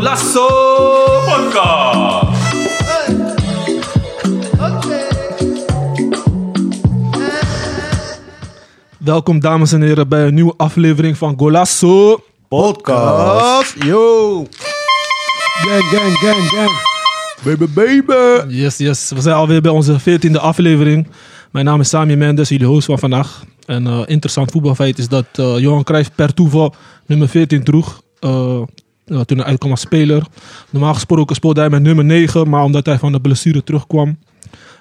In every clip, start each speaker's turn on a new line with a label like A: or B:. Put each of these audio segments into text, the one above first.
A: Lasso Podcast.
B: Welkom dames en heren bij een nieuwe aflevering van Golasso.
C: Podcast. Yo. Gang, gang, gang, gang. Baby, baby.
B: Yes, yes. We zijn alweer bij onze 14e aflevering. Mijn naam is Sami Mendes, jullie host van vandaag. En eh, interessant voetbalfeit is dat eh, Johan Cruijff per toeval nummer 14 droeg. eh, eh, toen hij uitkwam als speler. Normaal gesproken speelde hij met nummer 9, maar omdat hij van de blessure terugkwam,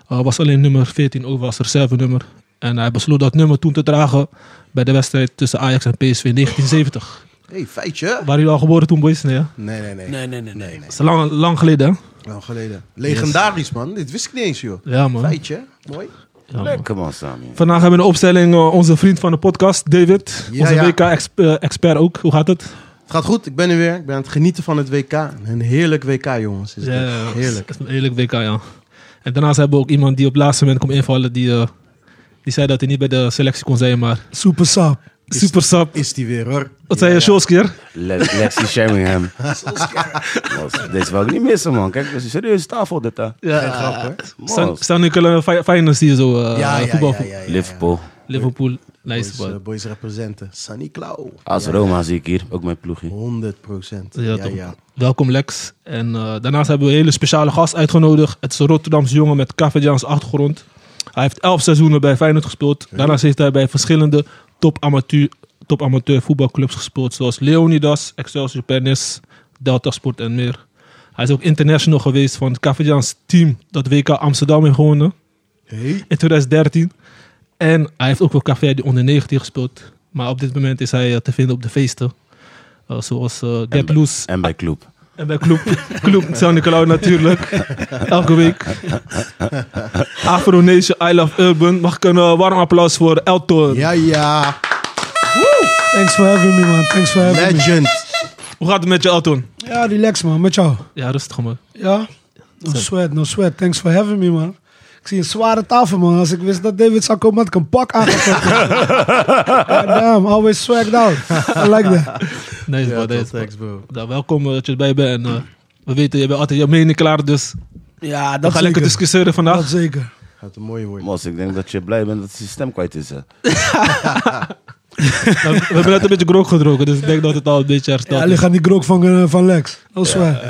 B: eh, was alleen nummer 14 over als reserve nummer. En hij besloot dat nummer toen te dragen bij de wedstrijd tussen Ajax en PSV in 1970.
C: Hey, feitje.
B: Waren jullie al geboren toen, boys? Nee, hè?
C: Nee, nee, nee.
D: Nee, nee, nee. nee.
B: Dat is lang, lang geleden, hè?
C: Lang geleden. Legendarisch, man. Dit wist ik niet eens, joh.
B: Ja, man.
C: Feitje. Mooi.
B: Ja, man.
D: Lekker man, Sami.
B: Vandaag hebben we een opstelling eh, onze vriend van de podcast, David.
C: Ja,
B: onze
C: ja.
B: WK-expert ook. Hoe gaat het?
C: Het gaat goed. Ik ben er weer. Ik ben aan het genieten van het WK. Een heerlijk WK, jongens. Is dit. Heerlijk.
B: Het is een Heerlijk WK, ja. En daarnaast hebben we ook iemand die op het laatste moment komt invallen. Die, eh, die zei dat hij niet bij de selectie kon zijn, maar
C: Super sap.
B: super sap.
C: Is die weer, hoor.
B: Wat zei je, Scholskier?
D: Le Lexi Sheringham. Mos, Dit wil ik niet missen, man. Kijk, dit is een serieuze tafel, dit daar.
C: Geen grap, hoor.
B: Staan- Staan nu kunnen finals hier zo. eh,
C: Ja, ja, ja,
B: voetbal,
C: ja, ja, ja.
D: Liverpool.
B: Liverpool,
C: Boys,
B: nice
C: eh,
B: man.
C: boys representen. Sunny Klauw.
D: AS Roma zie ik hier, ook mijn ploegje.
C: 100 procent.
B: Ja,
C: Ja,
B: toch.
C: ja.
B: Welkom Lex. En eh, daarnaast hebben we een hele speciale gast uitgenodigd. Het is een Rotterdamse jongen met Cavadiaanse achtergrond. Hij heeft elf seizoenen bij Feyenoord gespeeld. Daarnaast heeft hij bij verschillende top-amateur top amateur voetbalclubs gespeeld. Zoals Leonidas, Excelsior Pernis, Delta Sport en meer. Hij is ook international geweest van het Cavadiaans team dat WK Amsterdam heeft gewonnen
C: Hey.
B: in 2013. En hij heeft ook voor Café de onder 19 gespeeld. Maar op dit moment is hij eh, te vinden op de feesten. Eh, zoals eh Get Loose
D: En bij Club.
B: en bij Club, Club San Nicolau natuurlijk. Elke week. Afro Nation, I Love Urban. Mag ik een eh, warm applaus voor Elton?
C: Ja, ja.
E: Thanks for having me, man. Thanks for having me.
C: Legend.
B: Hoe gaat het met je, Elton?
E: Ja, relax, man. Met jou.
B: Ja, rustig man.
E: Ja? No sweat, no sweat. Thanks for having me, man. Ik zie een zware tafel, man. Als ik wist dat David zou komen, had ik een pak aangetrokken. God Damn, always swagged out. I like that.
B: Nee,
C: Ja,
B: maar
C: tot
B: deze.
C: straks, bro.
B: Nou, welkom eh, dat je erbij bent. En, eh, we weten, je bent altijd je mening klaar, dus
E: Ja,
B: we
E: dat
B: gaan lekker discussiëren
E: Dat
B: vandaag.
E: zeker.
C: Gaat een mooie woord.
D: Mos, ik denk dat je blij bent dat je stem kwijt is. hè.
B: Nou, we hebben net een beetje grog gedronken, dus ik denk dat het al een beetje
E: Ja,
B: hersteld
E: hij
B: is.
E: ligt aan die grok van, eh, van Lex. No sweat.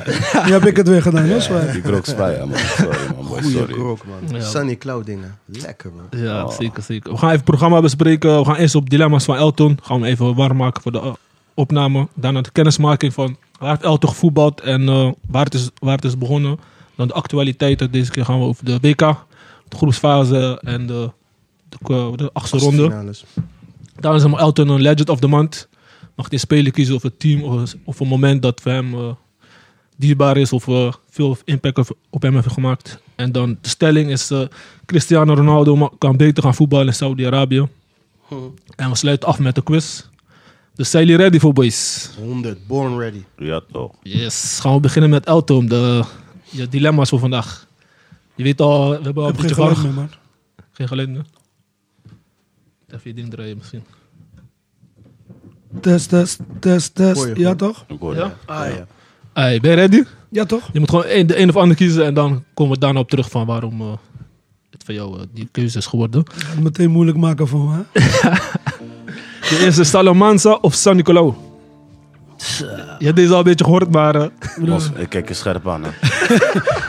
E: Nu heb ik het weer gedaan, no sweat.
D: Die krook spijt, man. Sorry, man. Boy,
C: Goeie
D: sorry.
C: krok, man.
B: Ja.
C: Sunny Klauw dingen. Lekker, man.
B: Ja, zeker, zeker. We gaan even het programma bespreken. We gaan eerst op dilemma's van Elton. Gaan we hem even warm maken voor de eh, opname. Daarna de kennismaking van waar heeft Elton gevoetbald en eh, waar, het is, waar het is begonnen. Dan de actualiteiten. Deze keer gaan we over de WK, de groepsfase en de, de, eh, de achtste ronde.
C: Finales.
B: Daarna is hem Elton een legend of the month. Mag hij een speler kiezen of een team of, een- of een moment dat voor hem eh, dierbaar is of eh, veel impact op- op hem heeft gemaakt. En dan de stelling is eh, Cristiano Ronaldo ma- kan beter gaan voetballen in Saudi-Arabië. En we sluiten af met de quiz. Dus zijn jullie ready voor boys?
C: 100. Born ready.
D: Ja, toch.
B: Yes, gaan we beginnen met Elton, de, je dilemma's voor vandaag. Je weet al, we hebben al
E: Ik
B: een
E: heb geen
B: beetje
E: geluid
B: warm.
E: meer, man.
B: Geen geluid meer? Even je ding draaien misschien.
E: Test, test, test, test.
C: Goeie,
E: Ja,
C: goeie.
E: toch?
D: Ik hoor
B: Ja?
D: je.
C: Ah, ja.
B: Hey, ben je ready?
E: Ja, toch?
B: Je moet gewoon een- de een of ander kiezen en dan komen we daarna op terug van waarom eh, het voor jou eh, die keuze is geworden.
E: Gaat het meteen moeilijk maken voor me, hè?
B: De eerste Salamanca of San Nicolau? Je hebt deze al een beetje gehoord, maar eh,
D: Mos, ik kijk je scherp aan, hè.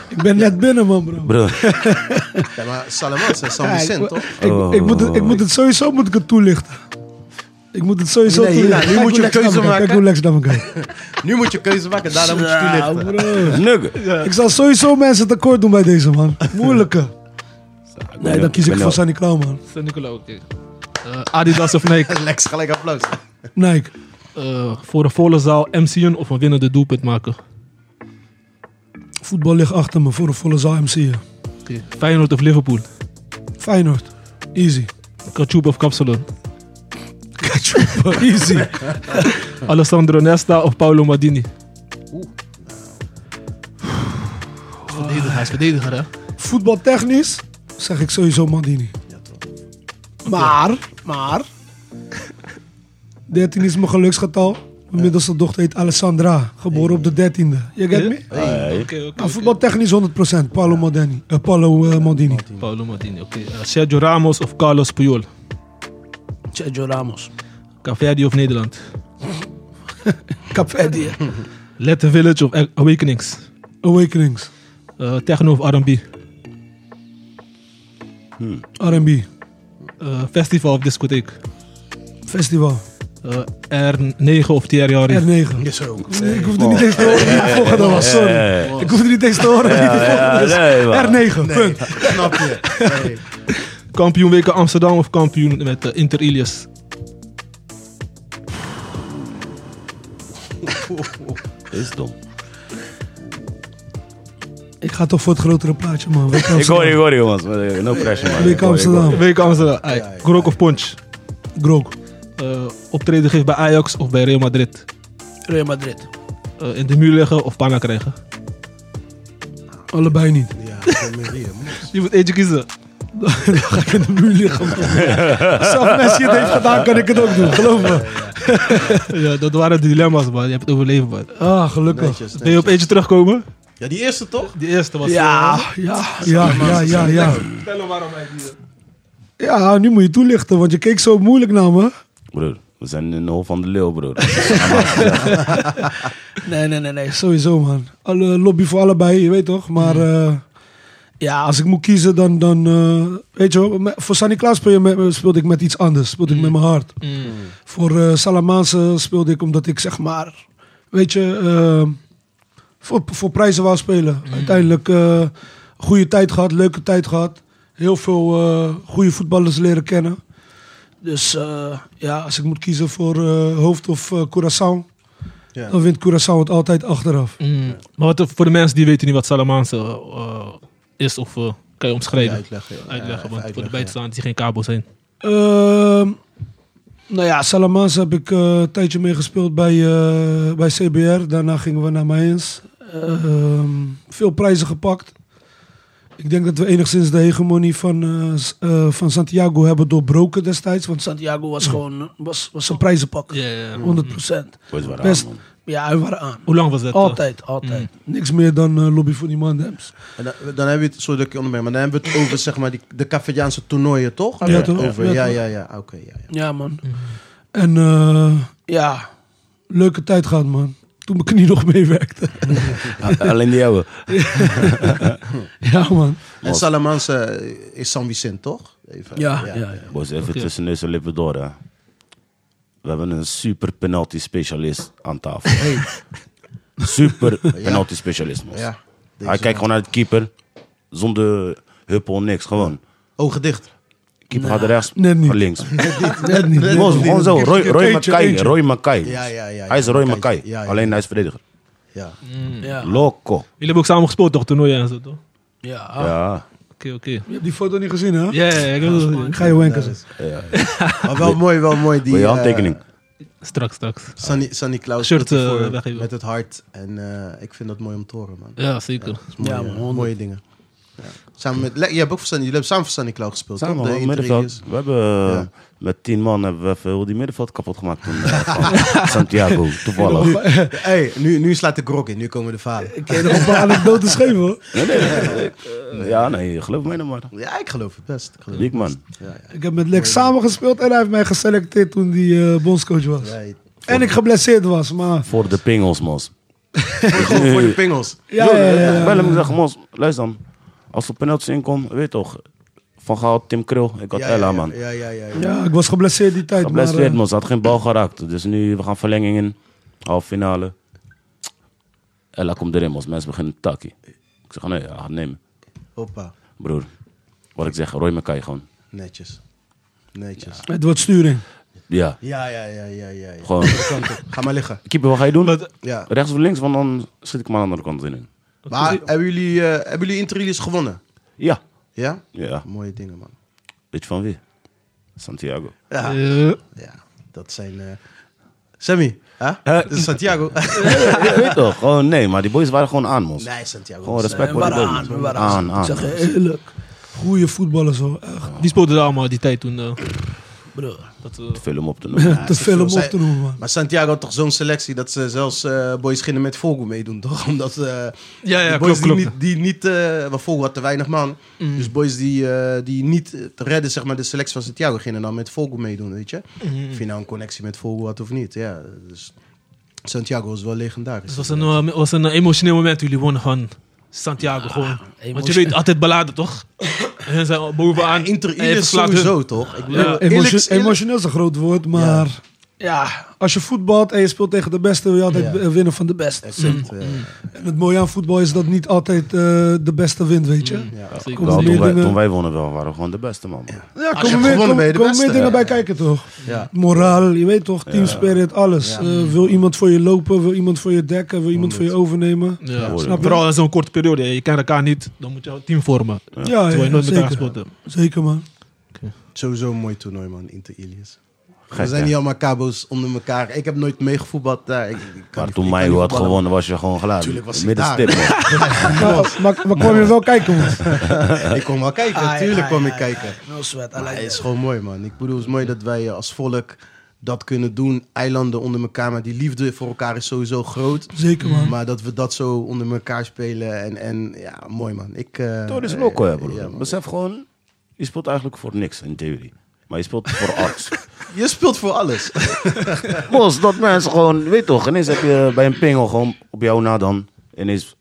E: Ik ben net binnen, man, bro.
D: Bro,
C: Ja, maar Salamans en San
E: Ja, ik-
C: Vicente, toch?
E: Ik, ik, moet het, ik moet het sowieso moet ik het toelichten. Ik moet het sowieso
C: Nee, nee,
E: toelichten.
C: nu
E: Kijk
C: moet
E: hoe
C: je
E: Lex
C: keuze
E: naar me kijkt.
C: maken.
E: Kijk hoe Lex naar me kijkt.
C: Nu moet je keuze maken, daarna moet je toelichten.
D: nugget.
E: Ik zal sowieso mensen tekort doen bij deze man. Moeilijke. Nee, dan kies ik voor Sunny Klauw, man.
B: San Nicolau, oké. Eh, Adidas of Nike?
C: Lex, gelijk applaus.
E: Nike.
B: Eh, voor een volle zaal MC'en of een winnende doelpunt maken?
E: Voetbal ligt achter me voor een volle zaal MC'en.
B: Oké. Feyenoord of Liverpool?
E: Feyenoord. Easy.
B: Kachoub of Kapsalon?
E: Ketchup. Easy.
B: Alessandro Nesta of Paolo Maldini? Verdediger, hij is verdediger, hè?
E: Voetbaltechnisch zeg ik sowieso Mandini. Maar, maar... 13 is mijn geluksgetal. Mijn middelste dochter heet Alessandra, geboren op de 13e. Je get me?
B: Oké, oké,
E: Nou,
B: oké.
E: voetbaltechnisch 100%. Paolo Modini. eh, Paolo eh, Maldini.
B: Paolo Maldini, oké. Eh, Sergio Ramos of Carlos Puyol?
E: Sergio Ramos.
B: Caverdi of Nederland?
E: Capverdi.
B: Letter Village of A- Awakenings?
E: Awakenings.
B: Eh, techno of R&B?
E: R&B.
B: Eh, festival of discotheek?
E: Festival.
B: Eh, R9 of Thierry Henry?
E: R9. Nee, ik hoefde niet eens te horen wie de volgende
D: nou-
E: was. Sorry. Ik hoefde niet eens te horen wie de
D: ja,
E: volgende
D: Eh, nee, man.
E: is. R9. Punt.
F: Snap je? Nee.
B: Kampioen weken Amsterdam of kampioen met eh, Inter Ilias?
D: Is dom.
E: Ik ga toch voor het grotere plaatje, man. Weet je
D: Ik hoor je, ik hoor je, jongens. Maar, eh, No pressure, man.
E: Week
D: Ik hoor je, ik hoor je.
E: Amsterdam.
B: Weken Amsterdam, ai. Grok of Punch?
E: Grok.
B: Eh, optreden geeft bij Ajax of bij Real Madrid?
E: Real Madrid.
B: Eh, in de muur leggen of panna krijgen?
E: Allebei niet.
F: Ja, geen meer hier.
E: Dus
F: moes.
B: Je moet eentje kiezen.
E: Dan ga ik in de muur liggen. Zelfs Messi het heeft gedaan, kan ik het ook doen. Geloof me.
B: ja, dat waren de dilemma's, man. Je hebt het overleven, man.
E: Ah, gelukkig.
F: Netjes,
B: Wil je op
F: netjes.
B: eentje terugkomen?
F: Ja, die eerste toch?
B: Die eerste was...
E: Ja, ja, ja, ja, ja, ja.
B: Vertel hem waarom hij die...
E: Ja, nu moet je toelichten, want je keek zo moeilijk naar me.
D: Broer, we zijn in de hol van de leeuw, broer.
E: Nee, nee, nee, nee. Eh, Sowieso, man. Alle lobby voor allebei, je weet toch? Maar eh, ja, als ik moet kiezen, dan... dan eh, weet je wel, me- voor Sanny Klaas speel je met- speelde ik met iets anders. Speelde ik met mijn hart. Voor eh Salamaanse speelde ik omdat ik, zeg maar... Weet je, eh, voor, voor prijzen wou spelen. Uiteindelijk eh goede tijd gehad, leuke tijd gehad. Heel veel eh, goede voetballers leren kennen. Dus eh, ja, als ik moet kiezen voor eh, hoofd of eh Curaçao...
F: Ja.
E: Dan wint Curaçao het altijd achteraf.
B: Mm, Maar wat, voor de mensen die weten niet wat Salamaanse eh, is, of eh, kan je omschrijven?
F: Uitleggen. ja. Ja,
B: uitleggen,
F: even
B: want voor de
F: uitleggen, ja.
B: buitenstaanders die geen kabel zijn.
E: Ehm, nou ja, Salamans heb ik eh, een tijdje mee gespeeld bij, eh, bij CBR. Daarna gingen we naar Mayens. Ehm, veel prijzen gepakt. Ik denk dat we enigszins de hegemonie van, eh, s- eh, van Santiago hebben doorbroken destijds. Want Santiago was gewoon was, was een prijzenpak.
B: Ja, ja, ja.
E: 100%.
D: Wordt waar
E: Best.
D: Mm-hmm. aan, man.
E: Ja, we waren aan.
B: Hoe lang was dat? eh?
E: Altijd, altijd. Niks meer dan eh, lobby voor die mandems.
F: En dan, dan hebben we het, sorry dat ik je onderbreek, maar dan hebben we het over zeg maar die, de Cafediaanse toernooien toch?
E: Ah, Ja,
F: Hebben we het
E: toch?
F: Over. Ja,
E: Ja, toch?
F: ja, ja. Oké, ja, ja.
E: Ja, man. En eh, ja, leuke tijd gehad, man. Toen mijn knie nog meewerkte.
D: Alleen die ouwe.
E: ja, man.
F: En Salamanca eh, is San Vicente toch? Even,
E: Ja, ja, ja.
D: Boys, even tussen neus en lippen door, hè. We hebben een super penalty specialist aan tafel. Super penalty specialist, man.
F: Ja, deze
D: Hij kijkt gewoon naar de keeper. Zonder huppel, niks. Gewoon.
F: Ogen dicht.
D: Keeper gaat rechts,
E: net niet.
D: gaat links.
E: Net niet.
D: Gewoon, gewoon zo. Roy, Roy
E: Eentje,
D: Makai.
E: eentje.
D: Roy Makai.
F: Ja, ja, ja,
D: Hij is
F: ja,
D: Roy
F: Makai.
D: Makai.
F: Ja, ja.
D: Alleen hij is verdediger.
F: Ja.
E: Ja,
D: Loco.
B: Jullie hebben ook samen gespeeld, toch? Toernooien en zo, toch? Oké,
F: Ah.
E: ja.
D: Ja.
B: oké.
E: Je hebt die foto niet gezien, hè?
B: Ja, ja, ja, ik wil dat
E: Ik
B: zeggen.
E: ga je wenken.
F: Maar wel mooi, wel mooi die...
D: Wil je
F: eh,
D: handtekening?
B: Straks, straks.
F: Sunny, Sunny Klaus
B: Shirt,
F: doet het
B: eh,
F: voor-
B: weggeven.
F: met het hart. En eh, ik vind dat mooi om te horen, man.
B: Ja, zeker.
F: Dat is mooie,
E: Ja, man,
F: eh,
E: honderd.
F: mooie dingen. Ja. Samen met, le- je hebt ook voor Sunny, jullie hebben samen voor Sunny Klaus gespeeld,
D: Samen,
F: toch? De
D: man,
F: intrigues.
D: middenveld. We hebben eh,
F: Ja.
D: met tien man hebben we even heel die middenveld kapot gemaakt toen. eh, van Santiago, toevallig.
F: Nu, hey, nu, nu slaat de grok in, nu komen de vader.
E: Ik heb nog een paar anekdotes geven, hoor.
D: Nee, nee, nee, ik, eh, ja, nee, geloof mij nou maar.
F: Ja, ik geloof het best. Ik geloof het.
D: Diekman.
E: Ik heb met Lex samen gespeeld en hij heeft mij geselecteerd toen hij eh, bondscoach was.
F: Right.
E: En ik geblesseerd was, maar...
D: Voor de pingels, mos.
F: Gewoon voor de pingels.
E: Ja, ja, ja, ja.
D: Bel hem en zeg, mos, luister dan. Als er penalty in komt, weet toch. Van Gaal, Tim Krul, ik had
F: Ja,
D: Ella,
F: ja,
D: man.
F: Ja, ja, ja. ja.
E: Ja, ik was geblesseerd die tijd, maar...
D: Geblesseerd,
E: eh,
D: mos. Had geen bal geraakt. Dus nu, we gaan verlenging in. Half finale. Ella komt erin, mos. Mensen beginnen te takkie. Ik zeg, nee, ja, gaat nemen.
F: Hoppa.
D: Broer, wat ik zeg, Roy Makai gewoon.
F: Netjes. Netjes.
E: Het wordt sturing.
D: Ja,
F: Ja, ja, ja, ja, ja. ja.
D: gewoon.
F: Kant op. Ga maar liggen.
D: Keeper, wat ga je doen?
F: Ja.
D: Rechts of links, want dan schiet ik hem aan de andere kant in.
F: Maar hebben jullie, eh hebben jullie interrelease gewonnen?
D: Ja.
F: Ja?
D: Ja,
F: Mooie dingen, man.
D: weet je van wie? Santiago.
F: Ja,
B: Eh,
F: ja. dat zijn... eh Sammy, hè? dat is Santiago.
D: Ja, weet toch? Gewoon nee, maar die boys waren gewoon aan, mos.
F: nee, Santiago. Eh,
D: Gewoon respect
E: We
D: voor die
E: waren
D: boys.
E: aan, we waren
D: aan,
E: aan. eh, Ik
D: aan.
E: zeg je eerlijk. Goeie voetballers, hoor. Echt.
B: die speelden daar allemaal die tijd toen. eh, Dat, eh,
D: Te veel om op te noemen.
E: te veel om
F: veel.
E: op te noemen, man.
F: Maar Santiago had toch zo'n selectie dat ze zelfs eh boys gingen met Vogel meedoen, toch? Omdat eh,
B: ja, ja,
F: de
B: klopt,
F: boys
B: klopt.
F: die niet, die niet eh, want Vogel had te weinig man. Dus boys die, eh, die niet eh, te redden, zeg maar, de selectie van Santiago gingen dan met Vogel meedoen, weet je? Of je nou een connectie met Vogel had of niet, ja. Dus Santiago was wel legendarisch.
B: Het was een, eh, was een eh, emotioneel moment. Jullie wonnen van Santiago
F: Ah,
B: gewoon. Want je weet, altijd beladen, toch? En ze zijn bovenaan.
F: Ja, Inter
B: En je
F: Ilis
B: verslaat hun.
F: sowieso, toch? Ik bedoel,
B: Ja.
F: eerlijk-
E: Emotio-
F: eerlijk-
E: emotioneel is een groot woord, maar ja. als je voetbalt en je speelt tegen de beste, wil je altijd
F: Ja.
E: eh, winnen van de beste.
F: Exact,
D: Mm.
F: eh,
E: En het mooie aan voetbal is dat niet altijd eh, de beste wint, weet je.
F: Mm, ja.
B: Zeker.
E: Kom.
D: Wel, toen,
E: meer
D: wij,
E: dingen-
D: toen wij wonnen wel, waren we gewoon de beste man.
E: Ja,
F: je
E: komen
F: hebt
E: meer,
F: gewonnen,
E: komen-
F: ben je de
E: komen
F: beste.
E: meer dingen
F: Ja.
E: bij kijken, toch?
F: Ja.
E: Moraal, je weet toch, team spirit, alles. Eh, wil iemand voor je lopen, wil iemand voor je dekken, wil iemand voor je overnemen. Ja,
B: Ja,
D: Mooi.
B: snap je? Ah, Vooral in zo'n korte periode. Je kent elkaar niet, dan moet je een team vormen.
E: ja,
B: terwijl je
E: ja,
B: nooit met elkaar
E: zeker.
B: gespeeld hebt.
E: Zeker, man.
F: Sowieso een mooi toernooi, man, Inter Ilias.
D: Gek,
F: We zijn
D: hè?
F: niet allemaal kabo's onder elkaar. Ik heb nooit meegevoetbald daar. Ik, ik kan
D: Maar
F: niet-
D: toen
F: ik kan
D: Mayo had
F: niet voetballen.
D: gewonnen, was je gewoon gelaten.
F: Tuurlijk was ik
D: Middenstip. man.
E: Maar, maar, maar kwam je wel kijken, man.
F: Ik kom wel kijken, natuurlijk kwam ik kijken.
E: No sweat,
F: Maar het is gewoon mooi, man. Ik bedoel, het is mooi dat wij eh, als volk dat kunnen doen. Eilanden onder elkaar, maar die liefde voor elkaar is sowieso groot.
E: Zeker, man.
F: Maar dat we dat zo onder elkaar spelen en, en ja, mooi, man. Ik, eh,
D: Toen is loco, hè,
F: eh,
D: broer.
F: ja, man.
D: Besef gewoon, je speelt eigenlijk voor niks in theorie. Maar je speelt voor alles.
F: Je speelt voor alles.
D: Los, dat mensen gewoon, weet toch, ineens heb je bij een pingel gewoon op jou na dan ineens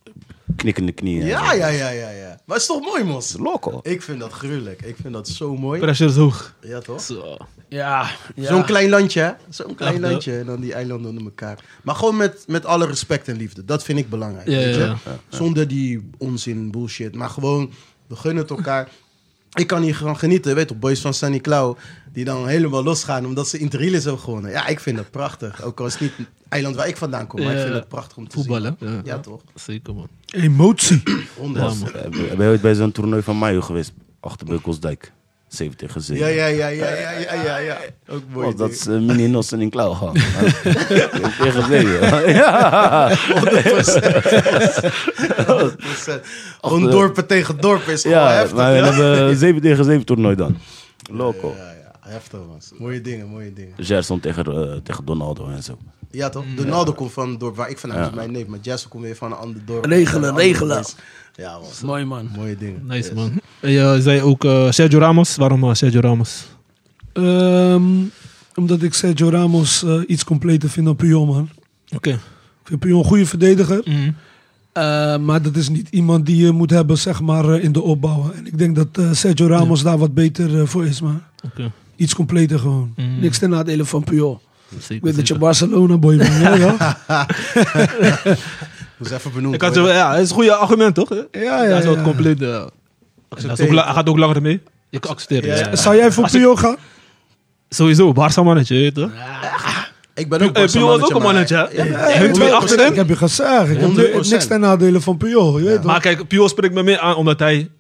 D: knikkende knieën.
F: ja, ja, ja, ja, ja. Maar het is toch mooi, mos?
D: Loco.
F: Ik vind dat gruwelijk. Ik vind dat zo mooi.
B: Pressure is hoog.
F: Ja, toch?
B: Zo.
E: Ja,
F: Zo'n klein landje, hè? Zo'n klein
B: Ja.
F: landje en dan die eilanden onder elkaar. Maar gewoon met, met alle respect en liefde. Dat vind ik belangrijk.
B: Ja,
F: weet je?
B: ja, ja.
F: Zonder die onzin, bullshit. Maar gewoon, we gunnen het elkaar. Ik kan hier gewoon genieten. Weet je, boys van Sunny Klauw, die dan helemaal losgaan omdat ze Interielis hebben gewonnen. Ja, ik vind dat prachtig. Ook al is het niet het eiland waar ik vandaan kom. Maar ik
B: Ja,
F: vind het prachtig om te
B: Voetballen.
F: zien. Ja, toch?
B: Zeker, man.
E: Emotie.
F: Honderd.
B: Ja, man.
D: Ben je ooit bij zo'n toernooi van Mayo geweest? Achter Beukelsdijk. 7 tegen 7.
F: Ja, ja, ja, ja, ja, ja, ja, ja. Ook mooi.
D: Was dat
F: ding.
D: is eh, mini Nossen in klauw gaan. tegen 7. Ja.
F: 100%. Gewoon dorpen tegen dorpen is gewoon
D: Ja,
F: heftig.
D: maar we
F: ja.
D: hebben 7 tegen 7 toernooi dan. Loco.
F: Ja, ja, heftig man. Mooie dingen, mooie dingen.
D: Gerson tegen, eh, tegen Donaldo en zo.
F: Ja toch? Donaldo komt van het dorp waar ik vandaan kom, mijn neef. Maar Jesse komt weer van een ander dorp.
E: Regelen,
F: Van een ander
E: regelen.
F: place. Ja man,
E: Mooi, man.
F: mooie dingen.
B: Nice, man. En Je zei ook eh, Sergio Ramos. Waarom eh, Sergio Ramos?
E: Ehm, omdat ik Sergio Ramos eh, iets completer vind dan Puyol, man.
B: Oké.
E: Ik vind Puyol een goede verdediger.
B: Mm.
E: eh, maar dat is niet iemand die je moet hebben, zeg maar, eh, in de opbouw. En ik denk dat eh, Sergio Ramos daar wat beter eh, voor is, man.
B: Oké.
E: Iets completer gewoon.
B: Mm.
E: Niks ten nadele van Puyol.
B: Zeker,
E: Ik weet dat je
B: zeker.
E: Barcelona boy bent, hè, toch?
F: Moet ze even benoemen.
B: Ik had, zo- ja, het is een goede argument, toch? Ja,
E: ja,
B: Hij is wel
E: ja.
B: het compleet. eh, en dat is ook la- hij gaat ook langer mee. Je kan accepteren.
F: Ja,
B: ja.
F: ja.
E: Eh, Zou jij voor
B: Als ik-
E: Puyol gaan?
B: Sowieso, Barca mannetje, weet je. toch?
F: ik ben ook
B: Eh, Puyol was ook een mannetje, hè? Hun twee
E: Eh, Ik
B: achterin.
E: heb je gezegd. Ik heb
F: 100%.
E: niks ten nadele van Puyol, je weet toch?
B: Maar kijk, Pio spreekt me meer aan omdat hij...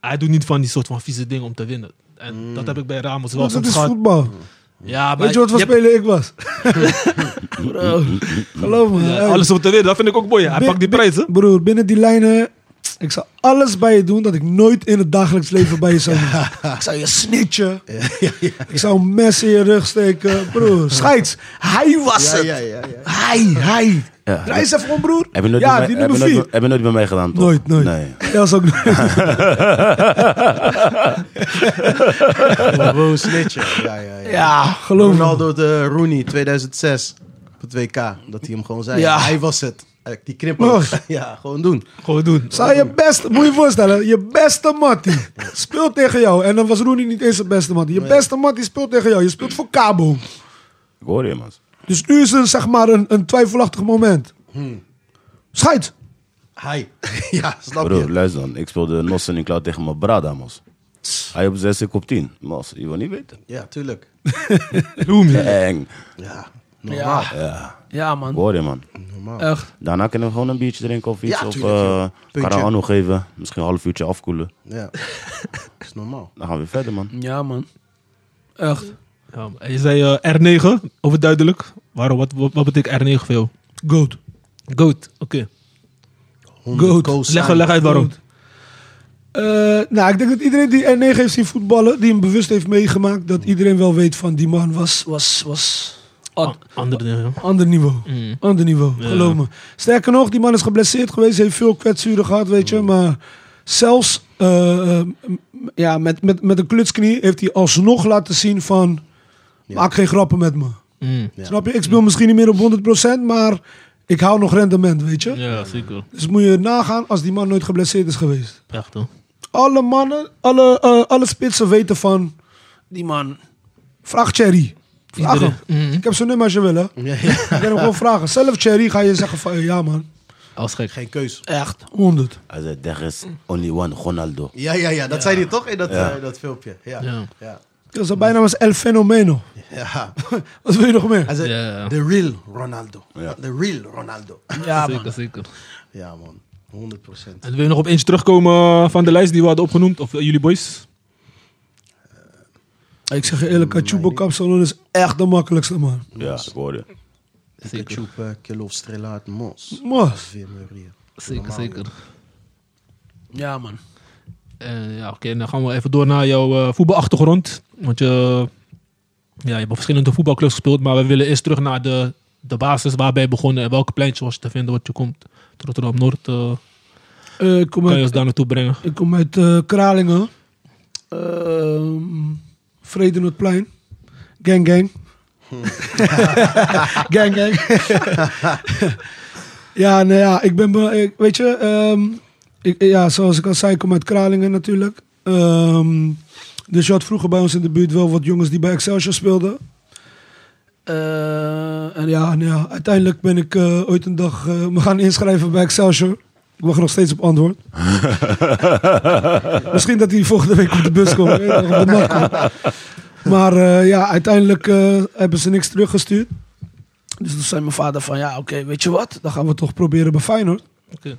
B: Hij doet niet van die soort van vieze dingen om te winnen. En dat heb ik bij Ramos wel
E: Dat
B: soms
E: is
B: gehad.
E: voetbal.
B: Ja, maar
E: Weet je wat voor
B: hebt-
E: speler ik was?
D: Mm,
E: Bro, geloof me.
B: Ja,
E: hey.
B: alles om te winnen, dat vind ik ook mooi. Hij
E: Bi-
B: pakt die
E: bi-
B: prijs, hè?
E: Broer, binnen die lijnen. Ik zou alles bij je doen dat ik nooit in het dagelijks leven bij je zou doen. Ik zou je snitchen. Ik zou een mes in je rug steken. Broer, scheids. Hij was
F: Ja,
E: het.
F: ja, ja, ja.
E: Hij, hij.
D: Ja.
E: Draai eens even om, broer.
D: Heb je nooit,
E: ja,
D: bij,
E: die
D: mij, heb,
E: nummer
D: je nooit,
E: vier.
D: bij- heb je nooit bij mij gedaan, toch?
E: Nooit, nooit.
D: Nee.
E: Ja, dat is ook nooit.
F: Gewoon snitje. Ja, ja, ja.
E: Ja, geloof me.
F: Ronaldo de Rooney 2006 op het WK. Dat hij hem gewoon zei.
E: Ja.
F: Hij was het. Eh, Die knipoog. Ja, gewoon doen.
B: Gewoon doen.
E: Zou je beste, moet je je voorstellen, je beste mattie speelt tegen jou. En dan was Rooney niet eens zijn beste mattie. Je beste mattie speelt tegen jou. Je speelt voor Cabo.
D: Ik hoor je, man.
E: Dus nu is er zeg maar een, een twijfelachtig moment. Schijt.
F: Hij. Ja, snap
D: Bro,
F: je?
D: luister dan. Ik speelde Nossen in klauw tegen mijn brada, mos. Hij op 6, ik op 10. Mos, je wil niet weten.
F: Ja, tuurlijk.
D: Eng.
F: Ja, normaal.
E: Ja,
D: Ik
E: man.
D: hoor je, man.
E: Echt.
D: Daarna kunnen we gewoon een biertje drinken of iets.
F: Ja,
D: of
F: tuurlijk,
D: eh
F: joh. Puntje.
D: Carano geven. Misschien een half uurtje afkoelen.
F: Ja. is normaal.
D: Dan gaan we weer verder, man.
E: Ja, man. Echt.
B: Ja, maar je zei eh, R9, overduidelijk. Waarom, wat, wat, wat betekent R9 voor jou?
E: Goat.
B: Goat, oké.
F: Honderd
E: Goat.
F: cosigns.
B: Leg, leg uit waarom.
E: Goat. Eh, nou, ik denk dat iedereen die R9 heeft zien voetballen, die hem bewust heeft meegemaakt, dat iedereen wel weet van die man was, was, was
B: A- Andere dingen.
E: ander niveau.
B: Mm.
E: Ander niveau,
B: Ah. Ja.
E: geloof me. Sterker nog, die man is geblesseerd geweest, heeft veel kwetsuren gehad, weet je. Maar zelfs eh, eh, m- ja, met, met, met een klutsknie heeft hij alsnog laten zien van... Maak geen grappen met me.
B: Mm.
F: Ja.
E: Snap je? Ik speel misschien niet meer op 100%, maar ik hou nog rendement, weet je.
B: Ja, zeker.
E: Dus moet je nagaan als die man nooit geblesseerd is geweest.
B: Echt hoor.
E: Alle mannen, alle, eh, alle spitsen weten van... Die man... Vraag Thierry. Vraag hem.
B: Iedereen. Mm.
E: Ik heb zijn nummer als je wil, hè.
F: Ja, ja.
E: Ik kan hem gewoon vragen. Zelf Thierry ga je zeggen van, eh, ja man,
B: Als gek.
F: Geen keus.
E: echt, 100.
D: Hij zei, there is only one Ronaldo.
F: Ja, ja, ja. Dat zei hij toch in dat,
D: Ja.
F: eh, dat filmpje. Ja.
B: Ja.
F: Ja. Ja.
E: Dat is bijna was El Fenomeno. Wat wil je nog meer?
F: Hij zei,
B: Ja.
F: the real Ronaldo.
D: Ja.
F: The real Ronaldo.
E: Ja, man.
B: Zeker, zeker.
F: Ja, man. 100 procent.
B: En wil je nog op eentje terugkomen van de lijst die we hadden opgenoemd? Of eh, jullie boys?
E: Ik zeg je eerlijk, Kachubo Kapsalon is echt de makkelijkste man.
D: Ja, ik hoorde.
B: Zeker.
F: Ketchup, uh, Kilo of Strelaat, Mos.
E: Mas.
F: Vier Maria.
B: Zeker,
F: Normaal, eh,
B: zeker.
E: Ja man.
B: Eh, ja, oké. dan gaan we even door naar jouw eh, voetbalachtergrond. Want je, ja, je hebt op verschillende voetbalclubs gespeeld. Maar we willen eerst terug naar de, de basis waar ben je begonnen. En welke pleintje was je te vinden wat je komt. Tot Rotterdam Noord. eh,
E: ik Eh,
B: kan
E: kom
B: je ons
E: uit,
B: daar naartoe brengen?
E: ik kom uit eh, Kralingen. Ehm Vredenotplein. Gang gang. gang gang. ja, nou ja, ik ben... be- ik- weet je, ehm, ik, ja, zoals ik al zei, ik kom uit Kralingen natuurlijk. Ehm, dus je had vroeger bij ons in de buurt wel wat jongens die bij Excelsior speelden. Eh, en ja, nou ja, uiteindelijk ben ik eh, ooit een dag eh, me gaan inschrijven bij Excelsior. Ik wacht nog steeds op antwoord. Misschien dat hij volgende week op de bus komt. weet je wel, of de nacht komt. Maar eh, ja, uiteindelijk eh, hebben ze niks teruggestuurd. Dus toen zei mijn vader van, ja oké, weet je wat? Dan gaan we toch proberen bij Feyenoord.
B: Oké.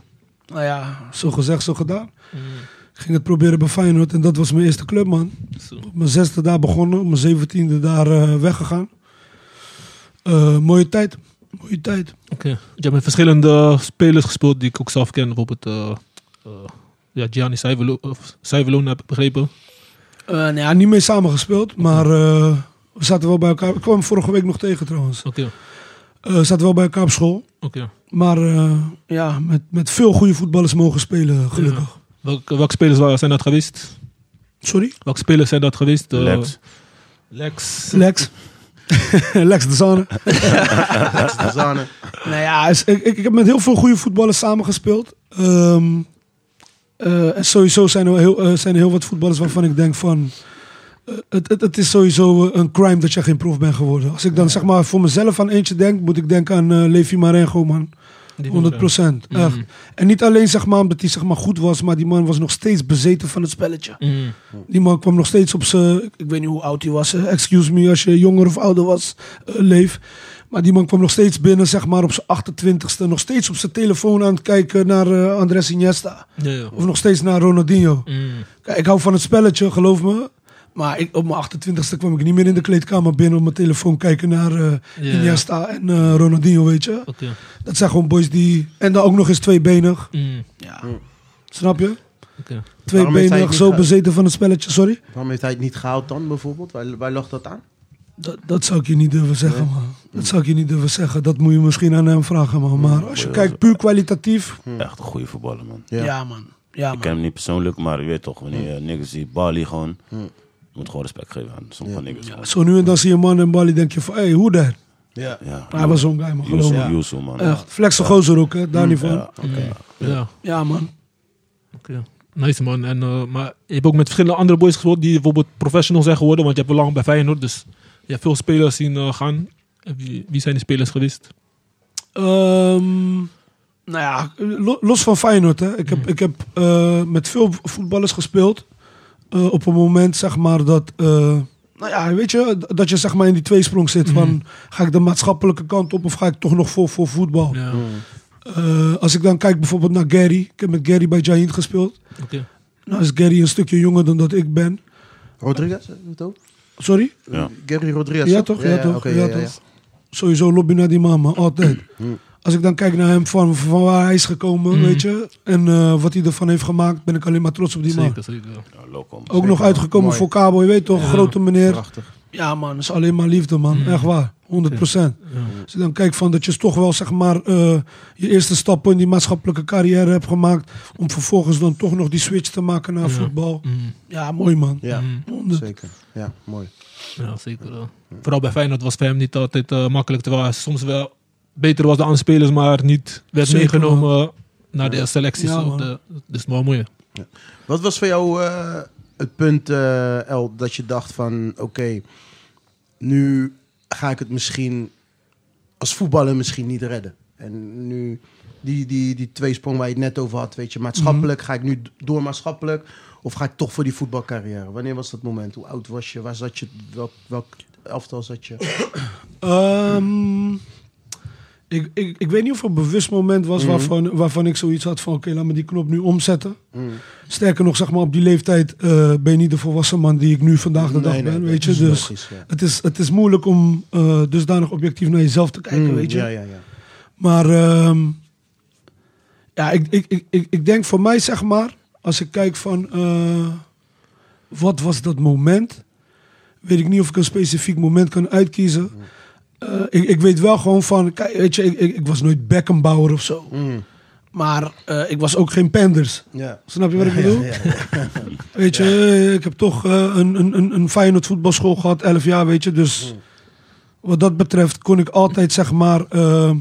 E: Nou ja, zo gezegd, zo gedaan. Ik ging het proberen bij Feyenoord en dat was mijn eerste club, man.
B: Zo.
E: Op mijn zesde daar begonnen, op mijn zeventiende daar eh, weggegaan. Eh, mooie tijd, mooie tijd.
B: Oké. Je hebt met verschillende spelers gespeeld die ik ook zelf ken. Bijvoorbeeld eh, eh, ja, Gianni Saivelo- of Saivelon heb ik begrepen.
E: Eh nou ja, niet mee samengespeeld, maar eh, we zaten wel bij elkaar. Ik kwam hem vorige week nog tegen trouwens.
B: Oké,
E: Eh, we zaten wel bij elkaar op school.
B: oké.
E: Maar eh, ja, met, met veel goede voetballers mogen spelen, gelukkig.
B: Eh, Welke, welke spelers wa- zijn dat geweest?
E: Sorry?
B: Welke spelers zijn dat geweest? Eh,
D: Lex.
B: Lex.
E: Lex. Lex de Zane.
F: Max de Zane.
E: Nou ja, is- ik, ik, ik heb met heel veel goede voetballers samengespeeld. Ehm eh, en sowieso zijn er, heel, eh, zijn er heel wat voetballers waarvan ik denk van... eh, het, het, het is sowieso eh, een crime dat jij geen prof bent geworden. Als ik dan zeg maar voor mezelf aan eentje denk, moet ik denken aan eh, Levi Marengo, man. 100 procent, echt.
B: Mm.
E: En niet alleen zeg maar omdat hij zeg maar goed was, maar die man was nog steeds bezeten van het spelletje.
B: Mm.
E: Die man kwam nog steeds op zijn. Ik weet niet hoe oud hij was. hè. Excuse me als je jonger of ouder was, eh, leef. Maar die man kwam nog steeds binnen, zeg maar, op zijn 28ste. Nog steeds op zijn telefoon aan het kijken naar eh, Andres Iniesta.
B: Ja, ja.
E: Of nog steeds naar Ronaldinho.
B: Mm.
E: Kijk, ik hou van het spelletje, geloof me. Maar ik, op mijn 28ste kwam ik niet meer in de kleedkamer binnen op mijn telefoon kijken naar eh,
B: Ja.
E: Iniesta en eh, Ronaldinho, weet je.
B: Oké.
E: Dat zijn gewoon boys die. En dan ook nog eens tweebenig.
B: Mm.
E: Ja. Snap je?
B: Oké.
F: Waarom heeft hij het
E: Tweebenig,
F: niet
E: zo
F: ge-
E: bezeten van het spelletje, sorry.
F: Waarom heeft hij het niet gehaald dan, bijvoorbeeld? Waar, waar lag dat aan?
E: Dat, dat zou ik je niet durven zeggen, man. Dat zou ik je niet durven zeggen. Dat moet je misschien aan hem vragen, man. Maar als je
D: Ja,
E: kijkt
D: zo.
E: puur kwalitatief...
D: Echt een goede voetballer, man.
F: Ja.
E: man. Ja,
D: Ik ken hem niet persoonlijk, maar je weet toch, wanneer je niggas ziet, Bali gewoon. Je moet gewoon respect geven aan sommige niggas. gewoon.
E: Zo nu en dan zie je een man in Bali, denk je van... Hé, hey, hoe daar?
F: Ja.
D: Ja.
E: Hij was zo'n guy, man. Geloof
D: Yusu,
E: me.
D: Yusu, man.
E: Echt. Flexe gozer ook, hè. Daar niet van.
D: Mm, Ja, oké.
B: Mm. Ja,
E: Ja, man.
B: oké. Nice man. En, eh, maar je hebt ook met verschillende andere boys gespeeld die bijvoorbeeld professional zijn geworden. Want je hebt wel lang bij Feyenoord. Dus je hebt veel spelers zien eh, gaan. En Wie, wie zijn die spelers geweest?
E: Ehm, nou ja, lo- los van Feyenoord. Hè. Ik heb,
D: Mm.
E: ik heb eh, met veel voetballers gespeeld. Eh, op een moment zeg maar dat... eh, nou ja, weet je, d- dat je zeg maar in die tweesprong zit.
D: Mm.
E: Van, ga ik de maatschappelijke kant op of ga ik toch nog voor, voor voetbal?
B: Ja,
E: Eh, als ik dan kijk bijvoorbeeld naar Gary. Ik heb met Gary bij Giant gespeeld.
B: oké.
E: Nou is Gary een stukje jonger dan dat ik ben.
F: Rodriguez, eh, het ook?
E: Sorry?
D: Ja.
F: Gary Rodriguez.
E: Ja toch, ja, toch,
F: oké, Hmm.
E: ja, toch. Sowieso lobby naar die mama, altijd. Als ik dan kijk naar hem van, van waar hij is gekomen, weet je. En eh, wat hij ervan heeft gemaakt, ben ik alleen maar trots op die man.
B: Zeker, zeker.
D: Ja, Lokom.
E: Ook nog uitgekomen
F: Mooi.
E: voor Cabo, je weet toch, grote meneer.
F: Prachtig.
E: Ja man, Hmm. dat is alleen maar liefde man, echt waar. 100%. Als je dan kijkt van dat je toch wel zeg maar eh, je eerste stappen in die maatschappelijke carrière hebt gemaakt. Om vervolgens dan toch nog die switch te maken naar voetbal.
B: Mm.
E: Ja, mooi man.
F: Ja,
E: Honderd.
F: zeker. Ja, mooi.
B: Ja, zeker. wel. Vooral bij Feyenoord was het voor hem niet altijd eh, makkelijk. Terwijl hij soms wel beter was dan andere spelers, maar niet werd
E: Zeker,
B: meegenomen naar de selecties.
E: Ja,
B: op
E: man.
B: de- dus wel mooi.
F: Wat was voor jou eh, het punt, eh, El, dat je dacht van... Oké, nu ga ik het misschien als voetballer misschien niet redden. En nu die, die, die twee sprong waar je het net over had, weet je. Maatschappelijk,
E: Mhm.
F: ga ik nu d- door maatschappelijk? Of ga ik toch voor die voetbalcarrière? Wanneer was dat moment? Hoe oud was je? Waar zat je? Welk, welk elftal zat je?
E: Ehm, ik, ik, ik weet niet of er een bewust moment was
F: Mhm.
E: waarvan, waarvan ik zoiets had van... oké, laat me die knop nu omzetten.
F: Mhm.
E: Sterker nog, zeg maar, op die leeftijd eh, ben je niet de volwassen man die ik nu vandaag de dag
F: Nee, nee,
E: ben,
F: dat
E: weet je.
F: is
E: Dus
F: logisch, ja.
E: het, is, het is moeilijk om eh, dusdanig objectief naar jezelf te kijken,
F: Mm,
E: weet je.
F: Ja, ja, ja.
E: Maar ehm, ja, ik, ik, ik, ik, ik denk voor mij, zeg maar, als ik kijk van eh, wat was dat moment, weet ik niet of ik een specifiek moment kan uitkiezen. Eh, ik, ik weet wel gewoon van, kijk, weet je, ik, ik, ik was nooit Beckenbauer of zo.
F: Mm,
E: Maar eh, ik was ook geen Penders.
F: ja.
E: Snap je wat ik bedoel?
F: ja,
E: Weet je, eh, ik heb toch eh, een, een, een, een Feyenoord voetbalschool gehad, 11 jaar, weet je. Dus wat dat betreft kon ik altijd, zeg maar, eh,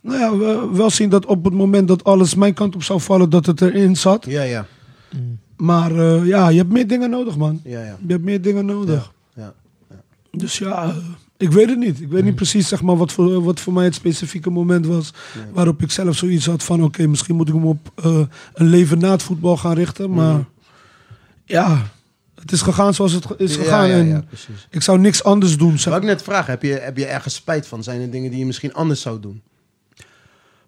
E: nou ja, we- wel zien dat op het moment dat alles mijn kant op zou vallen, dat het erin zat.
F: Ja, ja.
E: Maar eh, ja, je hebt meer dingen nodig, man.
F: Ja, ja.
E: Je hebt meer dingen nodig.
F: ja.
E: Dus ja, eh, ik weet het niet. Ik
F: Hmm.
E: weet niet precies, zeg maar, wat voor, wat voor mij het specifieke moment was. Waarop ik zelf zoiets had van, oké, misschien moet ik hem op eh, een leven na het voetbal gaan richten.
F: Hmm.
E: Maar ja, het is gegaan zoals het ge- is
F: Ja,
E: gegaan.
F: ja,
E: en
F: ja, precies.
E: ik zou niks anders doen. zeg.
F: Wou ik net vragen, heb je, heb je ergens spijt van? Zijn er dingen die je misschien anders zou doen?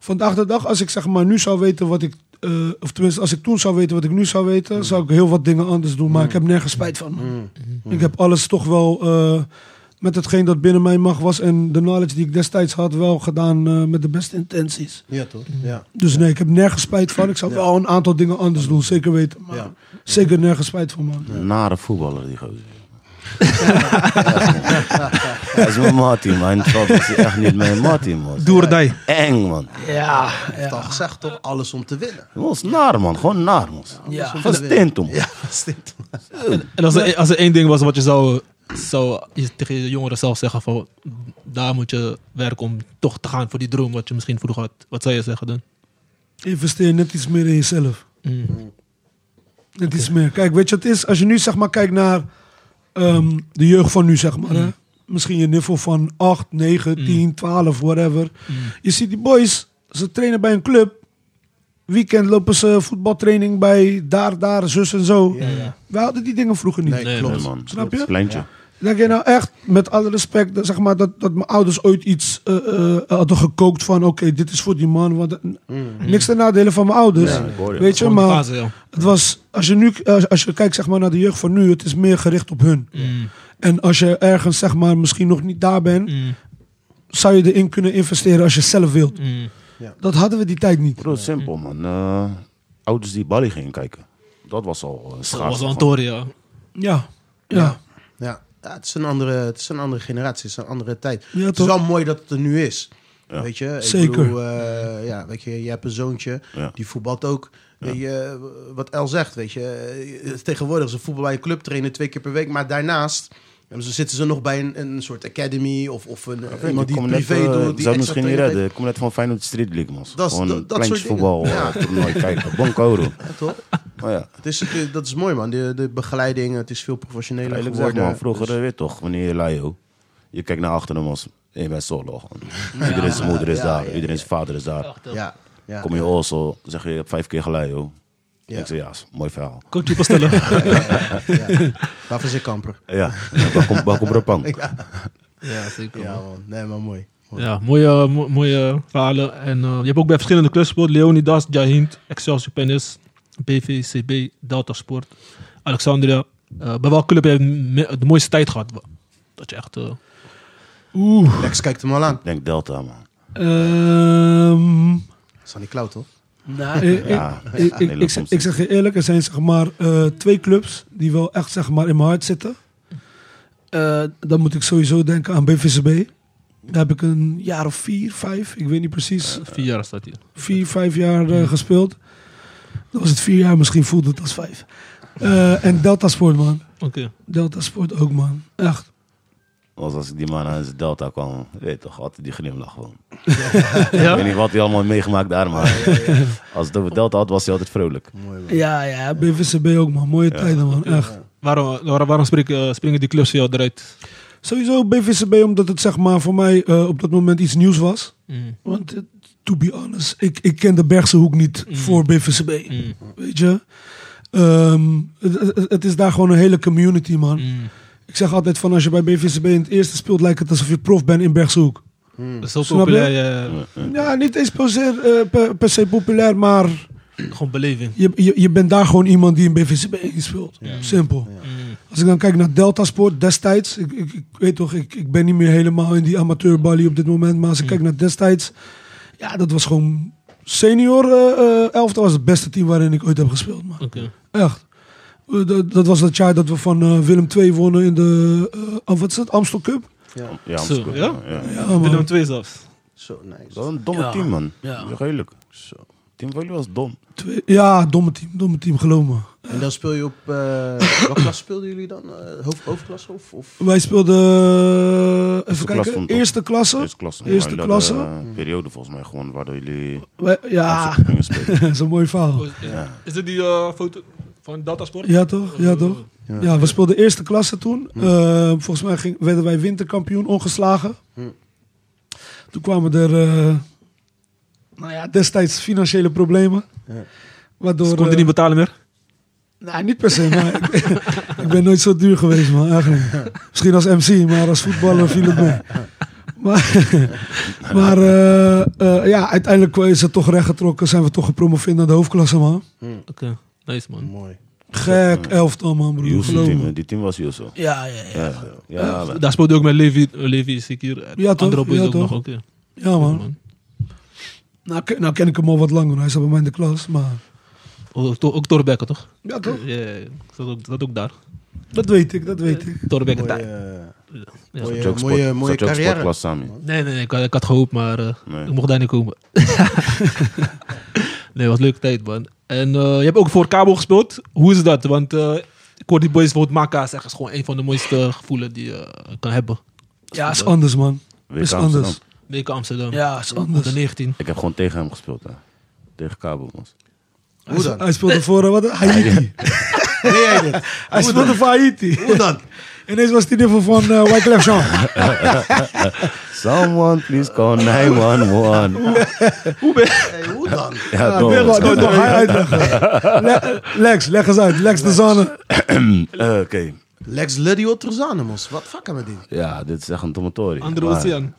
E: Vandaag de dag, als ik zeg maar nu zou weten wat ik... eh, of tenminste, als ik toen zou weten wat ik nu zou weten...
F: Mm.
E: zou ik heel wat dingen anders doen. Maar ik heb nergens spijt van. man.
F: Mm.
E: Ik heb alles toch wel... eh, met hetgeen dat binnen mij mag was... en de knowledge die ik destijds had... wel gedaan eh, met de beste intenties.
F: Ja, toch? Ja.
E: Dus nee, ik heb nergens spijt van. Ik zou wel een aantal dingen anders doen, zeker weten. Maar
F: Ja.
E: zeker nergens spijt van, man.
D: Een nare voetballer, die gozer. Hij is mijn mattie, man. Dat is echt niet mijn mattie, man.
B: Doerdij.
D: Eng, man.
E: Ja,
F: heeft al gezegd, toch? Alles om te winnen.
D: Dat was naar, man. Gewoon naar, man.
E: Ja.
D: Van Stentum.
F: Ja, dat is dit.
B: En als er, als er één ding was wat je zou, zou je tegen je jongeren zelf zeggen: van daar moet je werken om toch te gaan voor die droom wat je misschien vroeger had. Wat zou je zeggen dan?
E: Investeer net iets meer in jezelf.
B: Mm.
E: Net iets meer. Kijk, weet je wat het is? Als je nu zeg maar kijkt naar ehm, de jeugd van nu, zeg maar. Hè? Misschien je niveau van 8, 9, 10, 12, whatever. Je ziet die boys, ze trainen bij een club. Weekend lopen ze voetbaltraining bij daar, daar, zus en zo. Wij hadden die dingen vroeger niet.
F: Nee,
B: Nee,
F: klopt.
D: Nee, man.
E: Snap je?
D: Kleintje.
E: Denk je nou echt, met alle respect, dat, zeg maar, dat, dat mijn ouders ooit iets eh, eh, hadden gekookt van... oké, dit is voor die man. Want, Niks ten nadele van mijn ouders.
D: Ja, ik hoor je.
E: weet je,
B: Gewoon die
E: maar
B: fase, ja.
E: het was, als, je nu, eh, als, als je kijkt zeg maar, naar de jeugd van nu... het is meer gericht op hun.
B: Mm,
E: En als je ergens zeg maar, misschien nog niet daar bent...
B: mm,
E: zou je erin kunnen investeren als je zelf wilt.
B: mm.
E: Dat hadden we die tijd niet.
D: Bro, simpel, man. Eh, ouders die Bali gingen kijken. Dat was al een
B: Dat
D: schaars.
B: was Antoria.
E: Ja, ja.
F: Ja. Ja, het, is een andere, het is een andere generatie, het is een andere tijd.
E: Ja,
F: het is
E: toch?
F: wel mooi dat het er nu is.
D: Ja.
F: Weet je? Ik
E: Zeker.
F: bedoel, eh, ja, weet je, je hebt een zoontje,
D: Ja.
F: die voetbalt ook. Weet je, eh, wat El zegt, weet je. eh, Tegenwoordig, ze voetbal bij een club trainen twee keer per week. Maar daarnaast eh, ze zitten ze nog bij een, een soort academy of, of een, iemand die het privé doet. die
D: eh, Ik zou
F: extra
D: het misschien niet
F: training
D: redden. Ik kom net van Feyenoord Street League, man.
F: Dat is-
D: Gewoon
F: dat-
D: een
F: dat
D: kleintje
F: soort dingen.
D: voetbal
F: Ja.
D: eh, toernooi kijken. Bonkoro.
F: geeft. Ja, toch?
D: Maar ja.
F: Het is, het- dat is mooi, man. De, de begeleiding, het is veel professioneler
D: Eerlijk gezegd,
F: geworden. Dus
D: man. Vroeger eh, weet toch, wanneer je laio. Je kijkt naar achteren, man. Je bent solo. gewoon. Iedereen zijn moeder is
F: Ja,
D: daar.
F: ja,
D: Iedereen zijn vader is daar.
F: Dus- ja, ja.
D: Kom je also, zeg je, je hebt vijf keer gelaio.
F: Ja.
D: Ik zeg, ja, is een mooi verhaal.
B: Coach bestellen.
F: Waarvoor zit Kamper?
D: Ja, waar komt waar komt Rapang?
B: ja, zeker.
F: Ja, man. Nee, maar mooi. Mooi.
B: Ja, mooie, mo- mooie verhalen. En eh, je hebt ook bij verschillende clubs gespeeld. Leonidas, Jahint, Excelsior Penis, BVCB, Delta Sport, Alexandria. Eh, bij welke club heb je me- de mooiste tijd gehad? Dat je echt... eh,
E: Oeh.
F: Lex kijkt hem al aan.
D: Ik denk Delta, man.
E: Ehm,
F: Sunny Cloud, toch?
E: nou, ik,
D: Ja,
E: ik- ik, ik,
D: hele
E: ik, zeg- ik zeg je eerlijk, er zijn zeg maar eh, twee clubs die wel echt zeg maar in mijn hart zitten. Eh, dan moet ik sowieso denken aan BVCB. Daar heb ik een jaar of vier, vijf, ik weet niet precies,
B: Vier jaar staat hier.
E: vier, vijf jaar eh, gespeeld. Dat was het vier jaar, misschien voelde het als vijf. Eh, en Delta Sport, man.
B: Oké.
E: Delta Sport ook, man. Echt.
D: was als ik die man aan zijn delta kwam. Je Weet toch, altijd die glimlach gewoon. Ik weet
B: Ja?
D: niet wat hij allemaal heeft meegemaakt daar, maar als het over delta had, was hij altijd vrolijk.
E: Ja, ja, BVCB ook, man. Mooie tijden, man. Echt.
B: Waarom, waar- waarom spreek- eh, springen die clubs jou eruit?
E: Sowieso BVCB, omdat het zeg maar voor mij eh, op dat moment iets nieuws was.
B: Mm,
E: Want eh, to be honest, ik, ik ken de Bergse hoek niet voor BVCB.
B: Mm.
E: Weet je? Ehm, het, het- het is daar gewoon een hele community, man.
B: Mm.
E: Ik zeg altijd van als je bij BVCB in het eerste speelt, lijkt het alsof je prof bent in Bergse hoek.
D: Mm.
B: Dat is zo
E: Snap je?
B: populair. eh,
E: Ja, niet eens per se, eh, per, per se populair, maar
B: Gewoon beleving.
E: je, je, je bent daar gewoon iemand die in BVCB speelt. Simpel.
B: Mm.
E: Als ik dan kijk naar Delta Sport destijds, ik, ik, ik weet toch, ik, ik ben niet meer helemaal in die amateurbalie op dit moment, maar als ik kijk naar destijds, ja, dat was gewoon senior eh eh, elftal was het beste team waarin ik ooit heb gespeeld. Man.
B: Oké.
E: Echt. Eh, dat, dat was dat jaar dat we van eh, Willem II wonnen in de, eh, oh, wat is het, Amstel Cup?
D: Ja,
B: Zo,
D: Amsterdam,
B: ja?
D: ja.
E: Ja,
B: Willem
E: man.
B: II zelfs.
F: Zo nice.
D: Dat was een domme
E: Ja.
D: team, man.
E: Ja.
D: Ja. Redelijk. Team van jullie was dom.
E: Twee- ja, domme team, domme team, geloof me.
F: En dan speel je op... eh, wat klas speelden jullie dan? Eh, hoofd, hoofdklasse of... of?
E: Wij speelden, eh,
D: klas
E: even kijken,
D: vond ik.
E: eerste klasse.
D: Eerste klasse.
E: Eerste
D: Maar
E: klasse. Ah.
D: Dat, eh, periode volgens mij gewoon waardoor jullie
E: Wij- ja,
D: Amsterdam gingen spelen.
E: dat is een mooi verhaal.
B: Is dit die eh, foto van Datasport?
E: Ja toch, ja toch. Ja, we speelden eerste klasse toen. Eh, volgens mij ging, werden wij winterkampioen, ongeslagen. Toen kwamen er eh, nou ja, destijds financiële problemen. Waardoor,
B: Ze konden
E: eh,
B: niet betalen meer.
E: nou, niet per se, maar ik, ik ben nooit zo duur geweest, man. Eigenlijk. Misschien als MC, maar als voetballer viel het mee. Maar, maar eh, eh, ja, uiteindelijk is het toch rechtgetrokken. Zijn we toch gepromoveerd naar de hoofdklasse, man.
B: Oké, nice man.
F: Mooi.
E: Gek elftal, man, broer.
D: Yusu
E: Geloof me.
D: team, hè. die team was Yusu.
E: Ja, ja, ja.
D: Ja, ja, man.
B: Daar speelde je ook met Levi, eh, Levi is ik hier.
E: Ja, toch?
B: Andere boys
E: Ja,
B: ook
E: toch?
B: nog, oké.
E: Ja, man. Nou, ken- nou ken ik hem al wat langer. Hij zat bij mij in de klas, maar...
B: Ook, to- ook Torbekke, toch?
E: Ja,
B: Ja,
E: toch?
B: ja, ja. Zat ook, zat ook daar.
E: Dat weet ik, dat weet ik.
B: Torbekke
F: Mooie,
B: daar.
F: eh,
B: Ja.
F: mooie,
D: Zat je ook sport-
F: mooie, mooie
D: zat je ook
F: carrière.
D: sportklas samen?
B: Nee, nee, nee, ik, had- ik had gehoopt, maar eh,
D: Nee.
B: ik mocht daar niet komen. nee, wat een leuke tijd, man. En eh, je hebt ook voor Cabo gespeeld. Hoe is dat? Want eh, ik hoor die boys bijvoorbeeld Maka zeggen, is gewoon een van de mooiste gevoelen die je eh, kan hebben.
E: Ja, is anders, man.
D: WK
E: is
D: Amsterdam.
E: anders.
B: WK Amsterdam.
E: Ja, is
B: Onder
E: anders.
B: 19.
D: Ik heb gewoon tegen hem gespeeld, hè. Tegen Kabel, man.
E: Hij, spe- hij speelde voor eh, wat, Haiti.
F: Nee, jij dit.
E: Hij speelde voor Haiti.
F: Hoe dan?
E: Ineens was hij de voor van eh Wyclef Jean.
D: Someone please call 911.
F: Hey, hoe dan?
D: Ja,
E: Ik wil
D: toch.
E: dat nog hij uitleggen. Le- Lex, leg eens uit. Lex de Zanne.
D: Eh, Oké.
F: Lex Luddy Otrozanemos. Wat fuck met die?
D: Ja, dit is echt een domatorie.
B: Andere
D: Maar
B: oceaan.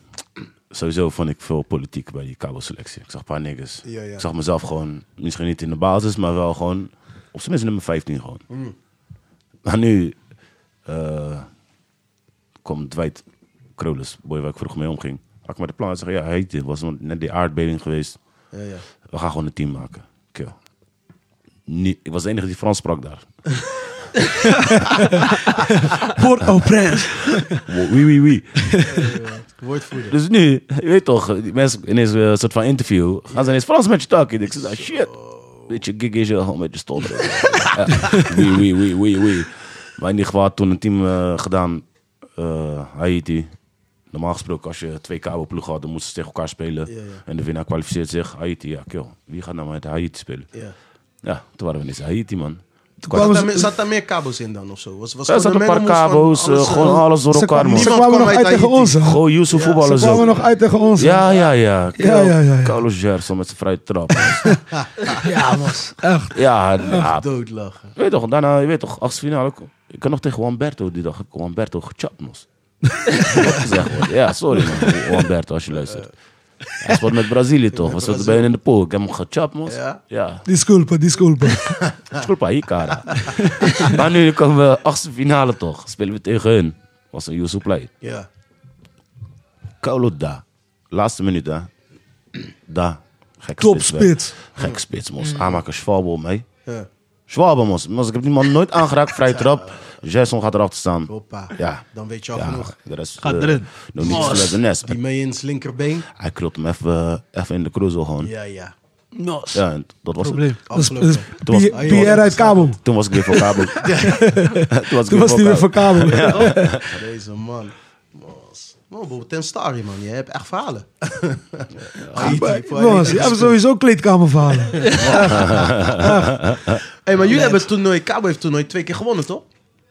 D: Sowieso vond ik veel politiek bij die kabelselectie. Ik zag een paar niggas.
F: Ja, ja.
D: Ik zag mezelf gewoon, misschien niet in de basis, maar wel gewoon, op zijn minst nummer 15 gewoon.
F: Mm.
D: Maar nu eh, komt Dwight Krolus, boy waar ik vroeger mee omging. Had ik maar de plan zeggen, ja, heet dit, was net die aardbeving geweest.
F: Ja, ja.
D: We gaan gewoon een team maken. Kill. Nee, ik was de enige die Frans sprak daar.
E: Port au Prince.
D: Wie, wie, wie.
F: Woordvoerder.
D: Dus nu, je weet toch, die mensen ineens eh, een soort van interview. Gaan ze ineens Frans met je talken. Ik zeg, ah, shit. Weet je, gig is je gewoon met je stond. Ja. Wee, wee, wee, wee, wee. Maar in ieder geval had toen een team eh, gedaan, eh, Haiti. Normaal gesproken, als je twee kabelploegen had, dan moesten ze tegen elkaar spelen.
F: Ja, ja.
D: En de winnaar kwalificeert zich, Haiti. Ja, kill. Wie gaat nou met Haiti spelen?
F: Ja.
D: Ja, toen waren we ineens Haiti, man.
E: Toen
F: Zat
E: kwamen
F: daar, meer-
E: ze...
F: zat daar meer kabels in dan of zo? Was, was
D: Er
F: gewoon
D: zaten een paar
F: mengelmoes
D: kabels,
F: van
D: eh,
F: alles, eh,
D: gewoon alles door
E: Ze
D: elkaar,
E: kwamen,
D: man.
E: ze
F: Niemand
E: kwamen
F: kwam
E: nog
F: uit
E: uit tegen
F: Haiti.
E: ons. hè.
D: Gewoon Yusuf
E: Ze
D: voetballers
E: kwamen
D: ook.
E: nog uit tegen ons. hè.
D: Ja, ja, ja.
E: Ja, ja, ja, ja.
D: Carlos Gerson met zijn vrije trap.
E: ja was echt.
D: ja, ja,
F: Doodlachen.
D: weet toch, daarna, je weet toch, achtste finale. ook. Ik had nog tegen Humberto die dag, heb ik Humberto gechapt, mos. Wat gezegd wordt. ja, sorry man, Humberto, als je luistert. Hij speelt Eh. met Brazilië toch, we zaten bij hen in de pool. Ik heb hem gechapt, mos.
F: Ja?
D: Ja,
E: Disculpa, disculpa.
D: Schulpa, hier, Cara. Maar nu komen we achtste finale toch, spelen we tegen hun. Was een Yusuf Play.
F: Ja.
D: Kaulo da. Laatste minuut, hè. Da. Gek
E: Top
D: spits.
E: spits.
D: Gek spits, mos. Aanmaker Schwalbe om, hé.
F: Ja.
D: Schwalbe, mos. Mos, ik heb die man nooit aangeraakt. Vrij trap. Jason gaat erachter staan.
F: Hoppa.
D: Ja.
F: Dan weet je al
D: Ja,
F: genoeg.
D: de rest...
B: Gaat
D: eh,
B: erin.
D: Nog niet
F: Mos.
D: gesloten nest.
F: Die mee in zijn linkerbeen.
D: Hij krult hem even, eh, even in de cruzo gewoon. Ja,
F: Ja, ja.
D: en dat was
B: Probleem.
D: het.
E: Dat is- dat
F: Afgelopen.
E: is
D: Toen was-
E: Pi-
F: Ah, joh,
E: Pierre
F: dat
E: uit
F: is-
E: Kabel.
D: Toen was ik weer voor kabel.
E: Toen was hij weer voor Kabel.
F: Deze man. Mos. Mos, bro, ten stari man. Je hebt echt verhalen. Haiti,
E: Maar-
F: voor Haiti
E: Jongens, je hebt
F: gespeeld.
E: sowieso kleedkamerverhalen.
F: Hey, maar jullie hebben het toernooi, Cabo heeft het toernooi twee keer gewonnen, toch?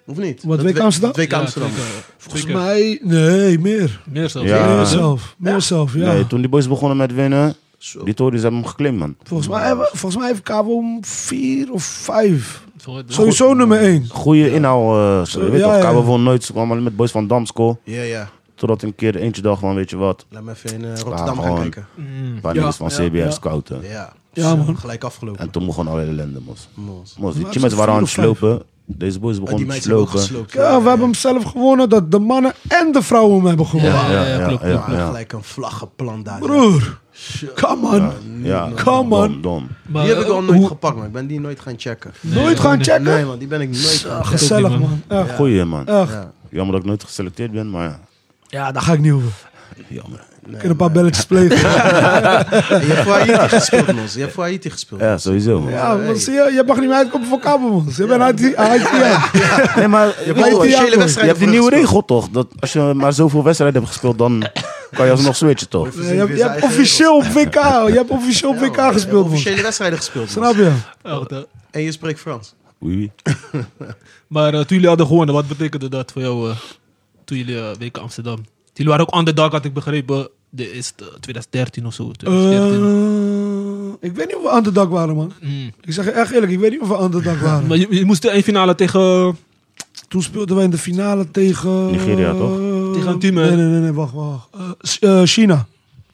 F: Of niet?
E: Wat,
F: Dat
E: WK
F: we-
E: Amsterdam?
F: WK
B: Ja,
F: Amsterdam.
B: twee keer.
E: Volgens
B: Twee keer.
E: mij, nee, meer.
B: Meer zelfs.
D: Ja.
E: Meer zelf. Meer zelf, ja.
D: Nee, toen die boys begonnen met winnen, die Tories hebben hem geklimd, man.
E: Volgens mij, hebben- volgens mij heeft Kabel om vier of vijf.
B: Voor de-
E: Sowieso nummer één.
D: Goeie inhoud. eh, zo, je weet
E: ja,
D: toch,
E: ja.
D: Kabel won nooit. Ze kwamen alleen met boys van Damsko.
F: Ja, ja.
D: Totdat een keer eentje dacht van, weet je wat,
F: Laat me even in eh, Rotterdam
D: Ah,
F: gaan
D: gewoon.
F: kijken.
B: Mm.
D: een paar niggas van CBS
E: ja.
D: scouten.
F: Ja.
E: Ja,
F: Zo,
E: man.
F: Gelijk afgelopen.
D: En toen begon alle ellende, mos.
F: Mos.
D: Mos, die
E: waren
D: Chimets
E: ze
D: waren aan het
E: vier of vijf?
D: slopen. Deze boys
E: Oh,
F: Maar die
D: begonnen te
F: meiden hebben ook
D: slopen.
F: gesloopt.
E: Ja, we hebben hem zelf gewonnen dat de mannen en de vrouwen hem hebben gewonnen.
D: Ja, ja,
B: Ja,
D: ja,
B: klopt, klopt,
D: ja,
F: Ja,
D: ja.
F: Gelijk een vlaggenplan daar.
E: Broer, come on.
D: Ja,
E: Come on.
D: dom, dom.
B: Maar,
F: Die heb ik
B: eh,
F: al nooit
B: hoe-
F: gepakt, maar ik ben die nooit gaan checken.
E: Nooit gaan checken?
F: Nee man, die ben ik nooit gaan checken.
E: Gezellig,
B: ook niet,
E: man. Echt,
D: Goeie, man.
E: echt.
F: Ja.
D: Jammer dat ik nooit geselecteerd ben, maar ja.
E: Ja, daar ga ik niet over.
D: Jammer.
E: Ik kan een paar belletjes plegen.
F: Je hebt voor Haiti gespeeld, Mos. Je hebt voor Haiti gespeeld.
D: Ja, sowieso, man.
E: Ja, want zie je, je mag niet meer uitkomen voor kabel, man. Je bent uit die... Uit die
D: Nee, maar je,
F: hebt officiële wedstrijden
D: je hebt die
F: voor
D: nieuwe
F: gespeeld.
D: regel toch? Dat als je maar zoveel wedstrijden hebt gespeeld, dan kan je alsnog switchen toch?
E: Je hebt, je hebt officieel op WK, je hebt officieel op
F: Ja, man.
E: WK
F: Je hebt
E: gespeeld, man.
F: officiële wedstrijden gespeeld, Mos.
E: Snap je?
B: Echt, hè.
F: En je spreekt Frans.
D: Oei, oei.
B: Maar eh, toen jullie hadden gewonnen, wat betekende dat voor jou eh, toen jullie eh, WK Amsterdam? Jullie waren ook underdog, had ik begrepen. De is eh, 2013 of zo. 2014.
E: Eh, ik weet niet of we aan de dak waren, man.
B: Mm.
E: Ik zeg je echt eerlijk, ik weet niet of we aan de dak waren.
B: Maar je, je moest de één finale tegen.
E: Toen speelden wij in de finale tegen... eh,
D: Nigeria, toch?
B: Tegen een team, hè?
E: Nee, nee, nee, nee, wacht, wacht. Eh, S- eh, China.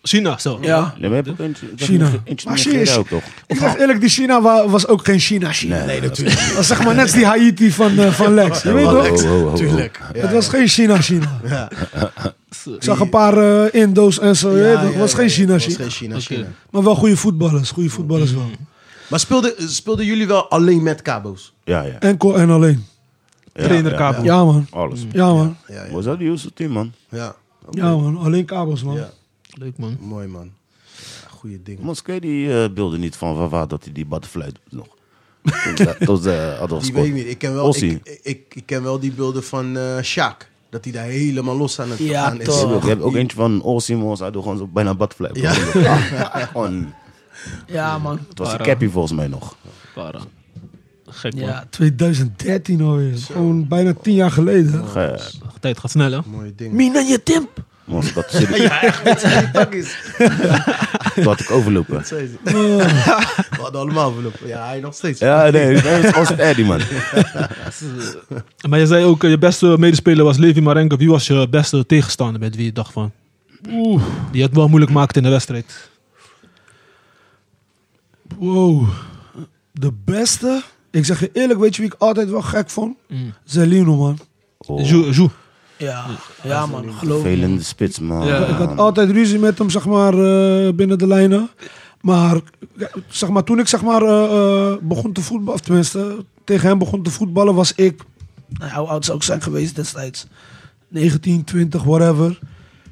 B: China, zo.
E: Ja.
D: Nee, maar je hebt ook eentje- dat
E: China.
D: is een- eentje
E: Maar
D: meer
E: China is-
D: Nigeria ook toch?
E: Ik zeg eerlijk, die China wa- was ook geen China. China.
D: Nee, natuurlijk.
E: Dat was zeg maar net als die Haiti van, eh, van Lex. Je weet toch?
F: Tuurlijk. Ja,
E: Het was geen China China.
F: Ja.
E: Ik zag een paar eh, Indo's en zo. je weet
F: Ja,
E: toch? Het
F: ja,
E: was
F: ja,
E: geen
F: ja.
E: China
F: Het was
E: China.
F: geen China, Mhm.
B: Oké.
F: China.
E: Maar wel goede voetballers. Goede voetballers wel.
F: Maar speelden, speelden jullie wel alleen met Cabo's?
D: Ja, ja.
E: Enkel en alleen.
D: Ja,
B: Trainer
D: ja,
B: Kabel.
E: Ja man.
D: Alles. Maar
E: Ja man.
F: Ja, ja.
D: Was dat die juiste team, man?
F: ja.
E: Ja man. Alleen kabels man.
F: Ja.
B: Leuk man.
F: Mooi man. Ja, goeie ding.
D: Mos, ken je die eh, beelden niet van Wawa dat hij die butterfly doet nog? eh, Tot ze- Tot ze hadden
F: Die weet ik
D: gescoord.
F: niet. Ik ken wel,
D: Ossie.
F: ik, ik, ik ken wel die beelden van eh Sjaak. Dat hij daar helemaal los aan het gaan is.
D: Je hebt ook eentje van Ossie, mos. Hij doet gewoon zo bijna butterfly.
F: Ja.
D: Gewoon,
E: Ja man.
D: het was een cappy volgens mij nog.
B: Para. Gek man.
E: Ja, 2013 alweer. Gewoon bijna tien jaar geleden.
D: Ge-
B: De tijd gaat snel hè.
F: Mooi ding.
E: Mina je timp.
D: Mos, dat zit-
F: Takkies.
D: Toen had ik overlopen.
F: Zei ze. We hadden allemaal verlopen. Ja, hij nog steeds.
D: Ja, nee, nee, het was het Eddie, man.
B: Maar je zei ook, eh, je beste medespeler was Levi Marenko. Wie was je beste tegenstander met wie je dacht van? Oeh. Die het wel moeilijk maakte in de wedstrijd.
E: Wow. De beste. Ik zeg je eerlijk, weet je wie ik altijd wel gek vond?
B: Mm.
E: Zelino man.
D: Oh,
B: Jou, Jou.
E: Ja, ja man, geloof
D: vervelende spits, man.
B: Ja.
E: Ik had altijd ruzie met hem, zeg maar, eh, binnen de lijnen. Maar, ja, zeg maar toen ik zeg maar, eh, eh, begon te voetballen, of tenminste tegen hem begon te voetballen, was ik, nou, ja, hoe oud zou ik zijn geweest destijds? 19, 20, whatever.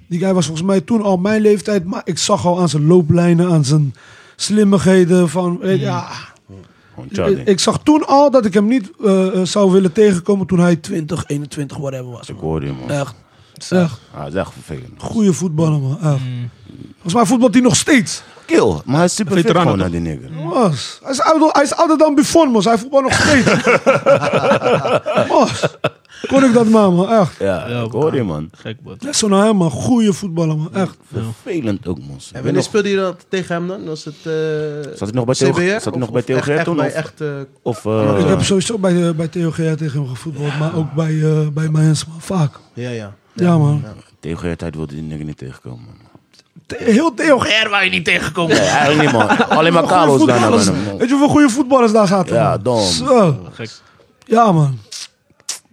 E: Die guy was volgens mij toen al mijn leeftijd, maar ik zag al aan zijn looplijnen, aan zijn slimmigheden. Van, weet- ja,
D: Gewoon Hmm. Charlie.
E: ik, ik zag toen al dat ik hem niet eh, eh, zou willen tegenkomen toen hij 20, 21, whatever was.
D: Ik
E: man.
D: hoorde hem, man.
E: Echt, echt.
D: Hij is echt vervelend.
E: Goeie voetballer, man. Echt.
B: Mm.
E: Volgens mij voetbalt hij nog steeds.
D: Kill, maar hij is super fit
B: Veteranen
D: gewoon naar
B: toch?
D: die nigger.
E: Mos. Hij is, ouder, hij is ouder dan Buffon, mos. Hij voetbal nog steeds. mos. Kon ik dat maar, man. Echt.
D: Ja,
B: Ja,
D: ik hoorde hem, man.
B: Gek man.
E: Net zo naar hem, man. Goeie voetballer, man. Echt.
D: Vervelend ook, man.
F: En
D: Ik weet
F: wanneer
D: nog-
F: speelde je dat tegen hem dan? Was het, eh
D: Zat hij nog bij Theo-
F: CBR?
D: zat hij nog
F: Of-
D: bij
F: of
D: Theo
F: echt-
D: Geert
F: echt
D: toen,
F: bij
D: of-
F: echt, eh,
D: Of, eh,
E: Ik heb sowieso bij, eh, bij Theo Gea tegen hem gevoetbald, maar ook bij, eh, bij Mainz, man. Vaak.
F: ja, ja.
E: Ja, man.
D: tegen de tijd wilde die nigger niet tegenkomen, man.
E: The- heel Theo Gea.
D: Nee, eigenlijk niet, man. Alleen maar
E: Goeie
D: kabels daarna bij
E: voetballers.
D: hem. man.
E: Weet je hoeveel goede voetballers daar zaten?
D: Ja,
E: man?
D: dom.
E: Zo.
B: Gek.
E: Ja, man.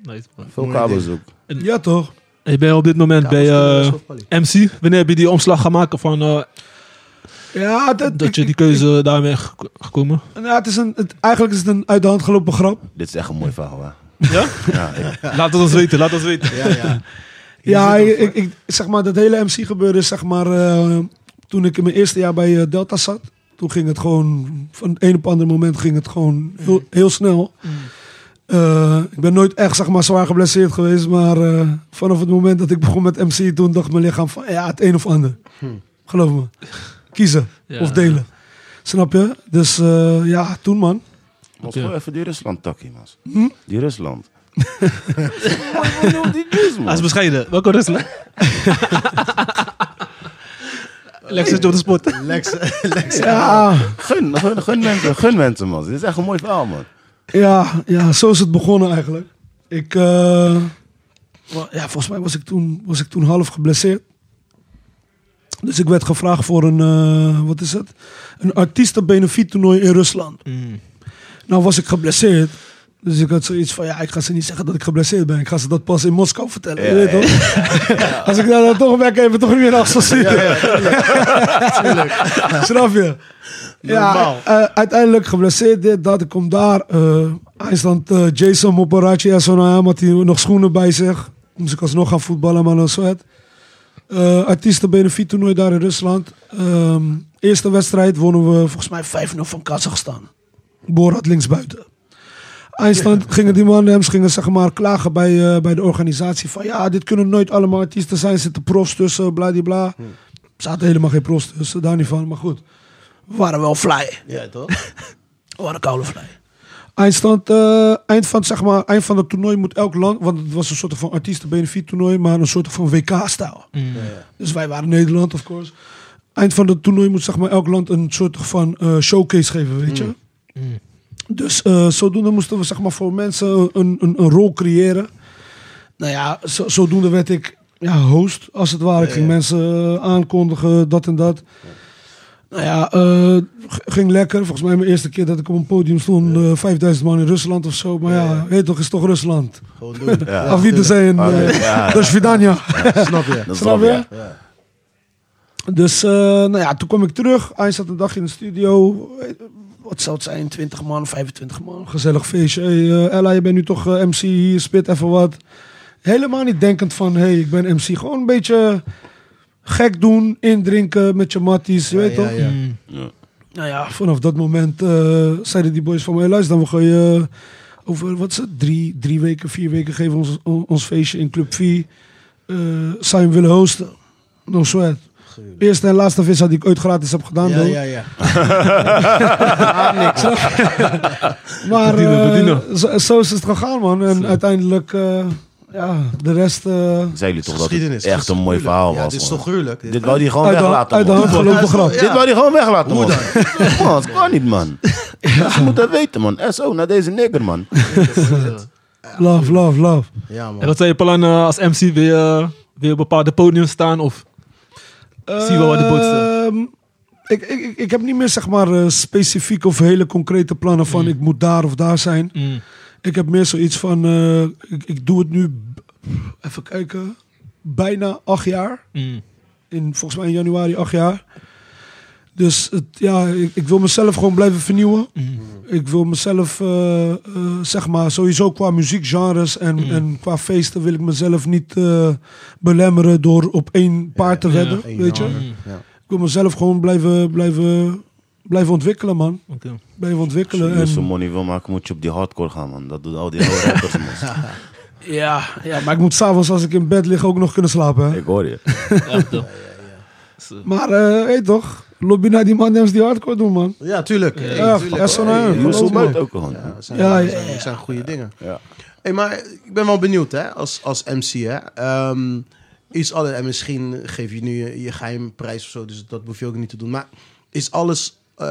B: Nice, man.
D: Veel kabels ook.
E: Ja, toch?
B: Ik ben op dit moment bij
F: was
B: eh,
F: toen best wel valid.
B: MC. Wanneer heb je die omslag gaan maken van eh,
E: Ja, dat,
B: dat je die keuze daarmee gek- gekomen?
E: ja, het is een, het- eigenlijk is het een uit de hand gelopen grap.
D: Dit is echt een mooi verhaal, hè?
B: Ja?
D: Ja, ik-
B: Laat het ons weten, laat het ons weten.
F: Ja, ja.
E: Ja,
F: zit
E: ik,
F: ervoor.
E: ik, ik- zeg maar, dat hele MC-gebeuren is zeg maar, eh, toen ik in mijn eerste jaar bij eh, Delta zat. Toen ging het gewoon, van het een op ander moment ging het gewoon heel, heel snel. Eh, ik ben nooit echt zeg maar, zwaar geblesseerd geweest, maar eh, vanaf het moment dat ik begon met MC, toen dacht mijn lichaam van ja, het een of ander. Geloof me. Kiezen
B: Ja.
E: of delen. Snap je? Dus eh, ja, toen man.
D: Was
B: Ja.
D: gewoon even die Rusland takkie, man.
E: Hm?
D: Die Rusland. die Jews,
B: Hij is
D: man.
B: bescheiden. Welke Rusland? Lex is door de spot.
F: Lex, Lex.
E: Ja,
D: Gun, gun, gun mensen, gun mensen, man. Dit is echt een mooi verhaal, man.
E: Ja, ja, zo is het begonnen eigenlijk. Ik, eh, wa- ja, volgens mij was ik, toen, was ik toen half geblesseerd. Dus ik werd gevraagd voor een, eh, wat is het? Een artiestenbenefiet toernooi in Rusland.
B: Mm.
E: Nou was ik geblesseerd. Dus ik had zoiets van, ja, ik ga ze niet zeggen dat ik geblesseerd ben. Ik ga ze dat pas in Moskou vertellen. je weet toch? Als ik daar dan toch ben, kan je me toch niet meer achter zitten. Snap je?
F: Normaal.
E: Ja, eh, uiteindelijk geblesseerd dit, dat. Ik kom daar. eh IJsland, eh, Jason Moparatje en zo nou ja, had hij nog schoenen bij zich. Moest ik alsnog gaan voetballen, maar dan sweat. Eh Artiestenbenefiet toernooi daar in Rusland. Ehm, eerste wedstrijd wonnen we volgens mij 5-0 van Kazachstan. Borat linksbuiten. IJsland gingen die mannen hem gingen zeg maar klagen bij, eh, bij de organisatie van ja, dit kunnen nooit allemaal artiesten zijn, zitten profs tussen, bladibla. Er zaten helemaal geen profs tussen, daar niet van, maar goed. We waren wel fly.
F: Ja, toch?
E: We waren koude fly. Eindstand, eh, eind, van, zeg maar, eind van het toernooi moet elk land, want het was een soort van artiestenbenefiet toernooi, maar een soort van WK-stijl. Dus wij waren Nederland, of course. Eind van het toernooi moet zeg maar, elk land een soort van eh, showcase geven, weet je.
D: Mm.
E: Dus eh, zodoende moesten we zeg maar, voor mensen een, een, een rol creëren. Nou ja, zo- zodoende werd ik ja, host, als het ware. Ik ging mensen eh, aankondigen, dat en dat. Nou ja, eh, g- ging lekker. Volgens mij mijn eerste keer dat ik op een podium stond, eh, 5000 man in Rusland of zo. Maar ja, weet toch, is toch Rusland.
F: Gewoon doen.
D: Ja.
E: Af wie te zijn, eh,
D: Ah, nee, ja, ja.
E: dat is Vidania.
F: Snap je?
D: Dat is
E: Snap
D: wel
E: je?
D: weer.
E: Dus eh, nou ja, toen kwam ik terug. Hij zat een dag in de studio. Eh, Wat zou het zijn? 20 man, 25 man. Gezellig feestje. Hey, eh, Ella, je bent nu toch eh, MC hier. Spit even wat. Helemaal niet denkend van, hé, hey, ik ben MC. Gewoon een beetje gek doen, indrinken met je matties. Je weet
F: ja,
E: toch?
F: ja.
E: Nou ja, vanaf dat moment eh, zeiden die boys van mij, luister, dan we gaan je eh, over, wat is het, drie, drie weken, vier weken geven we ons, on- ons feestje in Club 4. eh zou je hem willen hosten? No sweat. Eerste en laatste vis die ik ooit gratis heb gedaan.
F: Ja,
E: doe.
F: ja, ja.
E: Maar
B: Verdienen,
E: eh,
B: verdienen.
E: zo, zo is het gegaan, man. En uiteindelijk, eh, ja, de rest eh,
D: Zei jullie toch dat het
F: Geschiedenis.
D: echt een mooi
F: Gruwelijk.
D: verhaal
F: Ja,
D: was,
F: dit is
D: man.
F: toch gruwelijk?
D: Dit wou die gewoon
E: uit, de,
D: weglaten,
E: uit de
D: man.
E: hand gelopen grap.
D: Dit wou die gewoon weglaten, man. Man, dat kan niet, man. Ze moeten dat weten, man. SO, naar deze nigger, man.
E: Love, love, love.
F: Ja,
B: En
F: man.
B: wat zijn je plannen als MC? Wil je, wil je eh, op bepaalde podium staan? Of Zie wel wat de boot staat.
E: Ehm, ik, ik, ik- ik heb niet meer zeg maar eh, specifiek of hele concrete plannen van ik moet daar of daar zijn.
B: Mm,
E: Ik heb meer zoiets van, eh, ik, ik doe het nu, b- even kijken, bijna acht jaar.
B: mm,
E: In, volgens mij in januari acht jaar. Dus het, ja, ik, ik wil mezelf gewoon blijven vernieuwen. Ik wil mezelf, eh, eh, zeg maar, sowieso qua muziekgenres en, en qua feesten wil ik mezelf niet eh, belemmeren door op één paard te wedden.
F: Eén
E: weet je?
F: jaar. Ja.
E: Ik wil mezelf gewoon blijven, blijven, blijven ontwikkelen, man.
B: Oké.
E: Blijven ontwikkelen.
D: Als je
E: En,
D: money wil maken, moet je op die hardcore gaan, man. Dat doen al die oude rappers, man.
E: ja, ja, maar ik moet s'avonds als ik in bed lig ook nog kunnen slapen. Hè?
D: Ik hoor je.
E: Maar, eh hey, toch, lobby naar die mandems die hardcore doen, man.
F: Ja, tuurlijk.
E: Ja,
F: Ja,
E: ja,
F: tuurlijk.
E: zo naar hun.
D: Moest
E: Geloof me.
D: ook gewoon.
F: Ja, dat zijn,
E: Ja, ja,
F: dat zijn, dat zijn goede dingen.
D: Ja.
F: Hey, maar ik ben wel benieuwd, hè, als, als MC, hè. Ehm, is alle, en misschien geef je nu je, je geheim prijs of zo, dus dat hoef je ook niet te doen. Maar is alles eh,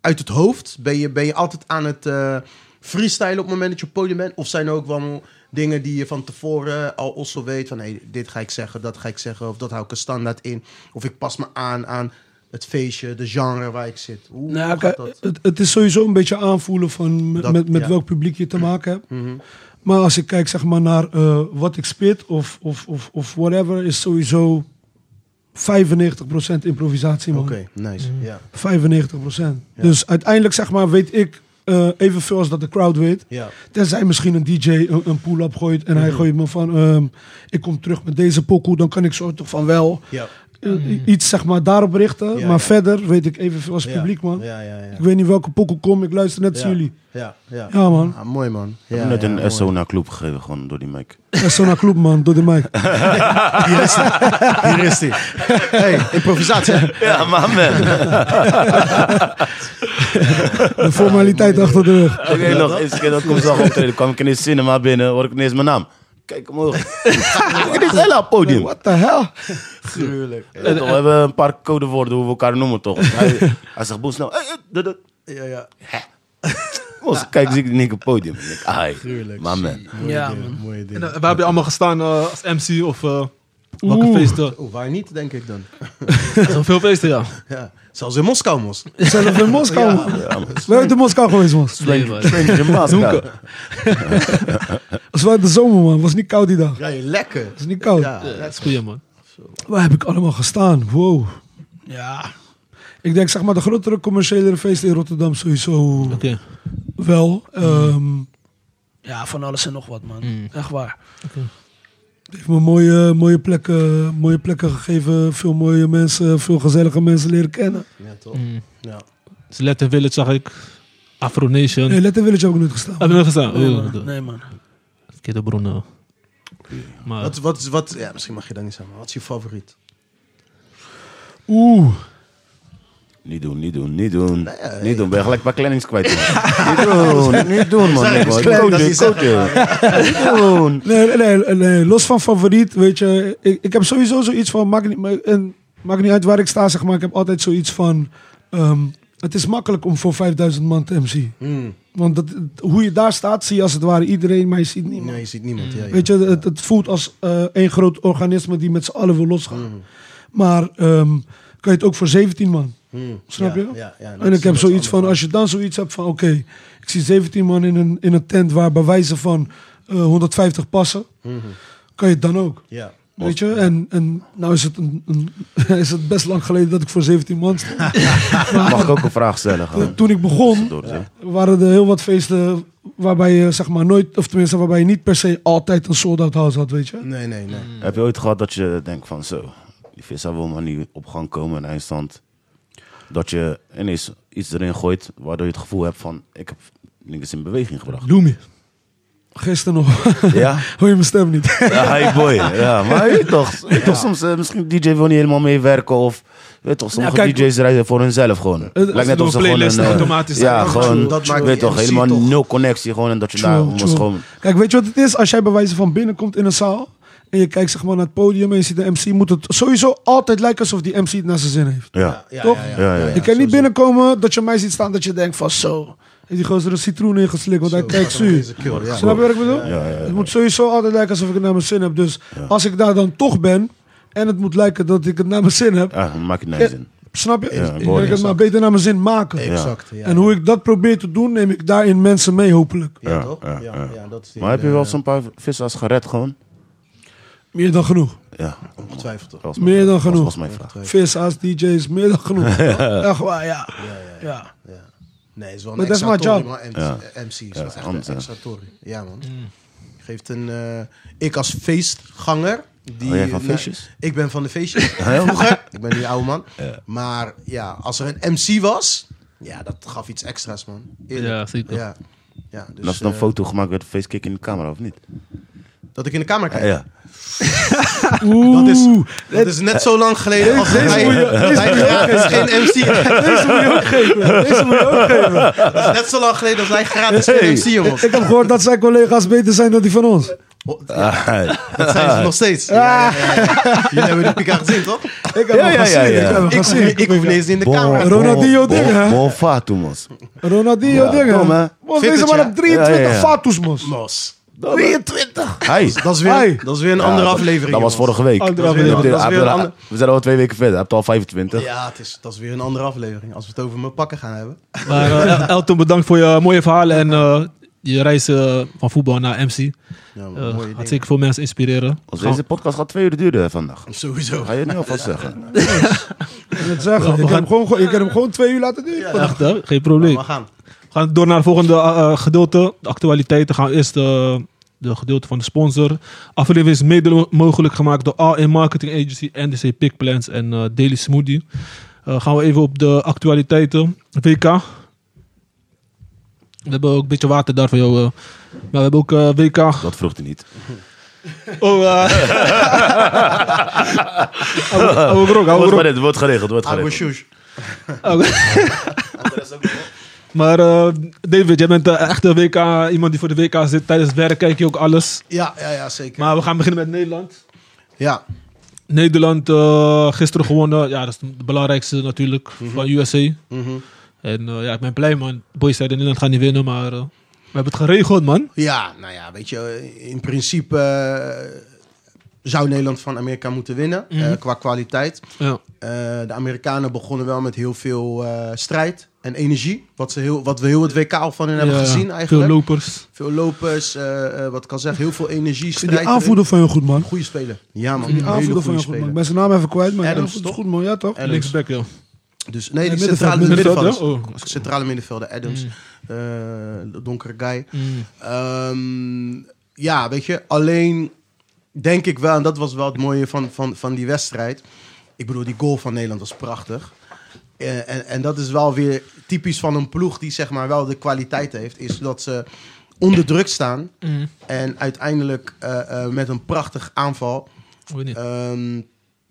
F: uit het hoofd? Ben je, ben je altijd aan het eh freestylen op het moment dat je op het podium bent? Of zijn er ook wel dingen die je van tevoren al also weet van, hey, dit ga ik zeggen, dat ga ik zeggen, of dat hou ik er standaard in, of ik pas me aan aan het feestje, de genre waar ik zit. Hoe
E: Nou,
F: hoe
E: kijk,
F: gaat dat?
E: het, het is sowieso een beetje aanvoelen van met,
F: Dat-
E: met, met
F: ja. Mhm.
E: welk publiek je te maken hebt. Maar als ik kijk zeg maar, naar eh, wat ik spit of, of, of, of whatever, is sowieso 95% improvisatie, man.
F: Oké, nice.
E: Mm.
F: Ja.
E: 95%. Dus uiteindelijk, zeg maar, weet ik eh evenveel als dat de crowd weet.
F: Ja. Mhm.
E: Tenzij misschien een DJ een, een pull-up gooit en hij gooit me van... ehm, ik kom terug met deze pokoe, dan kan ik zo toch van wel
F: Ja.
E: eh, iets zeg maar daarop richten.
F: Mm. Ja,
E: maar
F: ja.
E: verder weet ik evenveel als
F: Ja.
E: publiek, man.
F: Ja, ja, ja.
E: Ik weet niet welke pokoe kom, ik luister net als
F: Ja.
E: jullie.
F: Ja, ja.
E: Ja, man.
F: Ah, mooi man. Ja,
D: Net
F: ja,
D: een
F: mooi.
D: SO naar club gegeven, gewoon door die mic.
E: En zo naar club, man, door de mic.
F: Hier is die. Hey, improvisatie. hè?
D: Ja, maar man.
E: De formaliteit achter de rug.
D: Ik weet nog, eens keer dat ik op zag optreden, kwam ik in de cinema binnen, hoor ik ineens mijn naam. Kijk omhoog. Dit is Ella op het podium.
E: What the hell?
D: Ja, toch, we hebben een paar codewoorden hoe we elkaar noemen, toch? Hij, hij zegt boel snel. Hey, hey, eh, dat, dat.
F: Ja, ja. Ah.
D: Mos, kijk, zie ik die op het podium. Ik denk, ai,
F: Tuurlijk.
D: maar man.
F: ja, Mooie
B: En,
F: dingen.
B: eh, waar heb je allemaal gestaan eh, als MC of eh, welke
E: Oeh.
B: feesten?
F: Oh, waar niet, denk ik dan.
B: Veel feesten, ja.
F: Ja. Zelfs in Moskou, Mos.
E: Zelf in Moskou, man. Ben je uit de Moskou geweest, man?
D: Stranger in Moskou.
E: Het was uit de zomer, man. Het was niet koud die dag. Het
F: Ja, je lekker.
E: was niet koud.
F: Ja,
B: Dat is goed, man.
E: Waar heb ik allemaal gestaan? Wow. Ja. Ik denk, zeg maar, de grotere commerciële feesten in Rotterdam sowieso
B: Oké.
E: wel. Ehm, ja, van alles en nog wat, man.
B: Mm.
E: Echt waar. Het heeft me mooie, mooie, plekken, mooie plekken gegeven. Veel mooie mensen, veel gezellige mensen leren kennen.
F: ja toch. Ja.
B: Dus Let in Village zag ik. Afro Nation.
E: Nee, Letter Village heb ik nooit gestaan.
B: Hebben we nog gestaan?
E: Nee,
B: Oh,
E: man.
B: de-
E: Nee, man.
B: Verkeerde bron. eh. Maar
F: Wat, wat, wat, ja, misschien mag je dat niet zeggen, maar wat is je favoriet?
E: Oeh.
D: Niet doen, niet doen, niet doen. Niet doen, ben je gelijk bij kleinings kwijt. man. Niet doen, niet doen, man.
F: Zeg,
D: Nee,
F: het is
D: man.
F: klein,
D: Coach,
F: dat is-
D: coach, joh. Niet doen.
E: Nee, nee, nee, nee, los van favoriet, weet je. Ik, ik heb sowieso zoiets van, maakt niet, maar- en, maakt niet uit waar ik sta, zeg maar. Ik heb altijd zoiets van, ehm, het is makkelijk om voor 5000 man te MC. Want dat, hoe je daar staat, zie je als het ware iedereen, maar je ziet niemand.
F: Nee, je ziet niemand. Ja, ja.
E: Weet je, het, het voelt als eh, één groot organisme die met z'n allen wil losgaan.
F: Mhm.
E: Maar ehm, kan je het ook voor 17 man.
F: Mm.
E: Snap
F: Ja,
E: je?
F: ja, ja, dat is-
E: en ik
F: dat
E: heb
F: is
E: zoiets van,
F: anders.
E: als je dan zoiets hebt van, oké, ik zie 17 man in een, in een tent waar bij wijze van eh, 150 passen,
F: Mhm.
E: kan je het dan ook.
F: Ja.
E: Weet je, en, en nou is het, een, een- is het best lang geleden dat ik voor 17 man stond.
D: Mag ik ook een vraag stellen? gewoon?
E: Toen ik begon,
D: Door, zeg.
E: waren er heel wat feesten waarbij je zeg maar nooit, of tenminste waarbij je niet per se altijd een sold-out house had, weet je.
F: Nee, nee, nee.
D: Heb je ooit gehad dat je denkt van zo, die visser wil maar niet op gang komen en eindstand. Dat je ineens iets erin gooit waardoor je het gevoel hebt van ik heb niks in beweging gebracht.
E: Loomy. Gisteren nog.
D: Ja,
E: Hoor je mijn stem niet?
D: ja hi boy. Ja, maar je weet toch, je weet toch soms eh, misschien DJ wil niet helemaal meewerken of je weet toch, sommige
E: kijk-
D: DJ's rijden voor hunzelf gewoon. Lijkt net
B: doen
D: of ze
B: een
D: gewoon
B: playlist
D: een, eh,
B: automatisch.
D: ja,
B: Dat
D: gewoon,
F: maakt- dat maakt
D: weet
F: die
D: toch,
F: MC
D: helemaal
F: toch-
D: nul connectie gewoon en dat je daar
E: True,
D: was
E: true.
D: gewoon.
E: Kijk, weet je wat het is? Als jij bij wijze van binnenkomt in een zaal en je kijkt zeg maar naar het podium en je ziet de MC, moet het sowieso altijd lijken alsof die MC het naar zijn zin heeft.
D: Ja,
F: Ja,
E: Toch?
F: Ja, ja,
D: Ja, ja, ja.
E: je kan niet binnenkomen dat je mij ziet staan dat je denkt van zo, heeft die gozer een citroen ingeslikt, want hij kijkt
F: Deze
E: zuur.
F: kill, ja.
E: Snap je wat ik bedoel? Het moet sowieso altijd lijken alsof ik het naar mijn zin heb. Dus als ik daar dan toch ben en het moet lijken dat ik het naar mijn zin heb,
D: Ah, maakt het nergens in.
E: snap je?
D: Ja,
E: Kan ik het maar beter naar mijn zin maken.
F: Exact. Ja.
E: En hoe ik dat probeer te doen, neem ik daarin mensen mee hopelijk.
F: Ja,
D: Ja,
F: toch?
D: ja,
F: Ja,
D: ja.
F: ja. dat is die,
D: Maar heb je
F: eh,
D: wel zo'n paar vissers gered gewoon?
E: Meer dan genoeg.
D: Ja,
F: Ongetwijfeld toch?
D: dat was mijn-
E: Meer dan
D: dat
E: genoeg.
D: was mijn vraag.
E: Vissa's, DJ's, meer dan genoeg. Echt waar, ja. ja.
F: Nee, het is wel een
E: Maar dat is
F: extra tory,
E: mijn job. Mm.
F: maar MC,
D: Ja. eh,
F: eh, MC is
D: dat
F: wel
D: is
F: echt
D: anders,
F: een
D: hè.
F: extra tory. Ja, man. Geeft een... eh, ik als feestganger... Die, eh,
D: Oh, jij van
F: nee,
D: feestjes?
F: ik ben van de feestjes. Vroeger. Ik ben die oude man. Maar ja, als er een MC was... Ja, dat gaf iets extra's, man. Eerlijk.
B: Ja, zeker.
F: Ja. Ja, dus,
D: en als er dan
F: eh,
D: een foto gemaakt werd, face kick in de camera of niet?
F: dat ik in de camera kijk.
D: Ja.
F: Dat is, dat is net
D: eh,
F: zo lang geleden als
E: deze
F: hij,
E: moet je-
F: dat hij gratis geen MC
D: eh,
E: Deze moet je ook geven. Deze moet je ook geven.
F: Dat is net zo lang geleden als hij gratis geen MC, jongens.
E: Ik heb gehoord dat zijn collega's beter zijn dan die van ons.
F: Oh,
D: Ah,
F: Dat zijn ze nog steeds. Ja, ja, ja, ja.
E: Ah.
F: Jullie hebben de pika gezien, toch?
E: Ik heb
D: Ja,
E: hem
D: ja,
E: gezien.
D: ja, ja.
E: Ik heb hem
F: Ik, hoef,
E: gezien.
F: ik hoef niet eens in de camera.
E: bon. Ronaldinho dingen, hè?
D: Bon fatu, mos.
E: Ronaldinho
D: Ja,
E: dingen.
D: dom, hè?
E: Mos,
F: Fit
E: deze
F: het,
E: man
F: ja.
E: op 23
D: Ja, ja, ja.
E: fatus, mos.
F: Mos.
D: 23! Hij.
F: Dat is weer,
E: Hey.
F: dat is weer een andere aflevering.
D: Dat was
F: jongens.
D: vorige week.
E: Andere
D: Dat is weer-
F: aflevering.
D: dat is weer een
F: een ander-
D: We zijn al twee weken verder. Hij hebt al 25.
F: Ja, het is, dat is weer een andere aflevering. Als we het over mijn pakken gaan hebben.
B: Maar eh, El- Elton, bedankt voor je mooie verhalen. En eh, je reis eh, van voetbal naar MC.
F: Ja, man,
B: eh,
F: mooie
B: gaat
F: dingen.
B: zeker veel mensen inspireren.
D: Als deze podcast gaat twee uur duren vandaag.
F: Sowieso.
D: Ga je het nu alvast zeggen?
E: het zeggen. Je kan, hem gewoon, je kan hem gewoon twee uur laten duren.
F: Ja.
B: Echt, hè? geen probleem.
F: We gaan.
B: We gaan door naar het volgende eh, eh, gedeelte. De actualiteiten gaan we eerst eh, de gedeelte van de sponsor. Aflevering is mede mo- mogelijk gemaakt door AN Marketing Agency, NDC Pick Plans en eh, Daily Smoothie. Eh, gaan we even op de actualiteiten. WK. We hebben ook een beetje water daar van jou. eh. maar we hebben ook eh, WK.
D: Dat vroeg hij niet.
B: Oh, eh. Hou- hou ik er
E: Nou,
B: ook, hou ik er
D: Wordt
B: ook.
D: geregeld, wordt geregeld, wordt
F: Abu
D: geregeld.
F: Shush.
B: Oh. Maar eh, David, jij bent eh, echt een WK, iemand die voor de WK zit. Tijdens het werk kijk je ook alles.
F: Ja, ja, ja, zeker.
B: Maar we gaan beginnen met Nederland.
F: ja,
B: Nederland eh, gisteren gewonnen. Ja, dat is de belangrijkste natuurlijk
F: Mhm.
B: van USA. En eh, ja, ik ben blij man. Boys zeiden Nederland gaat niet winnen, maar eh, we hebben het geregeld man.
F: ja, nou ja, weet je, in principe eh, zou Nederland van Amerika moeten winnen
B: Mhm.
F: eh, qua kwaliteit.
B: Ja.
F: Eh, de Amerikanen begonnen wel met heel veel eh, strijd en energie. Wat, ze heel, wat we heel het WK al van hen hebben
B: Ja,
F: gezien eigenlijk.
B: Veel lopers.
F: Veel lopers, eh, eh, wat ik al zeg, heel veel energie,
E: Ik vind die
F: strijd.
E: aanvoerder van jou goed, man.
F: Goede speler. Ja man,
E: Die
F: een hele
E: aanvoerder van
F: goede
E: jou goed, man. Ik
F: speler.
E: ben zijn naam even kwijt, maar die
F: Adams,
E: aanvoerder is
F: toch?
E: goed, man. Ja, toch?
F: Adams.
B: Linksback, ja.
F: Dus, nee, die
E: middenveld, Mm.
F: centrale
B: middenveld,
F: middenvelders.
B: ja? Oh.
F: Centrale middenvelder, Adams. eh, de donkere guy.
B: Mm.
F: Ehm, ja, weet je, alleen denk ik wel, en dat was wel het mooie van, van, van die wedstrijd. Ik bedoel, die goal van Nederland was prachtig. Eh, en, en dat is wel weer typisch van een ploeg die zeg maar wel de kwaliteit heeft, is dat ze onder druk staan
B: Mm.
F: en uiteindelijk eh, eh, met een prachtig aanval.
B: Hoe niet.
F: ehm,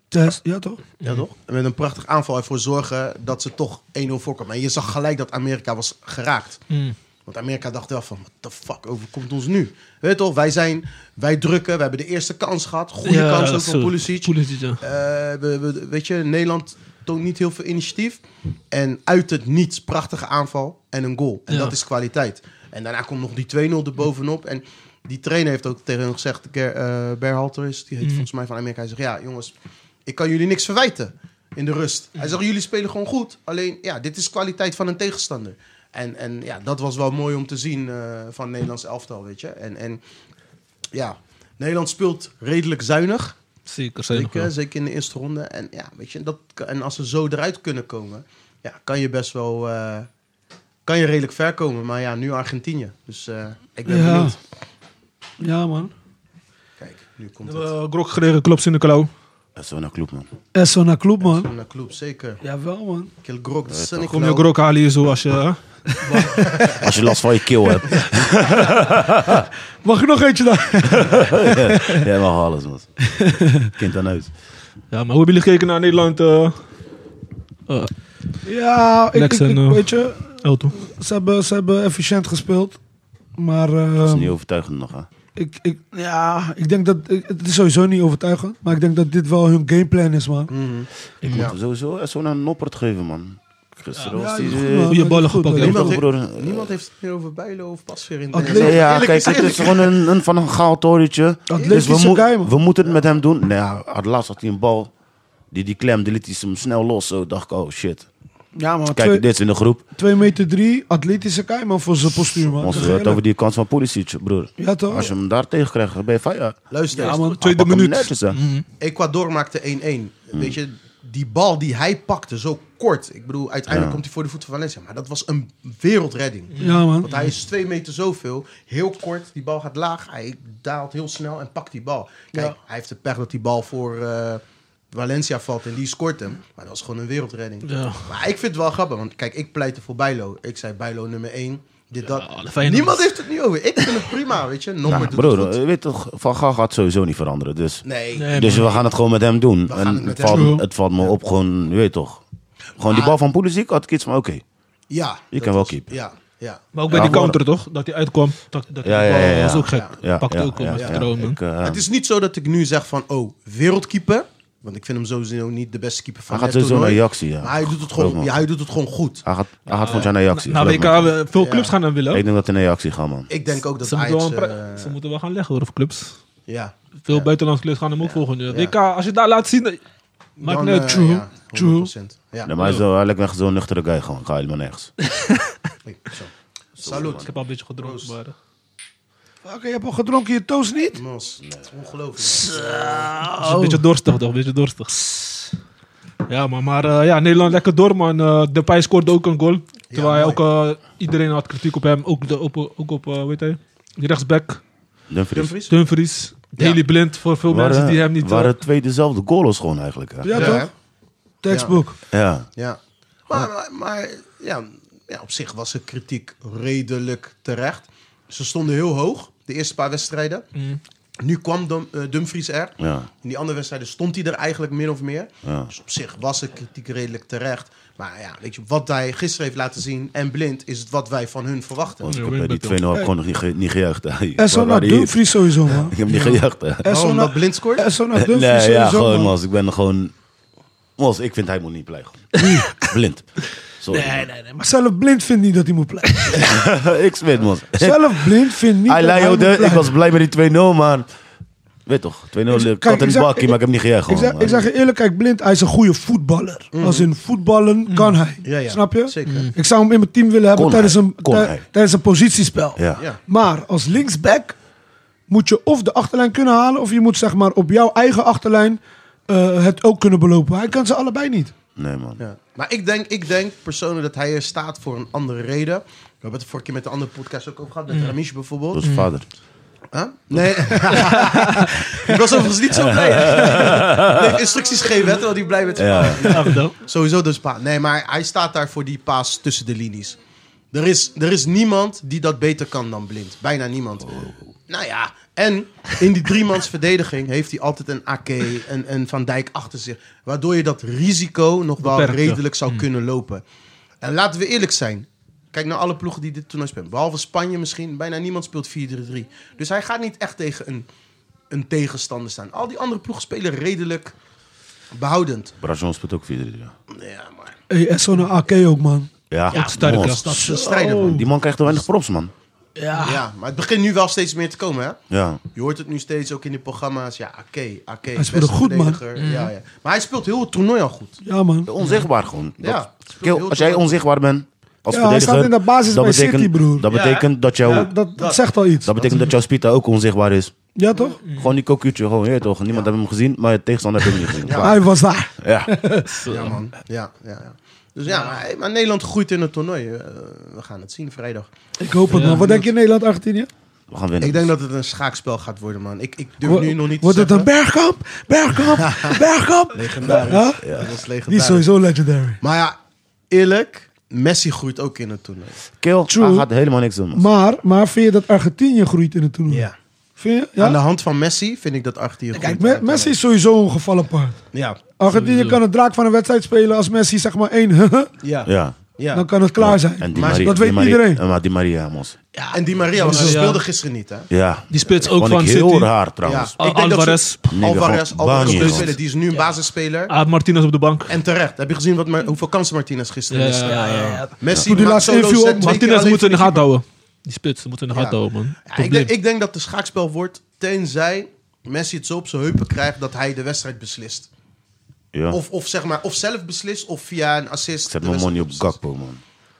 E: Test, ja toch?
F: ja, toch? Met een prachtig aanval ervoor zorgen dat ze toch 1-0 voorkomen. En je zag gelijk dat Amerika was geraakt.
B: Mm.
F: Want Amerika dacht wel van, what the fuck overkomt ons nu? Weet je toch, wij zijn, wij drukken, we hebben de eerste kans gehad. Goede
B: Ja,
F: kans ook
B: zo.
F: van Pulisic.
B: Pulisic, ja.
F: Eh, we, we- weet je, Nederland toont niet heel veel initiatief. En uit het niets, prachtige aanval en een goal. En
B: Ja.
F: dat is kwaliteit. En daarna komt nog die 2-0 erbovenop. En die trainer heeft ook tegen hem gezegd, Ger- eh Berhalter is, die heet volgens mij van Amerika. Hij zegt, ja jongens, ik kan jullie niks verwijten in de rust. Hij zegt, jullie spelen gewoon goed. Alleen, ja, dit is kwaliteit van een tegenstander. En, en ja, dat was wel mooi om te zien eh, van het Nederlands elftal, weet je. En, en ja, Nederland speelt redelijk zuinig.
B: Zeker, zijn nog
F: Zeker,
B: wel.
F: zeker in de eerste ronde. En, ja, weet je, dat, kan- en als ze zo eruit kunnen komen, ja, kan je best wel eh, kan je redelijk ver komen. Maar ja, nu Argentinië. Dus eh, ik ben
E: Ja.
F: benieuwd.
E: Ja, man.
F: Kijk, nu
B: We
F: komt het.
B: hebben Eh, Grok gereden, klopt in de klauw.
D: Dat is wel een club, man.
E: Esso naar club, man.
F: Naar club, zeker.
E: Jawel, man.
F: Kill Grok, dat is een
B: Kom je Grok halen hier zo als je... hè?
D: Als je last van je keel hebt.
E: Mag ik nog eentje daar?
D: Jij mag alles, man. Kind aan huis.
B: Ja, maar hoe hebben jullie gekeken naar Nederland? eh eh,
E: Ja, ik, ik,
B: Lex en,
E: ik-
B: eh,
E: weet je,
B: Elton?
E: ze hebben, ze hebben efficiënt gespeeld. Maar
D: Dat
E: eh,
D: is niet overtuigend nog, hè?
E: ik, ik, ja, ik denk dat, ik- het is sowieso niet overtuigend. Maar ik denk dat dit wel hun gameplan is, man.
F: Mhm.
D: Ik moet hem sowieso echt zo naar Noppert geven, man. Gisteren was
E: Ja,
D: die...
E: dat is goed,
D: eh,
E: man.
B: Goeie
E: Dat
B: ballen
E: is goed,
B: gepakt,
E: man.
B: hè?
F: Niemand,
D: broer,
F: heeft,
D: eh,
F: niemand heeft het meer over Bijlo of Pasveer in de
E: Atleet-
D: Nee,
F: Nederland.
D: ja,
F: Eerlijk
D: kijk, het is gewoon een, een van een gaal torentje. Dus we,
E: Atletische guy, man.
D: we moeten het met hem doen. Nee, hij had laatst had hij een bal. Die, die klemde, liet hij hem snel los. Zo dacht ik, oh shit.
E: Ja, maar
D: Kijk,
E: twee,
D: dit is in de groep.
E: 2 meter 3, atletische kei, man, voor zijn postuur, man.
D: Ons
E: Zeg
D: het
E: eerlijk.
D: over die kans van Pulisic, broer.
E: Ja, toch?
D: Als je hem daar tegen krijgt, ben je fire.
F: Luister,
E: Ja, man.
B: Tweede
D: Hij pakt hem
B: minuut.
D: Netjes, hè.
E: Mhm.
F: Ecuador maakte 1-1. Weet je, die bal die hij pakte, zo kort. Ik bedoel, uiteindelijk komt hij voor de voeten van Valencia. Maar dat was een wereldredding.
E: Ja, man.
F: Want hij is twee meter zoveel, heel kort, die bal gaat laag, hij daalt heel snel en pakt die bal. Kijk, hij heeft de pech dat die bal voor eh, Valencia valt en die scoort hem. Maar dat was gewoon een wereldredding.
B: Ja.
F: Maar ik vind het wel grappig, want kijk, ik pleit er voor Bijlo. Ik zei Bijlo nummer 1, dit dat.
B: alle Feyenoord.
F: Niemand heeft het nu over. Ik vind het prima, weet je. Nommer
D: Nou,
F: doet
D: broer,
F: het goed.
D: je weet toch, Van Gaal gaat sowieso niet veranderen. Dus,
F: Nee.
B: Nee,
D: dus
B: man.
D: we gaan het gewoon met hem doen.
F: gaan het
D: en
F: met
D: het
F: hem
B: doen.
D: valt, het valt me op, gewoon, je weet toch. Gewoon die
F: Maar-
D: bal van Pulisic had ik iets, maar oké.
F: Ja.
D: Je
F: dat
D: kan wel
F: was-
D: keeper.
F: Ja, ja.
B: Maar ook bij
D: Ja,
B: die
D: maar-
B: counter, toch? Dat hij uitkwam. Dat, dat
D: Ja,
B: die
D: ja,
B: bal-
D: ja, ja.
B: was ook gek.
D: Ja,
B: Pakte
D: ja,
B: ook om
D: ja,
B: als
D: ja.
B: vertrouwen, man.
D: Ik, eh,
F: Het is niet zo dat ik nu zeg van, oh, wereldkeeper. Want ik vind hem sowieso niet de beste keeper van
D: Hij gaat
F: het
D: sowieso
F: toernooi.
D: naar Ajax, ja.
F: Maar hij doet het
D: Geloof
F: gewoon,
D: me.
F: ja, hij doet het gewoon goed.
D: Hij gaat, hij gaat volgens mij naar Ajax.
B: Na
D: geloof
B: WK,
D: me.
B: eh, veel clubs gaan hem willen.
D: Ik denk dat hij naar Ajax gaat, man.
F: Ik denk ook dat
B: ze, moeten wel
F: Ajax...
B: een pra-
F: eh,
B: ze moeten wel gaan leggen, hoor, voor clubs.
F: Ja.
B: Veel buitenlandse clubs gaan hem ook volgen. nu.
F: Ja.
B: WK, als je daar laat zien... eh, Maakt
F: Dan,
B: niet
F: eh,
B: uit. True.
F: ja, 100%. Ja.
D: Nee, maar hij is wel- hij lijkt me echt zo'n nuchtere guy gewoon. Ik ga helemaal nergens.
F: Zo. Salut.
B: Ik heb al een beetje gedronken, maar... eh,
E: Oké, je hebt al gedronken, je toast niet?
F: Mos, ongelooflijk.
B: is een
F: Oh.
B: beetje dorstig toch, een beetje dorstig. Ja, man, maar eh, ja, Nederland lekker door, man. De Depay scoorde ook een goal. Terwijl hij ook, eh, iedereen had kritiek op hem. Ook, de, op, ook op, eh, weet hij, die rechtsback,
D: Dumfries.
F: Dumfries?
B: Dumfries. Daily Blind, voor veel mensen die hem niet... eh,
D: waren twee dezelfde goals gewoon eigenlijk. hè?
E: Ja,
F: Ja,
E: toch? Textbook.
D: Ja.
F: Ja. Maar, maar, maar, ja, ja, op zich was de kritiek redelijk terecht. Ze stonden heel hoog, de eerste paar wedstrijden.
B: Mm.
F: Nu kwam Dum- eh, Dumfries er.
D: Ja.
F: In die andere wedstrijden stond hij er eigenlijk min of meer.
D: Ja.
F: Dus op zich was de kritiek redelijk terecht. Maar ja, weet je, wat hij gisteren heeft laten zien en blind... is het wat wij van hun verwachten.
D: Want ik
B: Ja,
D: heb
B: weet
D: bij die
B: ik
D: 2-0 heb ik gewoon nog niet, ge- niet gejuicht. hè.
E: En zo
D: Waar
E: naar
D: waren die-
E: Dumfries sowieso, man.
D: Ik heb niet gejuicht. hè.
E: En
F: Oh,
E: zo
F: omdat
E: naar
F: blind scoort?
E: en zo naar Dumfries
D: Nee, ja,
E: sowieso,
D: gewoon,
E: man.
D: Mos. Ik ben gewoon... Mos, ik vind hij moet niet plegen. Blind. Sorry.
E: Nee, nee, nee. Maar zelf blind vindt niet dat hij moet blijven.
D: ik zweer, Mos.
E: zelf blind vindt niet
D: Hij
E: dat
D: lei-
E: hij moet
D: de- Ik
E: blijven.
D: was blij met die 2-0, maar... Weet toch, 2-0
E: Kijk,
D: ik had in
E: ik
D: het
E: zeg-
D: bakkie, maar ik heb niet gejuicht
E: Ik
D: gewoon.
E: zeg, ik zeg je eerlijk, kijk, blind, hij is een goede voetballer. Als in voetballen kan hij.
F: Mhm. Ja, ja.
E: Snap je? Mhm.
F: Zeker.
E: Ik zou hem in mijn team willen hebben
D: Kon
E: tijdens,
D: hij.
E: een,
D: Kon
E: tij-
D: hij.
E: tijdens een positiespel.
D: Ja.
F: Ja.
E: Maar als linksback moet je of de achterlijn kunnen halen... of je moet zeg maar op jouw eigen achterlijn eh, het ook kunnen belopen. Hij kan ze allebei niet.
D: Nee, man.
F: Ja. Maar ik denk, ik denk persoonlijk dat hij er staat voor een andere reden. We hebben het de vorige keer met de andere podcast ook over gehad. Met Ramish bijvoorbeeld.
D: Mm. Dat is vader.
F: Huh? Nee. ik was overigens niet zo blij. nee, instructies geven, hè, terwijl hij blij werd.
D: Ja.
B: ja, vertel.
F: Sowieso dus paas. Nee, maar hij staat daar voor die paas tussen de linies. Er is, er is niemand die dat beter kan dan blind. Bijna niemand. Nou ja, en in die driemans verdediging heeft hij altijd een AK en, en Van Dijk achter zich. Waardoor je dat risico nog wel
B: Beperkt, ja.
F: redelijk zou kunnen lopen. En laten we eerlijk zijn. Kijk naar alle ploegen die dit toernooi spelen. Behalve Spanje misschien. Bijna niemand speelt 4-3-3. Dus hij gaat niet echt tegen een, een tegenstander staan. Al die andere ploegen spelen redelijk behoudend.
D: Brajon speelt ook 4-3. Ja,
F: Ja, maar...
E: Hey, en zo naar AK ook, man.
D: ja,
B: Ook sterke
D: Mos.
B: kracht.
F: Dat is een strijder, man.
D: Die man krijgt er weinig props, man.
E: Oh, Ja.
F: Ja, maar het begint nu wel steeds meer te komen, hè?
D: Ja.
F: Je hoort het nu steeds ook in die programma's. Ja, oké, oké.
E: Hij speelde goed, man. Mhm.
F: Ja, ja. Maar hij speelt heel het toernooi al goed.
E: Ja, man.
D: Onzichtbaar gewoon.
F: Ja.
D: Dat- Kiel, als jij onzichtbaar bent als
E: Ja, hij
D: verdediger...
E: staat in de basis
D: dat
E: bij
D: betekent,
E: City, broer.
D: Dat
F: Ja,
D: betekent dat jouw...
E: Ja,
D: dat,
E: dat, dat zegt al iets.
D: betekent dat jouw Spita ook onzichtbaar is.
E: Ja, toch?
D: Mm. Gewoon die kokuutje, gewoon, je weet toch. Niemand heeft hem gezien, maar je tegenstander heeft hem niet gezien. Klaar.
E: Hij was daar.
D: Ja.
F: Ja, man. Ja, ja, ja. Dus ja, maar, maar Nederland groeit in het toernooi. Eh, we gaan het zien vrijdag.
E: Ik hoop het, man. Wat denk je Nederland, Argentinië?
D: We gaan winnen.
F: Ik denk dat het een schaakspel gaat worden, man. Ik, ik durf
E: Wo-
F: nu nog niet
E: Wordt
F: te
E: het
F: zeggen.
E: een bergkamp? Bergkamp? Bergkamp?
F: Legendarisch.
E: Huh?
F: Ja, dat is
E: Die is
F: legendarisch.
E: sowieso legendary.
F: Maar ja, eerlijk, Messi groeit ook in het toernooi.
D: Kiel, hij
E: True.
D: gaat helemaal niks doen. man.
E: Maar, maar vind je dat Argentinië groeit in het toernooi?
F: Ja.
E: Vind je?
F: Aan de
E: Hm. Ja?
F: hand van Messi vind ik dat Artie hier
E: Kijk,
F: groeit in
E: Me-
F: het
E: Messi is sowieso een gevallen paard.
F: toernooi. Ja.
E: Argentinië kan een draak van een wedstrijd spelen als Messi zeg maar één.
F: Ja. ja.
D: Ja.
E: Dan kan het klaar zijn.
D: En die
F: Maar
D: Maria,
E: dat weet
D: die Maria,
E: iedereen.
D: eh, Maar die Maria, mos.
F: En Di Maria, want ze
B: Ja.
F: speelde gisteren niet, hè?
D: Ja.
B: Die spits ook
D: Vond
B: van
D: ik heel
B: City.
D: raar, trouwens.
B: Al- Alvarez.
F: Dat ze,
D: Nigga,
F: Alvarez,
D: gewoon
F: Alvarez
D: bang,
F: moet
D: man.
F: spelen. Die is nu een basisspeler.
B: Ah, Martinez op de bank.
F: En terecht. Heb je gezien wat, Mar- hoeveel kansen Martinez gisteren
B: Ja,
F: miste?
B: ja, ja, ja.
F: Messi
E: Toen die
F: maakt
E: laatste
F: solo
E: inviel
F: set,
E: op
F: twee keer
B: Martinez
F: alleen
B: moet in de
F: free
B: gaten houden. Die spits moet in de
F: Ja.
B: gaten houden, man.
F: kick. Ja, ik,
B: Probleem.
F: denk, ik denk dat het een schaakspel wordt, tenzij Messi het zo op zijn heupen krijgt dat hij de wedstrijd beslist.
D: Ja.
F: Of, of, zeg maar, of zelf beslist, of via een assist.
D: Ik zet
F: de
D: mijn money
F: wedstrijd
D: op
F: beslist.
D: Gakpo,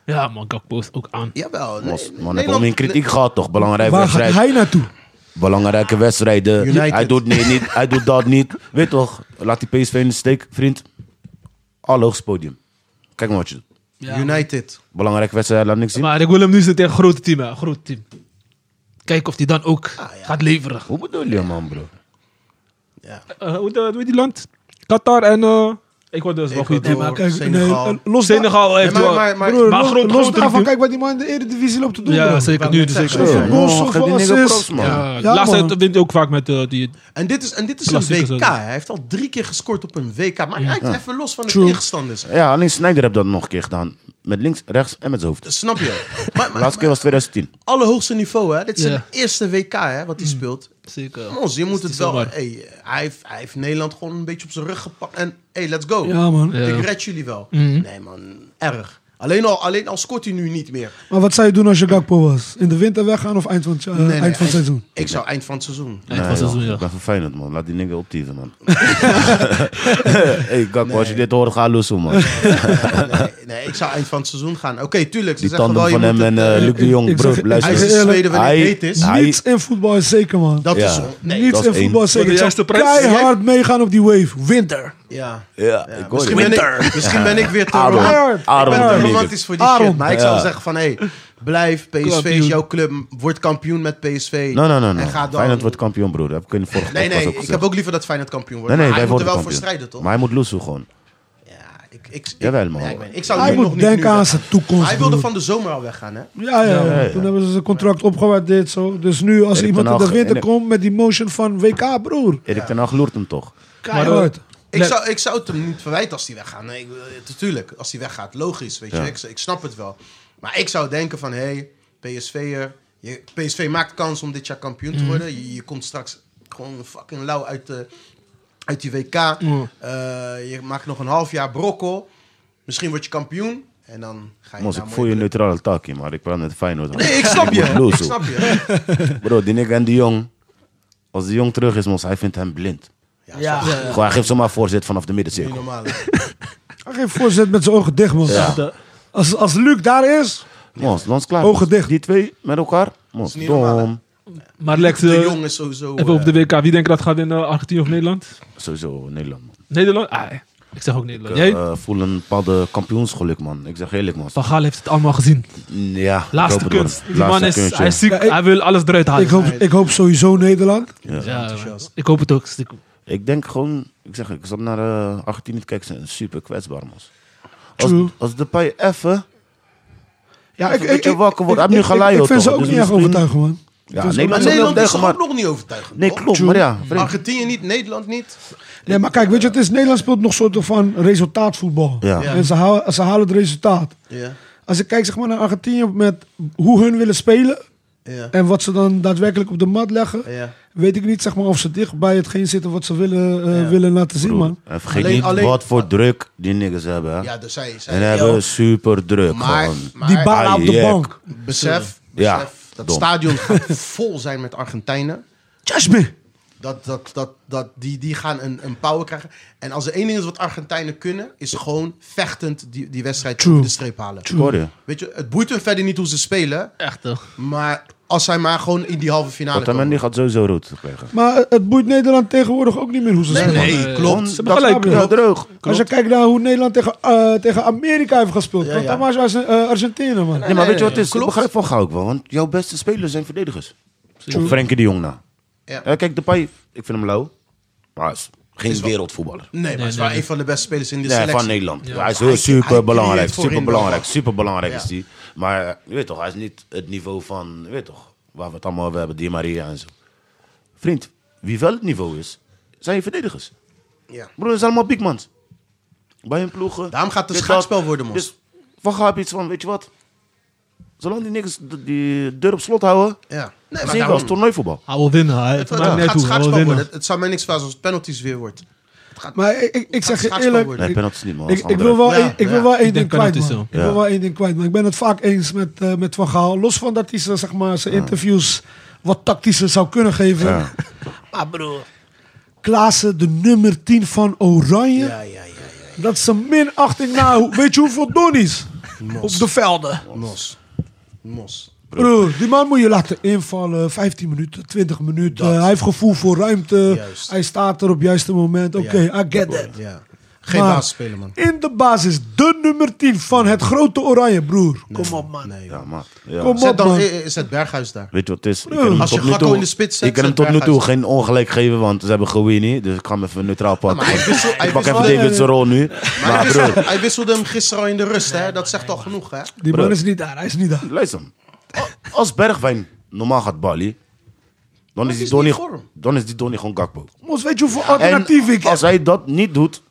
D: man.
B: Ja, man, Gakpo is ook aan.
F: Jawel. Nee,
D: Mos, man, heb
F: Nederland-
D: hem in kritiek gehad, toch? Belangrijke
E: Waar gaat
D: wedstrijd.
E: hij naartoe?
D: belangrijke wedstrijden.
F: United.
D: Hij doet, nee, niet, hij doet dat niet. Weet toch, laat die PSV in de steek, vriend. Allerhoogst podium. Kijk maar wat je doet.
F: nee, United.
D: Belangrijke wedstrijd, laat niks zien.
B: Maar ik wil hem nu zitten tegen een groot team, hè. een Groot team. Kijken of hij dan ook gaat leveren.
D: Hoe bedoel je, man, bro?
B: Eh, hoe de- hoe heet die land? Qatar en... eh ik word dus wel goed.
F: Ecuador,
B: Nee, maar-
E: Kijk,
F: Senegal.
E: nee, eh, los daar-
B: Senegal heeft
F: Nee, maar-
B: wel...
F: maar- maar-
E: Broer,
B: Maar
E: los,
B: groot-
E: los
B: groot
E: daarvan,
B: team.
E: kijk wat die man in de Eredivisie loopt te doen.
B: ja,
E: bro.
B: zeker.
F: Wou
B: Nu
F: net
B: zeker.
F: zeggen,
B: Ja,
E: man. goals,
D: geef die
E: goals,
D: nigger
E: assist.
D: props, man.
B: Ja,
E: Ja,
B: laatst
E: man.
B: wint hij ook vaak met eh, die...
F: En dit is, en dit is
B: Klassiekers
F: een WK.
B: ook.
F: Hij heeft al drie keer gescoord op een WK. Maar hij even los van de
E: True.
F: tegenstanders.
D: Ja, alleen Snyder heeft dat nog een keer gedaan. Met links, rechts en met zijn hoofd.
F: Snap je? Maar,
D: De
F: maar,
D: laatste keer was 2010.
F: allerhoogste niveau, hè? Dit is
B: Ja.
F: zijn eerste WK, hè, wat
E: Mm.
F: hij speelt.
B: Zeker.
F: Mons, je
B: is
F: moet het wel...
B: zomaar.
F: Hey, hij, heeft, hij heeft Nederland gewoon een beetje op zijn rug gepakt. En hey, let's go.
E: Ja, Mhm. man.
B: Ja.
F: Ik red jullie wel. Nee, man. Erg. Alleen al, alleen al scoort hij nu niet meer.
E: Maar wat zou je doen als je Gakpo was? In de winter weggaan of eind van het, eh,
F: Nee, nee,
E: eind van het seizoen?
F: Ik zou eind van het seizoen.
B: Eind van het seizoen, ja.
D: Ik ben verfijnd, man. Laat die nigger optieven, man. hey, Gakpo, als je dit hoort, ga loesoe, man.
F: Nee, nee, ik zou eind van het seizoen gaan. Oké, tuurlijk. Ze
D: Die
F: zeggen
D: tanden
F: wel, je
D: van hem
F: moet
D: en
F: het,
D: eh,
F: eh,
D: Luc de Jong,
E: ik
D: bro,
E: zeg-
D: luister.
E: ik
F: Hij is
E: zeg
F: de
E: eerlijk,
F: tweede wanneer
D: hij-
F: het heet is.
D: hij-
E: Niets in voetbal is zeker, man.
F: Dat
D: Ja.
F: is... Nee,
E: Niets
D: dat is
E: in
D: één.
E: voetbal is
B: Voor de
E: zeker. Ik
B: juiste
E: zou
B: prijs.
E: keihard meegaan op die wave. Winter.
F: ja.
D: Ja,
F: Ja,
D: ik hoor je.
F: misschien, ben ik, misschien ben ik weer te
D: Aaron.
F: romantisch.
E: Keihard.
D: Aaron
F: Ik ben te
D: Rodriguez.
F: romantisch voor die
E: Aaron.
F: shit. Maar ik zou
D: Ja.
F: zeggen van, hé, hey, blijf. PSV
B: Kampioen.
F: is jouw club. Word kampioen met PSV.
D: Nee, nee, nee.
F: En ga
D: nee.
F: dan...
D: Feyenoord wordt kampioen, broer. Dat heb ik in de vorige
F: Nee,
D: podcast
F: nee,
D: ook
F: ik
D: gezegd.
F: heb ook liever dat Feyenoord kampioen wordt.
D: Nee, nee,
F: maar
D: wij
F: hij moet er
D: worden
F: wel voor
D: kampioen.
F: strijden, toch?
D: Maar hij moet loesoe gewoon.
F: Ja, ik, ik, ik,
D: Jawel, man.
F: Ja, ik, weet- ik zou
E: Hij
F: nu nog
E: moet
F: niet nu
E: denken aan zijn
F: weggaan.
E: toekomst.
F: Hij wilde
E: broer.
F: van de zomer al weggaan, hè?
E: Ja, ja, ja.
D: Ja, ja.
E: Toen hebben ze zijn contract opgewaardeerd. Zo. Dus nu, als
D: Erik
E: iemand
D: ten
E: in de
D: Hag,
E: winter
D: en-
E: komt met die motion van WK, broer.
D: Erik ten Hag loert hem toch.
E: Keihard.
F: Ik
B: Nee.
F: zou, ik zou het hem niet verwijten als hij weggaat. Nee, ik, eh, natuurlijk, als hij weggaat, logisch, weet je. Ik, ik snap het wel. Maar ik zou denken van, hé, hey, PSV'er... je- PSV maakt kans om dit jaar kampioen te
D: Mhm.
F: worden. Je, je komt straks gewoon fucking lauw uit, de, uit die WK. Eh, je maakt nog een half jaar brokkel. Misschien word je kampioen. En dan ga je
D: Mos,
F: naar
D: ik
F: een
D: voel je
F: mooie club.
D: neutrale takkie, maar ik praat met Feyenoord. man.
F: Nee, ik snap
D: Je moet
F: je. Ik
D: loesoe.
F: snap je.
D: Bro, die nigger en die jong. Als die jong terug is, mos, hij vindt hem blind.
F: Ja,
E: Ja.
F: zo-
D: Gewoon, hij geeft zomaar voorzet vanaf de
F: niet
D: middencirkel.
F: normaal.
E: Hij geeft voorzet met zijn ogen dicht, man.
D: Ja.
E: Als, als Luc daar is,
D: Mos, dan is het klaar.
E: Ogen
D: mos.
E: dicht.
D: Die twee met elkaar. Mos,
F: niet normaal, hè?
D: dom.
B: Maar Lex,
F: De
B: eh,
F: jong is sowieso...
B: even
F: eh,
B: op de WK. Wie denk je dat gaat winnen? Argentinië of Nederland?
D: Sowieso, Nederland. man.
B: Nederland? Ah, ik zeg ook Nederland.
D: Ik
B: Jij?
D: eh, voel een bepaalde kampioensgeluk, man. Ik zeg eerlijk, man.
B: Van Gaal heeft het allemaal gezien.
D: Ja, ik hoop
B: Laatste
D: het, man.
B: kunst. Die
D: Laatste
B: man is,
D: kunstje.
B: hij is ziek.
E: Ja, ik-
B: hij wil alles eruit halen.
E: ik hoop, ik hoop sowieso Nederland.
B: Ja, man. ik hoop het ook. Ik-
D: Ik denk gewoon, ik zeg, ik zat naar eh 18 minuten kijken, ze zijn super kwetsbaar, man. Als,
E: True.
D: als de pij even.
E: Ja,
D: Even een beetje wakker worden. Hij heeft nu
E: ik,
D: Galaio,
E: ik vind ze
D: toch?
E: ook
D: Dus
E: niet echt
D: misschien-
E: overtuigend, man.
D: Ja,
E: Het is
D: nee,
F: Maar
D: maar
F: Nederland is
D: tegen,
F: toch
D: maar.
F: ook nog niet overtuigend.
D: Nee,
F: toch?
D: klopt, maar ja. vreemd.
F: Argentinië niet, Nederland niet.
E: Nee, maar kijk, weet je, het is, Nederland speelt nog soort van resultaatvoetbal.
D: Ja. Ja.
E: En ze halen, ze halen het resultaat.
F: Ja.
E: Als ik kijk zeg maar, naar Argentinië met hoe hun willen spelen
F: Ja.
E: en wat ze dan daadwerkelijk op de mat leggen,
F: Ja.
E: weet ik niet zeg maar, of ze dicht bij hetgeen zitten wat ze willen, eh, willen laten zien, man.
D: En Eh, vergeet
F: Alleen-
D: niet
F: alleen-
D: wat voor druk die niggas hebben. hè.
F: Ja, dus zij, zij
D: en hebben super druk.
F: maar,
D: gewoon.
F: maar
E: Die balen op de
D: Ajax.
E: bank.
F: besef,
D: Ja,
F: besef dat
D: dom.
F: stadion gaat vol zijn met Argentijnen.
E: Just me.
F: Dat, dat, dat, dat, die, die gaan een, een power krijgen. En als er één ding is wat Argentijnen kunnen, is gewoon vechtend die, die wedstrijd
E: True.
F: over de streep halen.
D: Ik hoor je.
F: Weet je, het boeit hun verder niet hoe ze spelen.
B: Echt toch?
F: Maar als zij maar gewoon in die halve finale komen.
D: Otamendi gaat sowieso rood krijgen.
E: Maar het- het boeit Nederland tegenwoordig ook niet meer hoe ze spelen.
F: nee,
B: eh,
F: klopt.
B: Ze hebben gelijk.
E: snap
D: Ja,
E: je.
D: droog.
E: Als je kijkt naar hoe Nederland tegen, eh, tegen Amerika heeft gespeeld. Ja, ja. was eh, Argentinië, man.
D: Nee, maar weet je wat het is? Ik
F: klopt.
D: begrijp van Gauw ook wel. Want jouw beste spelers zijn verdedigers. Op Frenkie de Jong na.
F: Ja.
D: Eh, Kijk, Depay, ik vind hem lauw. Maar hij is geen wereldvoetballer.
F: Nee, maar het is wel een van de beste spelers in de
D: Nee,
F: selectie.
D: van Nederland. Hij is heel
F: Hij- hij
D: super belangrijk,
F: creëert voorin
D: super belangrijk,
F: wel.
D: super belangrijk
F: Ja.
D: is die. Maar eh, je weet toch, hij is niet het niveau van, je weet toch, waar we het allemaal over hebben, Di Maria en zo. Vriend, wie wel het niveau is, zijn je verdedigers.
F: Ja.
D: Broer, het zijn allemaal bigmans. Bij hun ploegen.
F: Daarom gaat het een
D: dit, dat.
F: schaakspel worden, mos.
D: Dus van Gaal heb je iets van, weet je wat? Zolang die niks die deur op slot houden,
F: Ja. Nee,
D: zie je
F: maar
D: wel,
F: daarom-
D: het is toernooivoetbal.
B: Hij wil winnen. Hij,
F: Het,
B: het maakt
F: het
B: niet
F: gaat
B: uit hoe. Hij wil
F: schaakspel worden.
B: winnen.
F: Het, het zou mij niks verbazen als het penalties weer wordt. Het gaat,
E: Maar ik, ik, ik
F: gaat
E: zeg je
F: schaakspel
E: eerlijk,
F: worden.
D: Nee,
E: ik,
D: penalty niet, man.
E: ik, ik wil wel,
F: Ja,
E: één- ik
F: ja.
E: wil wel één
B: Ik
E: ding
B: denk
E: kwijt,
B: penalty
E: man. Ik
D: zo. Ja.
E: wil wel één ding kwijt, man. Ik ben het vaak eens met, eh, met Van Gaal. Los van dat hij ze, zeg maar, zijn interviews wat tactischer zou kunnen geven.
D: Ja.
E: maar broer... Klaassen, de nummer 10 van Oranje.
F: Ja, ja, ja.
E: Dat is een minachting na... hoe- Weet je hoeveel donnies? Op de velden.
F: Mos. Mos.
E: Broer, die man moet je laten invallen. 15 minuten, 20 minuten.
F: Dat.
E: hij heeft gevoel voor ruimte.
F: Juist.
E: Hij staat er op het juiste moment. Oké,
F: Ja.
E: I get that.
F: Ja. Geen
E: Maar
F: baas spelen, man.
E: In de basis, de nummer 10 van het grote Oranje, broer. Kom op, man.
F: Nee,
D: Ja,
F: joh.
D: man. Ja.
E: Kom
F: Zet
E: op,
F: dan
E: man.
F: eh, eh, zet Berghuis daar.
D: Weet je wat het is? Ik ken hem
F: Als je
D: tot nu
F: Gakpo
D: toe-
F: in de spits zet,
D: Ik kan hem
F: zet
D: tot nu toe
F: Berghuis.
D: geen ongelijk geven, want ze hebben Gouini. Dus ik ga hem even neutraal pakken.
F: maar hij wissel- hij
D: ik pak even
F: wissel-
D: David zijn rol nu.
F: Maar
D: Maar
F: hij,
D: broer,
F: wisselde, hij wisselde hem gisteren al in de rust, hè. Dat zegt al genoeg, hè.
E: Die man is niet daar, hij is niet daar.
D: luister. A- Als Bergwijn normaal gaat Bali, dan is die
F: is niet
D: Donny,
F: voor hem.
D: dan is die Donny gewoon Gakpo.
E: Mos, weet je hoeveel
D: En
E: alternatieven ik heb?
D: als hij dat niet doet,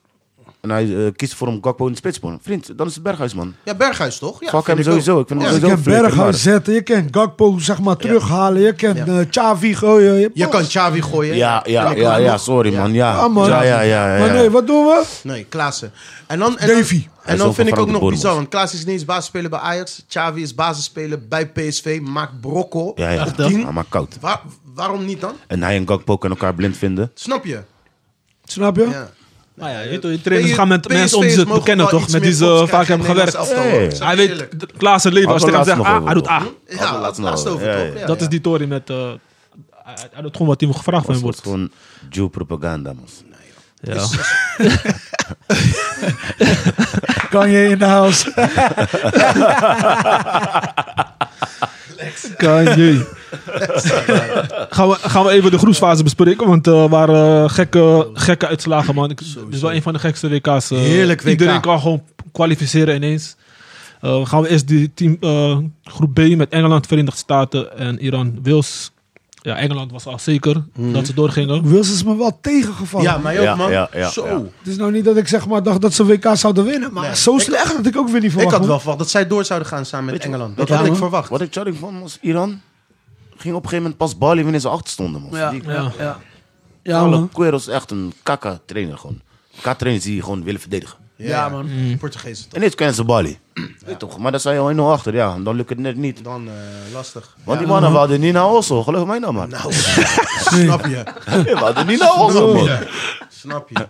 D: En hij eh, kiest voor een Gakpo in de spits, man. Vriend, dan is het Berghuis, man.
F: Ja, Berghuis toch? Ja,
D: Fuck hem
F: vind ik ook.
D: sowieso. Ik vind
F: Ja.
D: hem
E: Als je
D: sowieso
E: kan
D: een flikker,
E: Berghuis
D: maar-
E: zetten, je kan Gakpo zeg maar terughalen, je kan
F: Ja.
E: eh Xavi gooien. je-
F: Je kan Xavi gooien.
D: Ja, ja,
F: En ik
D: ja,
F: kan
D: ja,
F: nog-
D: sorry, man. Ja,
E: Ja, Ah, man.
D: ja, ja, ja.
E: Maar
D: ja.
E: nee, wat doen we?
F: Nee, Klaassen. En dan, en
E: Davy.
F: dan,
D: Hij
F: en
D: is
F: dan vind ik ook
D: oververanderd
F: nog
D: Bournemouth.
F: bizar. Want Klaas is niet eens basisspeler bij Ajax. Xavi is basisspeler bij PSV. Maakt brokkel
D: Ja, ja.
F: op tien.
D: Ja, maar koud.
F: Waar- waarom niet dan?
D: En hij en Gakpo kunnen elkaar blind vinden.
F: Snap je?
E: Snap je?
F: Ja.
B: Nou ja, je, weet toch, je trainers gaan met
F: PSV
B: mensen om die ze
F: mogen
B: kennen
F: wel
B: toch?
F: iets
B: Met die
F: meer
B: ze vaak
F: goals krijgen
B: hebben
F: in
B: gewerkt.
F: Nederlands elftal, hoor.
D: Ja.
F: Zeg
B: Hij
F: je
B: weet,
F: eerlijk.
B: Klaassen leed als
D: Had
B: hij
D: we
B: zegt
D: laatst nog
B: A, hij doet
D: over,
B: A.
D: Hadden we
F: Ja,
D: laatst nog
F: laatst
D: over.
F: over
D: Ja,
F: toch?
D: ja, ja.
F: Ja,
B: Dat
F: ja.
B: is die Tory met. eh, Hij hij doet gewoon wat hij gevraagd van
D: Dat
B: hem
D: wordt
B: wordt.
D: gewoon Jew propaganda, man.
B: Ja.
E: Kan je in de house?
B: Kanye. gaan, we, gaan we even de groepsfase bespreken, want er waren eh, gekke, gekke uitslagen, man. Ik, dit is wel een van de gekste WK's. eh.
F: Heerlijk WK.
B: Iedereen kan gewoon kwalificeren ineens. Eh, gaan we eerst die team, eh, groep B met Engeland, Verenigde Staten en Iran. Wales. Ja, Engeland was al zeker
F: Mhm.
B: dat ze doorgingen.
E: Wilson is me wel tegengevallen.
F: Ja, mij ook,
D: Ja,
F: man.
D: ja, ja,
F: Zo.
D: ja.
E: Het is nou niet dat ik zeg maar dacht dat ze WK zouden winnen, maar
F: Nee.
E: zo
F: Ik-
E: slecht dat ik ook weer
F: Ik
E: niet verwacht.
F: had wel
E: hoor.
F: verwacht dat zij door zouden gaan samen met
D: Weet je-
F: Engeland.
D: weet
F: Dat
D: je
F: had ik
D: wat-
F: verwacht.
D: Wat ik charming vond was, Iran ging op een gegeven moment pas Bali wanneer ze achter stonden, man.
E: Ja,
D: Die
E: ja, ja.
D: Carlo
E: Ja, man.
D: Quero is echt een kakka trainer gewoon. Kakka trainers die gewoon willen verdedigen.
E: Ja, man.
B: Mm.
F: Portugees toch?
D: En dit kennen ze Bali. Weet toch, maar daar zijn je al 1-0 achter, ja. En Dan lukt het net niet.
F: Dan eh, lastig.
D: Want die mannen wouden niet naar Oslo, geloof mij nou maar.
F: Nou, snap je.
D: Die wouden niet naar Oslo, man.
F: Snap je.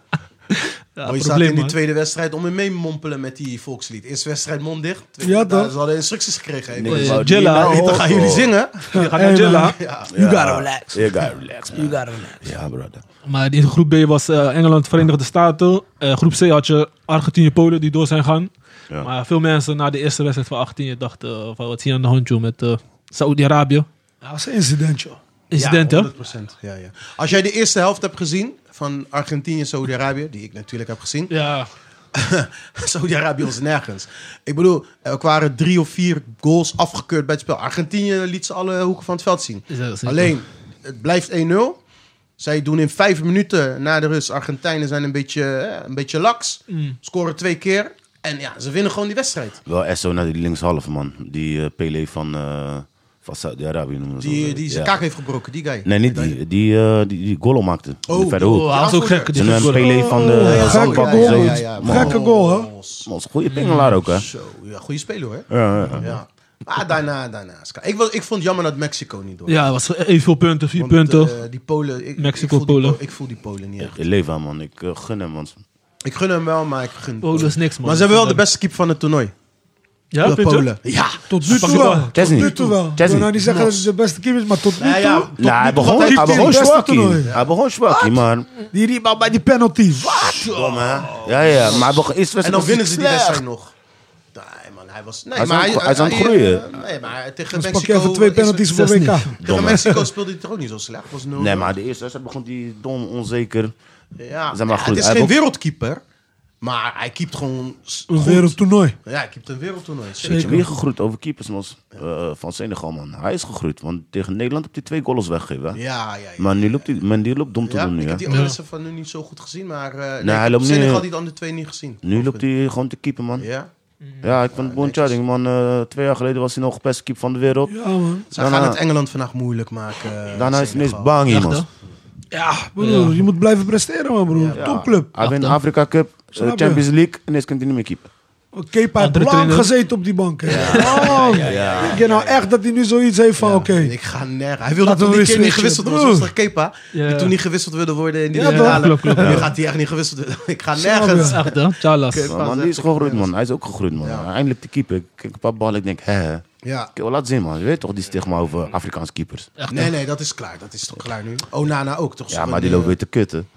B: Ja,
F: Maar je zat
B: probleem,
F: in die
B: man.
F: tweede wedstrijd om me mee mompelen met die volkslied. Eerste wedstrijd mond dicht. Tweede,
E: Ja,
F: daar-
E: toch?
F: Ze hadden instructies gekregen. hè.
D: Niks
B: Eh,
D: wouden
B: Jella,
D: niet naar
B: eh,
F: Dan gaan
D: Oslo.
F: jullie zingen.
B: Je gaat naar
E: Hey, man.
B: Jilla.
D: Ja.
E: relax.
D: You gotta relax, man.
E: gotta relax.
D: Ja, brother.
B: Maar in groep B was eh, Engeland, Verenigde Staten. Eh, groep C had je Argentinië, Polen die door zijn gaan.
D: Ja.
B: Maar veel mensen na de eerste wedstrijd van 18 dachten eh, van wat is hier aan de hand joh, met eh Saudi-Arabië.
E: Ja, dat is een incident, joh.
B: Incident hè?
F: ja, 100%. Ja, ja. Als jij de eerste helft hebt gezien van Argentinië, Saudi-Arabië, die ik natuurlijk heb gezien.
B: Ja.
F: Saudi-Arabië was nergens. Ik bedoel, er waren drie of vier goals afgekeurd bij het spel. Argentinië liet ze alle hoeken van het veld zien.
B: Is dat zeker?
F: Alleen, het blijft 1-0. Zij doen in vijf minuten na de rust. Argentijnen zijn een beetje, eh, een beetje laks.
B: Mm.
F: Scoren twee keer. En ja, ze winnen gewoon die wedstrijd.
D: Wel SO naar die linkshalve, man. Die eh, Pele van, eh, van Saudi-Arabië noemen ze
F: Die,
D: dat.
F: die zijn
D: Ja.
F: kaak heeft gebroken, die guy.
D: Nee, niet die. Die, eh, die, die Golo maakte. Oh, de
F: Oh,
D: verre
F: oh,
D: hoek.
B: Oh, hij was ook gek. die
D: En een
B: goal.
D: Pele van eh,
E: Oh, ja,
D: de
E: gekke
D: zakbak.
E: goal.
D: zo.
E: Ja, ja, man. Gekke goal, hè?
D: Man, is een goede pingelaar ook, hè?
F: Zo, ja, goede speler hoor.
D: Ja, ja, ja.
F: Ja. Maar daarna, daarna. is kaak. Ik, was, ik vond het jammer dat Mexico niet door.
B: Ja, het was evenveel punten, vier
F: Want,
B: punten.
F: eh, die Polen. Ik,
B: Mexico,
F: ik voel die
B: Polen.
F: Po- ik voel die Polen niet echt.
D: Ik leef aan, man. Ik eh, gun hem, man.
F: Ik gun hem wel, maar ik gun.
B: Polen is niks, man.
F: Maar ze hebben wel de
B: Oh, Dat-
F: beste keeper van het toernooi.
B: ja,
F: de
B: vind je?
F: Polen. Ja.
E: Tot nu
B: Pak
E: toe
B: je
E: wel.
B: bal.
E: Tot
D: Chesney.
E: nu toe wel. Ik wil
D: Chesney.
E: nou niet zeggen dat het de beste keeper is, maar tot nu
F: Nou ja,
E: toe...
F: tot
D: Nou, hij begon,
E: altijd
D: hij
E: heeft
D: begon
E: hij het beste
D: zwakkie.
E: toernooi.
D: Hij begon zwakkie, maar...
E: Die rebound bij die penalty. Wat?
D: Kom, hè. Ja, ja, maar hij begon eerst
F: En dan winnen ze die
D: slecht.
F: wedstrijd nog. Nee, man, hij was. Nee,
D: Hij is
F: maar
D: aan- hij is aan het groeien.
F: eh, nee, maar tegen
E: Dan pak je
F: Mexico.
E: even twee
F: is-
E: penalties voor
B: zes niet.
E: WK.
F: Tegen
D: Domme.
F: Mexico speelde hij toch ook niet zo slecht. Was 0
D: Nee, maar de eerste wedstrijd begon die dom, onzeker.
F: Ja.
D: Zeg maar
F: Ja,
D: goed,
F: het is
D: hij
F: geen
D: heeft
F: wereldkeeper, maar hij keept gewoon. s-
E: Een
F: goed.
E: wereldtoernooi.
F: Ja, hij keept een wereldtoernooi.
D: Weet je
E: Zeker.
D: wie gegroeid over keepers, man? Eh, van Senegal, man. Hij is gegroeid, want tegen Nederland heb hij twee goals weggegeven. hè?
F: Ja, ja, ja.
D: Maar nu loopt hij, men die loopt dom te
F: Ja,
D: doen nu,
F: ik
D: hè?
F: heb die andere van nu niet zo goed gezien, maar eh nee,
D: hij
F: ik heb
D: loopt nu-
F: Senegal had die de andere twee niet gezien.
D: Nu loopt hij gewoon te keeper, man.
F: Ja.
D: Ja, ik vind het Bon Charding, man. eh, twee jaar geleden was hij nog de beste keeper van de wereld.
E: Ja, man.
F: Ze
D: Daarna-
F: gaan het Engeland vandaag moeilijk maken. eh,
D: Daarna is nou- hij ineens
F: Senegal.
D: bang,
B: Echt, hè?
D: man.
E: Ja, broer. Je moet blijven presteren, man, broer. Topclub.
D: Hij wint de Afrika Cup, eh,
E: Snap je?
D: Champions League en is kan hij niet meer keeper.
E: Kepa heeft
B: Andere
E: lang
B: trainer.
E: gezeten op die bank. hè. Man, Ik ken nou echt dat hij nu zoiets heeft van, oké.
F: Ik ga nergens. Hij wilde
E: Laten
F: toen
E: we
F: die keer
E: weer
F: niet
E: switchen,
F: gewisseld worden.
E: broer.
F: Zoals toch Kepa.
B: Ja.
F: Die toen niet gewisseld wilde worden in die
E: Ja,
F: finale.
B: toch? Klopt, klopt,
F: Nu
B: klopt.
F: gaat hij echt niet gewisseld worden. Ik ga
E: Snap je.
F: nergens.
B: Echt, hè? Chalas.
F: Oké.
D: Maar, man,
F: Frans
D: die
F: zegt
D: is
F: dat ik
D: gegroeid,
F: ben.
D: man. Hij is ook gegroeid, man. Eindelijk de keeper. Ik kijk een paar ballen, ik denk, hè. Ik
F: Ja.
D: wil laten zien, man. Je weet toch die stigma over Afrikaanse keepers?
F: Nee, nee, dat is klaar. Dat is toch klaar nu? Onana ook toch?
D: Ja, maar die loopt weer te kutten.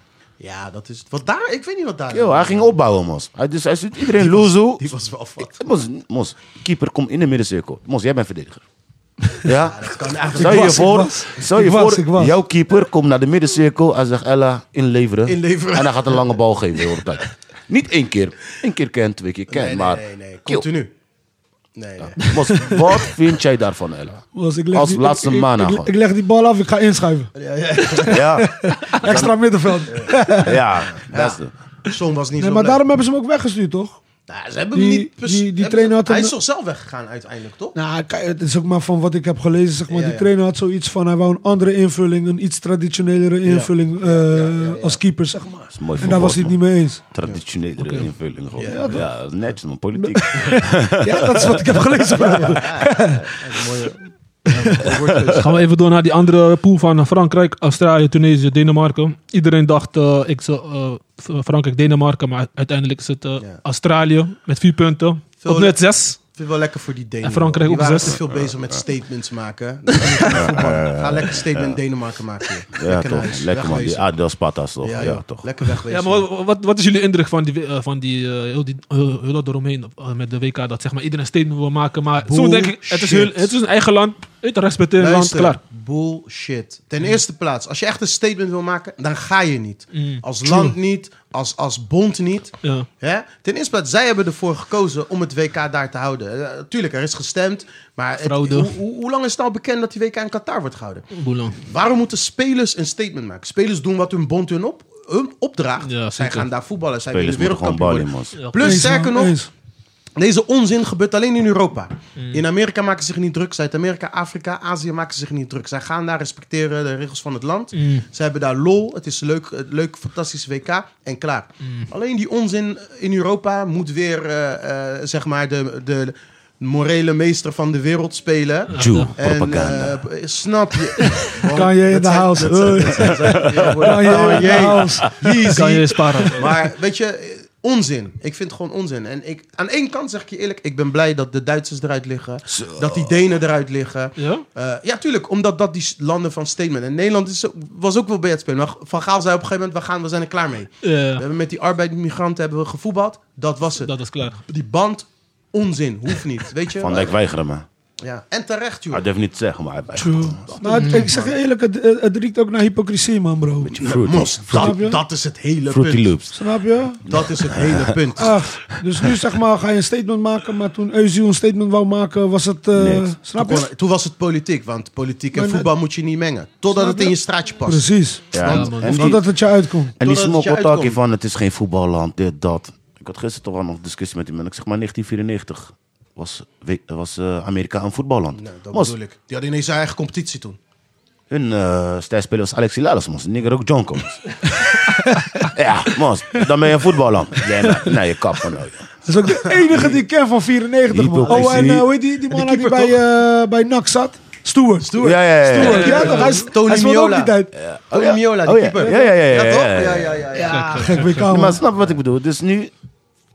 F: Ja, dat is. Wat daar? Ik weet niet wat daar.
D: Yo, hij ging opbouwen, mos. Hij, dus, hij ziet iedereen lozo.
F: Die was wel fout.
D: Mos, mos, keeper, kom in de middencirkel. Mos, jij bent verdediger. Ja?
F: Dat kan eigenlijk
D: Stel je
E: was, ik
D: voor,
E: was.
D: stel je
E: Ik was,
D: voor
E: ik was.
D: jouw keeper komt naar de middencirkel. Hij zegt, Ella, inleveren.
F: Inleveren.
D: En hij gaat een lange bal geven de hele tijd. Niet één keer. Eén keer ken, twee keer ken.
F: Nee, nee,
D: maar
F: nee, nee.
D: Kill.
F: Continu. Nee, nee.
D: Mos, wat vind jij daarvan, Ella?
E: Was, ik leg
D: Als
E: die-
D: laatste
E: ik- ik-
D: man
E: ik-
D: gewoon.
E: Ik leg die bal af, ik ga inschuiven.
D: Ja,
E: Extra middenveld.
D: ja, dat is het.
F: Zoon was niet
E: Nee,
F: zo
E: maar
F: leuk.
E: daarom hebben ze hem ook weggestuurd, toch?
F: Nou, ze hebben
E: die-
F: hem niet... pers-
E: die- die
F: hebben-
E: trainer had
F: Hij
E: hem-
F: is toch zelf weggegaan uiteindelijk, toch?
E: Nou, kijk, het is ook maar van wat ik heb gelezen. Zeg maar.
F: Ja,
E: die
F: ja.
E: trainer had zoiets van, hij wou een andere invulling, een iets traditionelere invulling eh, als keeper, zeg maar.
D: is mooi
E: En daar was hij
D: verwoord,
E: het niet mee eens.
D: Traditionele invulling gewoon. Ja, dat is netjes man, politiek.
E: Ja, dat is wat ik heb gelezen. bro.
F: dus-
B: Gaan we even door naar die andere pool van Frankrijk, Australië, Tunesië, Denemarken. Iedereen dacht eh, ik zou, eh, Frankrijk, Denemarken, maar uiteindelijk is het eh,
F: Ja.
B: Australië met vier punten.
F: Veel
B: op net zes.
F: Ik vind het wel lekker voor die Denen.
B: En Frankrijk
F: die
B: ook
F: waren
B: zes.
F: te veel bezig met statements maken. Dat is niet goed voetballen. Ga lekker statement Denemarken maken. joh.
D: Ja,
F: naar
D: toch.
F: huis,
D: Lekker man, die
F: wegwezen.
D: Adidas Patas toch. Ja,
F: ja, joh.
D: toch.
F: Lekker wegwezen.
B: Ja, maar wat, wat is jullie indruk van die, eh, van die, eh, heel, die heel, heel dat eromheen eh, met de WK? Dat zeg maar iedereen een statement wil maken, maar zo denk ik, het is, heel,
F: Bullshit.
B: het is een eigen land, het respecteer het land,
F: Luister,
B: klaar.
F: bullshit. Ten eerste plaats, als je echt een statement wil maken, dan ga je niet.
B: Mm.
F: Als land niet, als, als bond niet.
B: Ja.
F: Hè? Ten eerste plaats, zij hebben ervoor gekozen om het WK daar te houden. Eh, tuurlijk, er is gestemd, maar het-
B: Fraude.
F: hoe, hoe, hoe lang is het nou bekend dat die WK in Qatar wordt gehouden?
B: Boelan.
F: Waarom moeten spelers een statement maken? Spelers doen wat hun bond hun, op, hun opdraagt.
B: Ja,
F: zij
B: zeker.
F: gaan daar voetballen, zij
D: Spelers
F: willen
D: moeten gewoon
F: wereldkampioen
D: ballen,
F: worden.
B: Ja,
D: man.
F: Plus,
E: Eens,
F: sterker
E: man,
F: nog,
E: eens.
F: deze onzin gebeurt alleen in Europa.
E: Mm.
F: In Amerika maken ze zich niet druk. Zuid-Amerika, Afrika, Azië maken ze zich niet druk. Zij gaan daar respecteren de regels van het land.
E: Mm.
F: Ze hebben daar lol. Het is een leuk, een leuk fantastisch WK. En klaar.
E: Mm.
F: Alleen die onzin in Europa moet weer, eh, eh, zeg maar, de, de morele meester van de wereld spelen.
D: Jew,
F: En
D: propaganda.
F: eh, snap je?
E: Kan je in de house. Hey. Kan je
F: nou,
E: in de house.
B: Kan je sparen.
F: Maar weet je, eh, onzin. Ik vind het gewoon onzin. En ik, aan één kant zeg ik je eerlijk, ik ben blij dat de Duitsers eruit liggen. Dat die Denen eruit liggen.
B: Ja?
F: Eh, ja, tuurlijk, omdat dat die s- landen van statement. En Nederland is, ook- was ook wel bij het spelen. Maar Van Gaal zei op een gegeven moment, we, gaan, we zijn er klaar mee. We
B: Ja,
F: hebben met die arbeidsmigranten hebben we gevoetbald. Dat was het.
B: dat is klaar.
F: Die band, onzin. Hoeft niet, weet je.
D: Van Ah, Dijk weigeren me.
F: ja. En terecht, joh.
D: Hij durft niet te zeggen, maar hij weigert.
E: True. Maar het- Nou, ik zeg je eerlijk, het, het- het riekt ook naar hypocrisie, man, bro.
D: Fruity,
F: Mos,
D: Fruity-
F: dat, dat is het hele
D: Fruity
F: punt.
D: Loops. Ah.
E: Snap je?
F: Dat is het hele punt.
E: Ach, dus nu zeg maar ga je een statement maken, maar toen Eusiel een statement wou maken, was het... eh,
D: Niks.
E: snap
F: Toen
E: je?
F: kon- Toen was het politiek, want politiek en
E: Maar net-
F: voetbal moet je niet mengen. Totdat
E: Snap
F: het in
E: je?
F: je straatje past.
E: Precies.
D: Ja,
B: Want-
D: en
B: want
D: die-
E: Omdat het je uitkomt.
D: En die
F: Totdat het je
D: smokkel talkie
F: uitkomt.
D: van het is geen voetballand, dit, dat. Ik had gisteren toch wel nog een discussie met iemand. Ik zeg maar 1994 was, we- was eh, Amerika een voetballand.
F: Ja, dat
D: Mos,
F: bedoel ik. Die hadden ineens zijn eigen competitie toen.
D: hun eh stijlspeler was Alexi Lalas, mos. Nigger ook John Combs. ja, mos. Dan ben je een voetballand. Nee, nee, nee, je kap van nou. joh.
E: Dat is ook de enige die ik ken van 94, man.
D: Hypocrisie.
E: Oh, en eh, hoe heet die, die man die bij, eh, bij NAC zat? Stewart. Stewart.
D: Ja, ja, ja, ja.
E: Stewart, ja, toch? Hij, is-
F: Tony
E: hij speelde ook
F: Miola.
E: die tijd.
F: Oh,
D: ja.
F: Miola, die
D: Oh, ja.
F: keeper.
D: Ja, ja, ja, ja,
F: toch?
D: ja, ja.
F: ja, ja, ja, ja.
E: Ja, gek WK,
D: Nee, maar
E: man.
D: snap je wat ik bedoel? Dus nu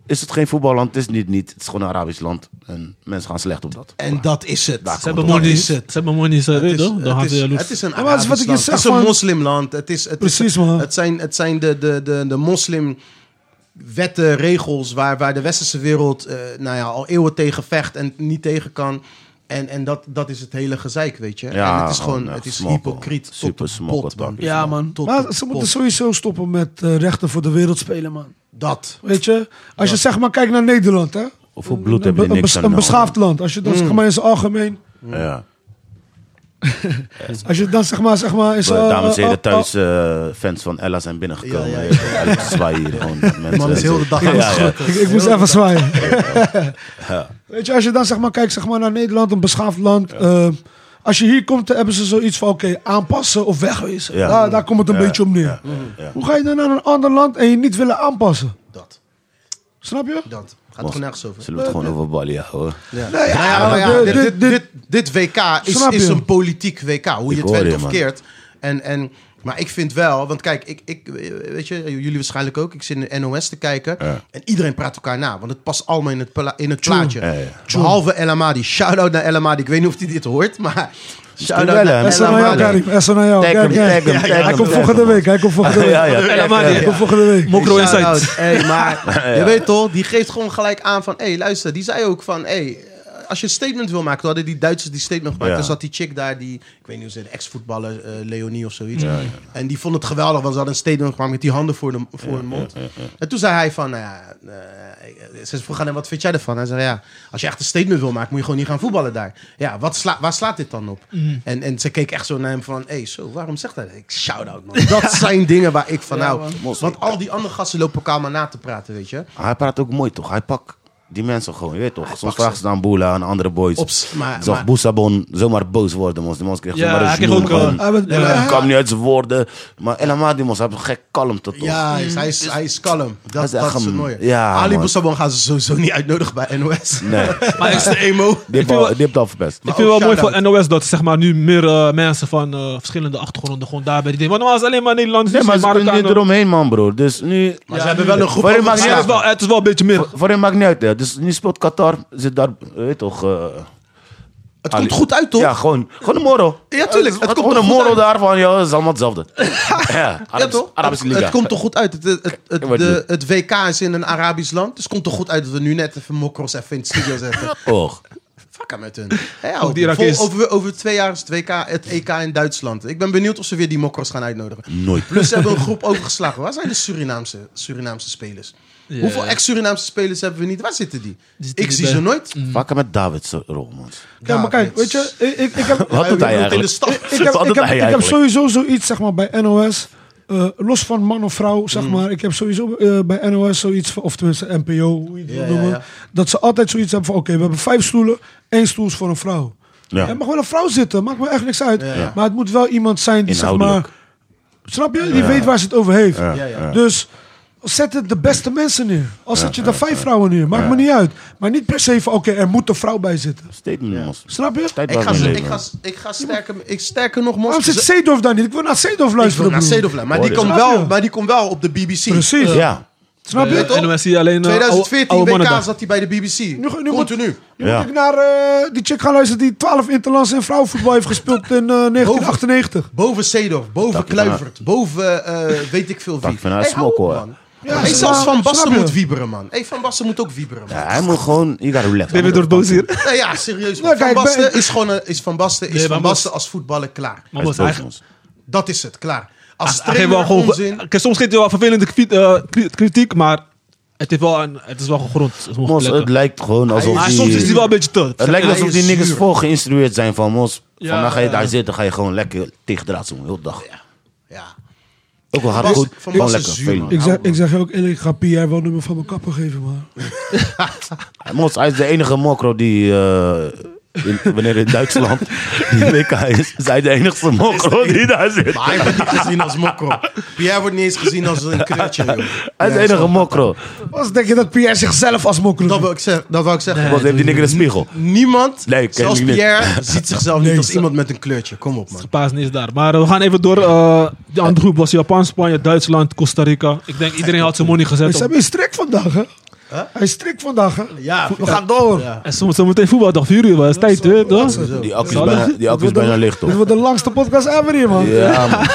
D: is het geen voetballand, het is niet niet. Het is gewoon een Arabisch land. En mensen gaan slecht op dat.
F: En dat is het.
B: Ze hebben mooi niet, ze hebben mooi niet, ze
F: Het
B: weet
F: is,
B: toch? Dan
F: het,
B: hadden
F: is,
B: ze
F: het is een
E: Ja, maar dat is
F: Arabisch
E: wat ik je
F: land.
E: zeg,
F: Het is een
E: man.
F: moslimland. Het is, het is-
E: Precies, man.
F: Het zijn, het zijn de, de, de, de moslimwetten, regels waar, waar de westerse wereld eh, nou ja, al eeuwen tegen vecht en niet tegen kan. En, en dat, dat is het hele gezeik, weet je.
D: Ja,
F: en het is gewoon
D: echt
F: het is
D: smokkel.
F: hypocriet. tot
D: Super
F: de
D: smokkel,
F: pot, man.
D: toch?
E: Ja, man.
F: Tot
E: Maar
F: de
E: ze
F: pot.
E: moeten sowieso stoppen met eh, rechten voor de wereld spelen, man.
F: Dat.
E: Weet je? Als je zeg maar kijkt naar Nederland, hè?
D: Hoeveel bloed
E: Een,
D: hebben
E: be-
D: je
E: een,
D: niks
E: bes-
D: aan Mm.
E: een
D: nou?
E: beschaafd land. Als je dan zeg maar in zijn algemeen...
D: Ja.
E: Als je dan zeg maar... Zeg maar in zijn,
D: Eh, dames en
E: eh,
D: heren,
E: eh,
D: thuis eh, fans van Ella zijn binnengekomen.
F: oh. Ja,
D: Ja,
F: ja,
D: zwaaien hier gewoon. dat Mensen,
F: Man is heel de dag aan het schudden.
E: Ik, ik moest even zwaaien. Weet je, als je dan zeg maar kijkt zeg maar, naar Nederland, een beschaafd land. eh, als je hier komt, dan hebben ze zoiets van: oké, aanpassen of wegwezen.
D: Ja.
E: Daar, daar komt het een beetje om neer. Hoe ga je dan naar een ander land en je niet willen aanpassen?
F: Dat.
E: Snap je?
F: Dat. Gaat
D: Mos,
F: er gewoon nergens over.
D: Zullen we het gewoon over Bali houden?
F: Nou ja, nou ja,
E: de-
F: dit,
E: de-
F: dit, dit, dit WK is,
E: Snap je?
F: is een politiek WK, hoe
D: Ik
F: je het
D: hoor
F: went
D: je,
F: of
D: man.
F: keert. En, en, maar ik vind wel, want kijk, ik, ik, weet je, jullie waarschijnlijk ook, ik zit in de NOS te kijken. En iedereen praat elkaar na, want het past allemaal in het, pla- in het plaatje.
D: Ja, ja.
F: Behalve El Amadi. Shout-out naar El Amadi. Ik weet niet of hij dit hoort, maar
D: wel,
F: shout-out
D: hè?
F: naar
D: Dat is
F: El
E: Esso naar jou,
F: Amadi.
E: Karim. Esso naar jou.
D: Tag hem,
E: Kijk, kijk.
D: tag hem, tag
E: Hij
D: hem,
E: komt
D: tag
E: volgende
D: hem.
E: week. Hij komt volgende
D: Ja,
E: week.
D: ja.
B: El Amadi.
E: Hij komt volgende week.
B: Mokro
F: Shout-out.
B: Insights.
F: Hey, maar je weet toch, die geeft gewoon gelijk aan van... Hé, hey, luister, die zei ook van... Hey, als je een statement wil maken, toen hadden die Duitsers die statement gemaakt.
D: Ja.
F: Dan zat die chick daar, die, ik weet niet hoe ze heet, ex-voetballer, eh, Leonie of zoiets. En die vond het geweldig, want ze had een statement gemaakt met die handen voor, de, voor hun mond. En toen zei hij van, nou ja, eh, ze vroeg aan hem, wat vind jij ervan? Hij zei, ja, als je echt een statement wil maken, moet je gewoon niet gaan voetballen daar. Ja, wat sla, waar slaat dit dan op? En, en ze keek echt zo naar hem van, hé, hey, zo, waarom zegt hij dat? Ik, shout-out, man. Dat zijn dingen waar ik van hou. Want al die andere gasten lopen elkaar maar na te praten, weet je.
D: Hij praat ook mooi, toch? Hij pakt die mensen gewoon, je weet toch? Soms vragen ze aan Boela en andere boys.
F: Op s- maar-
D: Zag
F: maar-
D: Boesabon zomaar boos worden, mos. Die man kreeg
B: Ja,
D: zomaar
B: hij
D: een
B: kreeg
D: snoer.
B: ook,
D: gewoon.
B: eh,
E: Hij werd-
D: Hij kwam niet uit zijn woorden. Maar El Amadi, mos, hij heeft gek kalmte, toch?
F: Ja,
B: mm.
F: hij is, hij is, hij is kalm.
D: is
F: Dat,
D: echt
F: dat is het
D: een-
F: mooie.
D: ja,
F: Ali
D: man.
F: Boussabon gaan ze sowieso niet uitnodigen bij NOS.
D: Nee,
F: Maar hij is de emo.
D: die heeft al- die heeft al verpest.
B: Ik vind
F: ook
B: het wel mooi
F: shout-out.
B: voor NOS dat zeg maar, nu meer eh, mensen van eh, verschillende achtergronden gewoon daarbij die denken. Want normaal is het alleen maar Nederlanders.
D: Nee, maar ze kunnen niet
B: Marokkanen.
D: eromheen, man, broer. Dus nu...
F: Maar ze hebben wel een groep
D: Voor hem
F: over
D: maakt niet
B: Ja, het,
F: slaven.
B: is wel, het is wel een beetje meer.
D: Voor hem maakt niet uit, hè. Dus nu speelt Qatar, zit daar, eh, weet toch... eh,
F: Het
D: Ali.
F: komt goed uit, toch?
D: Ja, gewoon, gewoon een moro.
F: Ja, tuurlijk.
D: Het
F: Het
D: komt
F: komt
D: een
F: er goed
D: moro
F: uit.
D: daarvan, joh, het is allemaal hetzelfde. ja,
F: Ja,
D: Arabische, Arabische
F: het,
D: Liga.
F: het komt toch goed uit. Het, het, het, het-
D: Ik word
F: de,
D: niet.
F: het WK is in een Arabisch land. Dus het komt toch goed uit dat we nu net even mokros even in het studio zetten.
D: Och.
F: Fuck hem met hun. Ja, ja,
B: Ook die Irakees.
F: vol- over, over twee jaar is het, WK, het EK in Duitsland. Ik ben benieuwd of ze weer die mokros gaan uitnodigen.
D: Nooit.
F: Plus ze hebben een groep overgeslagen. Waar zijn de Surinaamse, Surinaamse spelers? Hoeveel ex-Surinaamse spelers hebben we niet? Waar zitten die?
B: zitten
F: Ik
B: niet
F: zie
B: bij.
F: ze nooit.
D: Vakken met Davids rol, man.
E: Ja, maar kijk, weet je, ik, ik, ik heb...
D: Wat doet hij
F: in de
D: eigenlijk?
F: stad.
E: Ik heb,
D: Wat
E: ik,
D: doet
E: heb,
D: hij
E: ik heb
D: eigenlijk?
E: sowieso zoiets, zeg maar, bij NOS. eh, los van man of vrouw,
D: Mm.
E: zeg maar. Ik heb sowieso eh, bij NOS zoiets, van, of tenminste NPO, hoe je het
F: Ja,
E: wil
F: ja,
E: noemen.
F: ja.
E: Dat ze altijd zoiets hebben van, oké, we hebben vijf stoelen. één stoel is voor een vrouw.
D: Ja.
E: Er mag wel een vrouw zitten, maakt me echt niks uit.
F: Ja, ja.
E: Maar het moet wel iemand zijn die, zeg maar...
D: Inhoudelijk.
E: Snap je? Die weet waar ze het over heeft.
F: Ja, ja.
E: Dus zet het de beste mensen neer. Als zet je er vijf vrouwen neer, maakt me niet uit. Maar niet per se van, oké, er moet een vrouw bij zitten.
D: Statement, mos.
E: Snap je?
D: Tijd
F: Ik
D: was
F: ga,
D: mijn
F: ze-
D: leven.
F: ik, ga, ik ga sterker, ik sterker nog
E: Waarom zit
F: mos.
E: Seedorf daar niet? Ik wil naar Seedorf
F: Ik wil
E: luisteren.
F: naar
E: broer.
F: Cedofla, maar die
D: Hoor je?
F: komt
E: Snap je?
F: wel, maar die komt wel op de BBC.
E: Precies.
D: Ja.
E: Snap je?
B: Eh,
E: toch?
B: NOS zie alleen eh, oude-
F: 2014
B: oude mannen
F: WK
B: daar.
F: zat hij bij de BBC.
E: Nu, nu moet,
F: Continu.
E: nu
D: Ja.
E: moet ik naar eh, die chick gaan luisteren die 12 interlands en vrouwenvoetbal heeft gespeeld in eh, 1998.
F: Boven Seedorf, boven
D: Tak van
F: Kluivert, boven eh, weet ik veel wie.
D: Tak van haar smokkel,
F: hou op,
D: hè.
F: man.
E: Ja,
F: hey,
E: snap-
F: zelfs Van
E: snap
F: Basten
E: je?
F: moet wieberen, man. Hey, Van Basten moet ook wieberen, man.
D: Ja, Hij moet gewoon... Je gaat relaxen.
B: David Dordoos hier.
F: Nee, ja, serieus. man. van,
E: Nou, kijk,
F: Basten
E: ben-
F: is gewoon een, is van Basten is
B: Nee,
F: Van
B: maar
F: Basten als voetballer klaar.
B: Maar
D: Hij
B: was
D: is boos,
B: eigenlijk.
D: mos.
F: Dat is het, klaar. Als
B: Ah, Hij geeft wel
F: trainer
B: gewoon.
F: onzin.
B: Kijk, Soms geeft hij wel vervelende kwi- eh, kri- kritiek, maar het, heeft wel een, het is wel gegrond. sommige
D: Mos, het
B: plekken.
D: lijkt gewoon alsof
B: Maar
D: die-
B: soms is hij wel een beetje te.
D: Het lijkt
F: Hij
D: alsof
F: is
D: die niks
F: zuur.
D: voor geïnstrueerd zijn van Mos.
B: Ja,
D: Vandaag ga je
B: ja.
D: daar zitten, ga je gewoon lekker tegendraad doen, heel de dag.
F: Ja.
D: Ook wel hard
F: Bas-
D: goed,
F: Van
D: gewoon
F: Bas is
D: lekker.
F: zuur,
D: veel
F: man.
D: man.
E: Ik
B: Nou,
E: zeg, ik zeg je ook eerlijk, ik ga Pierre wel nummer van mijn kapper geven, man.
D: Mos, hij is de enige mokro die, eh, in- wanneer in Duitsland die WK is, is hij de enige mokro die daar zit.
F: Maar hij wordt niet gezien als mokro. Pierre wordt niet eens gezien als een kratje, joh.
D: Hij is de enige mokro.
E: Als denk je dat Pierre zichzelf als
F: Dat
E: mokkel noemt?
F: wil ik, zeg, dat wil ik zeggen.
D: Mos heeft die niks in de spiegel.
F: Niemand,
D: Nee, ken
F: zelfs
D: ik niet.
F: Pierre, ziet zichzelf niet als iemand met een kleurtje. Kom op, man.
B: Pasen is daar. Maar eh, we gaan even door. eh, de andere groep was Japan, Spanje, Duitsland, Costa Rica. Ik denk iedereen had zijn money gezet.
E: Ze
B: op-
E: hebben een strik vandaag, hè? Hij is strik vandaag, hè?
F: Ja,
E: We gaan door.
F: Ja.
B: En soms zometeen voetbaldag, 4 uur. Het eh, is tijd, hè? toch?
D: Die accu is bijna, die accu is bijna licht,
E: Dit
D: toch?
E: wordt de langste podcast ever hier, man.
D: Ja, man.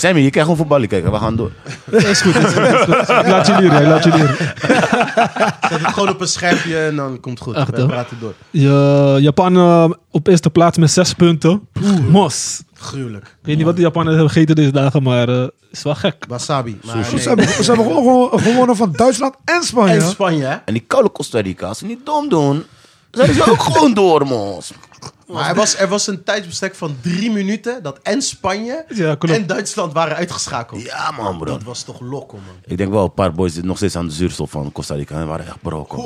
D: Sammy, je krijgt gewoon voetballen kijken, we gaan door.
B: Is goed, is goed, is goed. Ik laat je leren, ik laat je leren.
F: Zet het gewoon op een schermpje en dan komt het goed.
B: Echt,
F: We
B: hè?
F: praten door.
B: Ja, Japan eh, op eerste plaats met 6 punten. Mos.
F: Gruwelijk.
B: Ik weet niet wat de Japanners hebben gegeten deze dagen, maar eh is wel gek.
F: Wasabi. Maar nee.
E: Ze hebben, ze hebben gewoon gewo- gewonnen van Duitsland en Spanje.
F: En
E: hè?
F: Spanje, hè?
D: En die koude Costa Rica, als ze niet dom doen, zijn ze ook gewoon door, Mos.
F: Maar er was, er was een tijdsbestek van drie minuten dat en Spanje
B: Ja, klopt.
F: en Duitsland waren uitgeschakeld.
D: Ja, man, bro.
F: Dat was toch lokker, man.
D: Ik denk wel een paar boys zitten nog steeds aan de zuurstof van Costa Rica. Die waren echt brokken.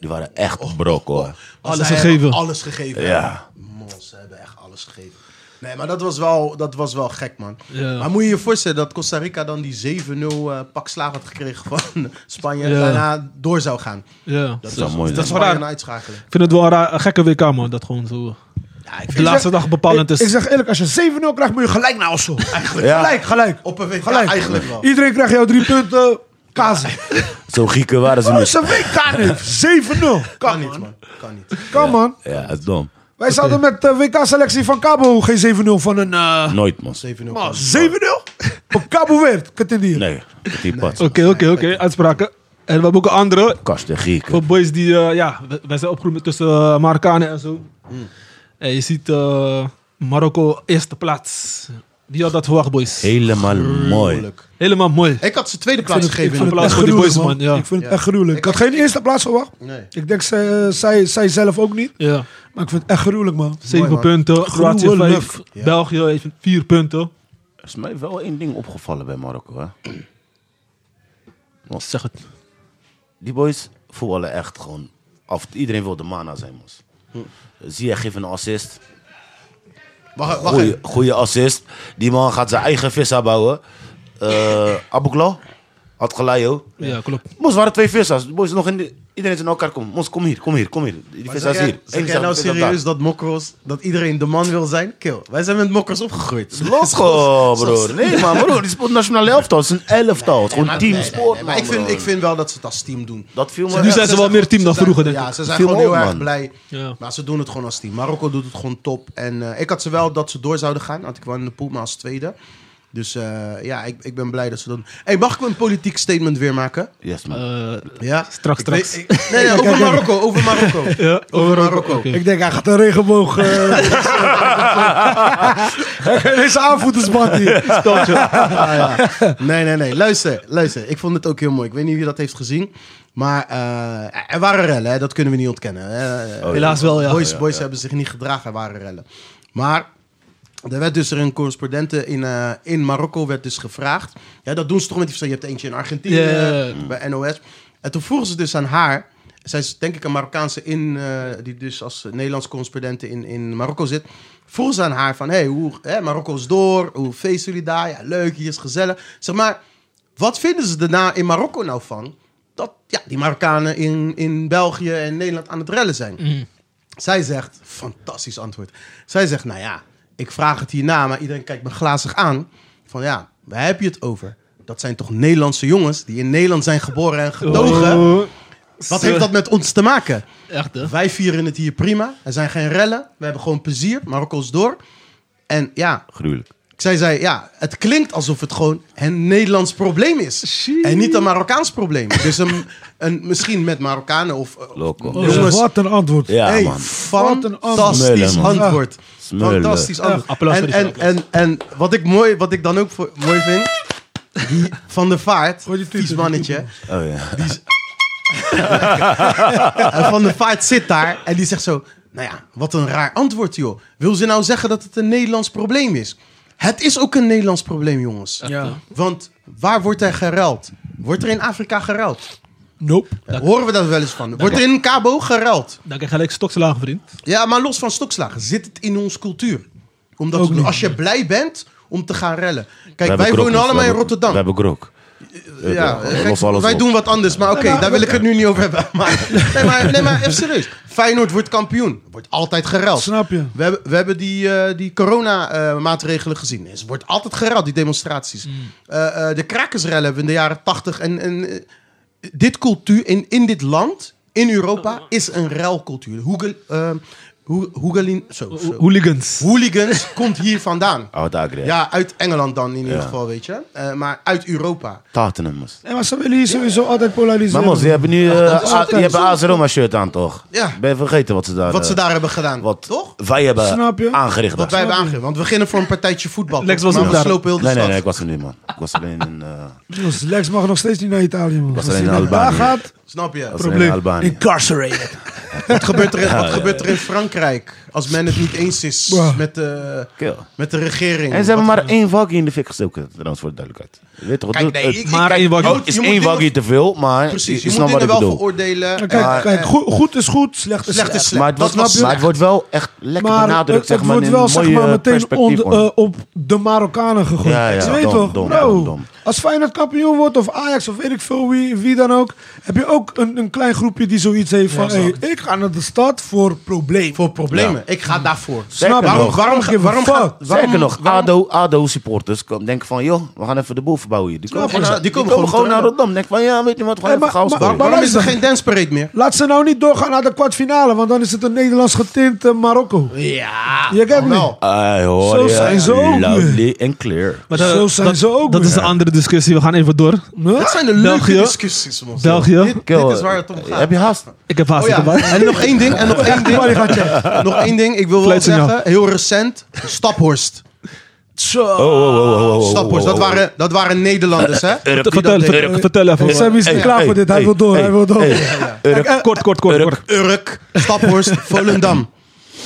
D: Die waren echt brokken. hoor.
F: Maar
B: Alles
F: zij
B: gegeven.
F: hebben Alles gegeven.
D: Ja.
F: Mons, ze hebben echt alles gegeven. Nee, maar dat was wel, dat was wel gek, man.
B: Ja.
F: Maar moet je je voorstellen dat Costa Rica dan die 7-0 eh, pak slaag had gekregen van Spanje en
B: Ja.
F: daarna door zou gaan.
B: Ja.
F: Dat,
D: zou mooi
F: Dat
D: zijn.
F: is
B: Raar.
F: raar. uitschakelen.
B: Ik vind het wel een, raar, een gekke WK, man. Dat gewoon zo.
F: Ja, ik
B: Op
F: vind
B: de laatste dag bepalend
E: Ik,
B: is.
E: ik zeg eerlijk, als je 7-0 krijgt, moet je gelijk naar Oslo.
F: eigenlijk
D: Ja.
E: Gelijk, gelijk.
F: op een week
E: Gelijk.
F: eigenlijk wel.
E: Iedereen krijgt jouw drie punten. Kaas.
D: Zo Grieken waren ze
E: Oh,
D: niet.
E: ze weet kan niet. 7-0.
F: Kan niet, man. Kan niet.
E: Kan man.
D: Ja, dat is dom.
E: Wij zouden met de WK-selectie van Cabo geen 7-0 van een... eh,
D: Nooit, man.
F: 7-0.
E: man, 7-0? Op Cabo Verde, kut in die.
D: Nee, die pad.
B: Oké, oké, oké. Uitspraken. En we hebben ook een andere.
D: Kasten, Grieken.
B: Voor boys die, eh, ja, we- wij zijn opgegroeid tussen eh, Marokkanen en zo.
E: Hmm.
B: En je ziet eh, Marokko eerste plaats. Wie had dat verwacht, boys?
D: Helemaal mooi.
F: Gruwelijk.
B: Helemaal mooi.
F: Ik had ze tweede plaats
E: Ik
F: gegeven.
E: vind
F: in
E: het
F: de
E: echt
B: Applaus voor die boys,
E: gruwelijk, man.
B: man, ja.
E: Ik vind het
F: Ja.
E: echt gruwelijk. Ik had geen eerste plaats verwacht.
F: pla- Nee.
E: Ik denk, ze- zij, zij zelf ook niet.
B: Ja,
E: Maar ik vind het echt gruwelijk, man.
B: zeven
F: man.
B: punten. Kroatië
E: Gruwelijk.
B: vijf. België heeft vier punten.
D: Is mij wel één ding opgevallen bij Marokko, hè.
B: Zeg het.
D: Die boys voetballen echt gewoon. Af, iedereen wil de mana zijn, man.
F: Hm.
D: Zie je, geeft een assist.
F: Wacht, wacht
D: Goeie,
F: even.
D: goeie assist. Die man gaat zijn eigen vissa bouwen. Eh Abouklaw. Adgelayo.
B: Ja, klopt.
D: Mos waren twee vissa's. De boys nog in de- iedereen is in elkaar komen. Mos, kom hier, kom hier, kom hier. Die vissa
F: Zeg
D: is
F: jij-
D: hier.
F: Zeg
D: Eén
F: jij
D: is
F: nou
D: daar, één
F: serieus
D: is daar.
F: dat mokros, dat iedereen de man wil zijn? Kill. Wij zijn met mokros opgegroeid.
D: Loco, broer. Nee, maar broer, die speelt nationale elftal. Het is een elftal. Het is gewoon
F: Nee, nee,
D: teamsport,
F: nee,
D: man,
F: Maar ik vind,
D: broer.
F: ik vind wel dat ze het als team doen.
D: Dat viel me
B: Nu
D: echt.
B: zijn ze wel meer team dan
F: Ze zijn-
B: vroeger, denk ik.
F: Ja, ze zijn
D: Viel
F: gewoon
D: me
F: heel
D: op,
F: erg
D: man.
F: blij.
B: Ja.
F: Maar ze doen het gewoon als team. Marokko doet het gewoon top. En eh, ik had ze wel dat ze door zouden gaan. Had ik wel in de pool, maar als tweede. Dus eh, ja, ik, ik ben blij dat ze dat doen. Hey, mag ik een politiek statement weer maken?
D: Yes, man.
B: Eh,
F: Ja?
B: Straks,
F: Ik
B: straks.
F: weet- ik- nee, nee, over Marokko. Over Marokko.
B: ja,
F: Over
B: overal.
F: Marokko.
B: Oké.
E: Ik denk, hij gaat een regenboog. eh Deze aanvoetersband hier.
F: Ah, ja. Nee, nee, nee. Luister, luister. Ik vond het ook heel mooi. Ik weet niet wie dat heeft gezien. Maar eh, er waren rellen, hè. dat kunnen we niet ontkennen. Eh,
B: Helaas wel, Oh, ja.
F: Boys, boys hebben zich niet gedragen, er waren rellen. Maar er werd dus er een correspondente in, eh, in Marokko werd dus gevraagd. Ja, dat doen ze toch met die verschillen. Je hebt eentje in Argentinië eh,
B: Ja, ja, ja.
F: bij NOS. En toen vroegen ze dus aan haar. Zij is denk ik een Marokkaanse in, eh, die dus als Nederlands correspondente in, in Marokko zit. Vroegen ze aan haar van, hey, hoe, hè, Marokko is door, hoe feest jullie daar? Ja, leuk, hier is gezellig. Zeg maar, wat vinden ze daarna in Marokko nou van? Dat ja, die Marokkanen in, in België en Nederland aan het rellen zijn.
B: Mhm.
F: Zij zegt, fantastisch antwoord. Zij zegt, nou ja, ik vraag het hierna, maar iedereen kijkt me glazig aan. Van ja, waar heb je het over? Dat zijn toch Nederlandse jongens die in Nederland zijn geboren en gedogen?
B: Oh,
F: Wat
B: ze-
F: heeft dat met ons te maken?
B: Echt, hè?
F: Wij vieren het hier prima. Er zijn geen rellen. We hebben gewoon plezier. Marokko is door. En ja,
D: Gruwelijk.
F: zij zei, ja, het klinkt alsof het gewoon een Nederlands probleem is. En niet een Marokkaans probleem. Dus een, een, misschien met Marokkanen of... eh,
D: Loco.
F: Ja. Jongens.
E: Wat een antwoord.
D: Ja,
F: hey,
D: man.
F: fantastisch
D: Smullen, man.
F: antwoord.
D: Smullen.
F: Fantastisch antwoord.
B: Applaus voor
F: en,
B: die
F: en,
B: applaus.
F: en, en wat ik, mooi, wat ik dan ook voor, mooi vind... Die van de Vaart,
E: Gooi die tweet
F: vies
E: in, die
F: mannetje.
D: Oh ja.
F: En eh, Van der Vaart zit daar en die zegt zo... Nou ja, wat een raar antwoord, joh. Wil ze nou zeggen dat het een Nederlands probleem is? Het is ook een Nederlands probleem, jongens.
E: Ja.
F: Want waar wordt er geruild? Wordt er in Afrika geruild?
E: Nope.
F: Horen we dat wel eens van? Wordt er in Cabo geruild?
B: Dan krijg je gelijk stokslagen, vriend.
F: Ja, maar los van stokslagen zit het in onze cultuur. Omdat we- als je blij bent om te gaan rellen. Kijk, wij wonen allemaal in Rotterdam.
D: We hebben krok.
F: Ja,
D: Ja,
F: kijk,
D: los alles
F: wij
D: op.
F: doen wat anders, maar oké, daar wil ik het nu niet over hebben. Maar, nee, maar, nee, maar even serieus. Feyenoord wordt kampioen. Wordt altijd gereld.
E: Snap je.
F: We hebben, we hebben die, eh, die corona-maatregelen gezien. Er wordt altijd gereld, die demonstraties.
B: Mm.
F: Eh, eh, de krakersrellen hebben we in de jaren tachtig. En, en eh, dit cultuur in, in dit land, in
B: Oh.
F: Europa, is een relcultuur. Hoegel, eh, hoe- hoegelin, zo, zo.
B: Hooligans.
F: Hooligans komt hier vandaan.
D: Oud Agri. Oh, Ja.
F: Ja, uit Engeland dan in ieder
D: Ja.
F: geval, weet je. Eh, maar uit Europa.
D: Tottenham, man.
E: Nee, maar ze willen hier sowieso altijd
D: Maar mos, je
E: polariseren.
D: hebt nu eh
F: is
D: A-
F: altijd
D: je hebt een
F: zo.
D: AS Roma shirt aan, toch?
F: Ja.
D: Ben je vergeten wat ze daar...
F: Wat ze
D: eh,
F: daar hebben gedaan.
D: Wat
F: Toch?
D: wij hebben
E: Snap je?
D: aangericht.
F: Wat wij
D: daar.
F: hebben aangegeven. Want we beginnen voor een partijtje voetbal.
B: Lex was
F: maar
B: ook
F: we
B: daar.
F: slopen heel de
D: Nee, nee,
F: stad.
D: nee, ik was er niet, man. Ik was alleen in, eh
E: Jongens, Lex mag nog steeds niet naar Italië, man.
D: was
E: Als
D: alleen
E: hij
D: in
E: naar daar
D: Albanië.
E: gaat,
F: Snap je?
D: was alleen in Albanië.
E: incarcerated.
F: Wat gebeurt er in, wat gebeurt er in Frankrijk als men het niet eens is
E: Wow.
F: met, de,
D: Kill.
F: met de regering?
D: En ze hebben maar één waggie in de fik gestoken, trouwens, voor de duidelijkheid. Je weet toch,
F: Kijk, nee,
D: het,
F: ik-
D: het-
F: ik-
B: Maar
F: kijk,
B: één waggie.
F: je
D: het
F: moet-
D: is
F: je moet
D: één
F: dingen-
D: waggie te veel, maar
F: Precies,
D: je,
F: je
D: je
F: moet
D: snapt wat
F: dingen
D: ik
F: wel
D: bedoel.
F: veroordelen.
E: Kijk,
F: Eh,
E: kijk
F: eh,
E: goed, goed is goed, slecht is
F: Slecht
E: slecht.
F: is slecht.
D: Maar het, wordt,
F: Dat was-
D: maar het wordt wel echt lekker benadrukt, zeg maar,
E: wordt
D: in
E: wel
D: een
E: zeg
D: mooie
E: maar, meteen
D: perspectief.
E: on-
D: man.
E: eh, op de Marokkanen gegooid.
D: Ja, ja,
E: je weet
D: dom,
E: toch,
D: dom,
E: bro,
D: dom, dom.
E: als Feyenoord kampioen wordt of Ajax of weet ik veel wie, wie dan ook, heb je ook een, een klein groepje die zoiets heeft van, hey, ik ga naar de stad voor probleem.
F: Voor problemen. Ik ga daarvoor.
D: Zeker
E: Snap je?
D: nog.
E: eh, Waarom, waarom,
F: waarom
E: fuck?
F: gaat-
D: Zeker nog, ADO, ADO supporters kom- denken van, joh, we gaan even de boel gebouwen hier. Die komen,
F: precies.
D: gewoon, naar- die komen gewoon, naar Rotterdam. Denk van, ja, weet je wat, gewoon even
E: Hey, Eh, maar-
D: chaos
E: maar-
D: gooien.
E: maar-
F: Waarom is er geen dance parade meer?
E: Laat ze nou niet doorgaan naar de kwartfinale, want dan is het een Nederlands getint eh, Marokko.
F: Ja.
E: Je kent me.
D: Ah, hoor
E: Zo
D: je,
E: zijn ze ook eh.
D: Loudly en clear.
B: Maar
E: Zo zijn
B: dat,
E: ze ook
B: Dat
E: weer.
B: is een andere discussie. We gaan even door.
E: Huh?
F: Dat zijn de leuke
B: België?
F: discussies, man.
B: België.
F: Dit, dit is waar het om gaat.
D: eh, Heb je haast?
B: Ik heb haast.
F: Oh
B: ik heb haast.
F: ja, en nog één ding, en nog één ding. nog één ding, ik wil wel
B: Fluitsignaal.
F: zeggen, heel recent, Staphorst.
D: Oh, oh, oh, oh, oh, oh,
F: Staphorst, dat
D: oh, Eh, oh.
F: waren, dat waren Nederlanders, hè?
D: Urk.
F: Die
B: Vertel,
F: dat deden.
B: vertel, vertel even.
E: eh,
B: Eh,
E: Sammy is
D: Hey,
E: niet klaar
D: hey,
E: voor dit. Hij
D: hey,
E: wil door,
D: hey,
E: hij wil door.
D: hey. Urk.
B: Kort, kort, kort.
D: Urk.
B: kort.
F: Urk, Staphorst, Volendam.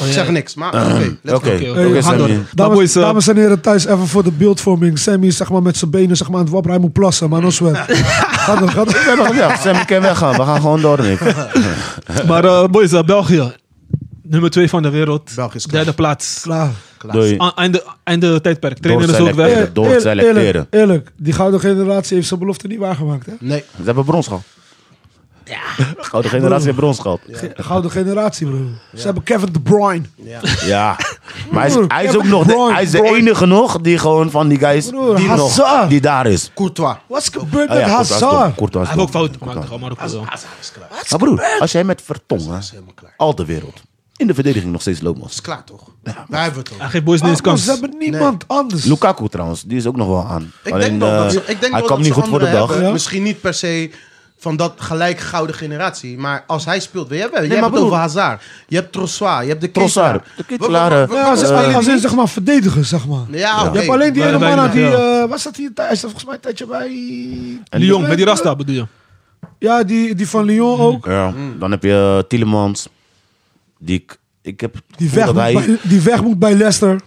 F: Ik zeg niks, maar oké, let's
D: Oh, Ah, Oké,
F: go.
B: Oké,
D: oké,
B: we gaan
D: Sammy.
B: door.
E: Dames,
B: Baboeis, eh,
E: dames en heren, thuis even voor de beeldvorming. Sammy is zeg maar, met zijn benen zeg maar, aan het wapperen. Hij moet plassen, maar no sweat. Ga door, ga door.
D: Ja, Sammy kan weggaan. We gaan gewoon door, Nick.
B: Maar eh, boys, eh, België. Nummer 2 van de wereld.
F: België is klaar.
B: Derde plaats.
E: Klaar.
D: Doei.
B: A- Einde, einde tijdperk. Trainer is ook weg.
D: Doorselecteren. Door
E: Eer-
D: selecteren.
E: eerlijk, eerlijk, die gouden generatie heeft zijn belofte niet waargemaakt. Hè?
F: Nee,
D: Ze hebben brons gehad. Ja. Gouden generatie heeft brons gehad.
E: Ge- Gouden generatie, bro. Ze hebben Kevin De Bruyne.
D: Ja. Maar hij is,
E: Broer,
D: hij is
E: Kevin
D: ook nog
E: De
D: de,
E: Bruyne,
D: hij is de
E: Bruyne.
D: enige nog die gewoon van die guys
E: Broer,
D: die, nog,
E: Hazard.
D: die daar is.
F: Courtois.
E: Wat is gebeurd
D: Ah
E: met
D: ja, Courtois is
E: Hazard?
D: toch- Courtois
B: Hij
D: is
B: heeft ook
D: toch-
B: fout gemaakt tegen Marokko. wel.
F: Hazard is klaar.
D: Maar broer, als jij met Vertongen,
F: helemaal klaar.
D: al de wereld, in de verdediging nog steeds loopt, man.
F: Is klaar, toch? Daar hebben we het
B: Hij
F: over.
B: geeft boys niet eens
E: Ah, maar
B: kans.
E: ze hebben niemand anders.
D: Lukaku trouwens, die is ook nog wel aan.
F: Ik denk wel dat
D: eh,
F: ze, ik denk
D: hij
F: wel
D: kwam
F: dat
D: niet
F: ze
D: goed voor de
F: anderen
D: dag.
F: hebben.
E: Ja.
F: Misschien niet per se van dat gelijk gouden generatie. Maar als hij speelt, jij, hebt, jij
D: maar
F: hebt het
D: broer.
F: over Hazard. Je hebt Trossard, je hebt de
D: Trossard,
F: Keita.
D: de eh, Ketelaren.
F: We- we- we-
E: Ja,
F: we-
E: als,
F: we-
E: als,
F: we-
E: als
F: we-
E: in, zeg maar verdedigen, zeg maar.
F: Ja, oké.
E: Je hebt alleen die
B: Wij-
E: ene
B: wij-
E: man uit die...
B: ja.
E: eh, was dat hier? Hij is er volgens mij een tijdje bij...
B: Lyon, met die Rasta bedoel je?
E: Ja, die, die van
D: Mm.
E: Lyon ook.
D: Ja,
F: Hmm.
D: dan heb je eh, Tielemans, die ik, ik heb het
E: Die
D: gevoel
E: weg, moet
D: dat hij-
E: bij, die weg moet bij Leicester.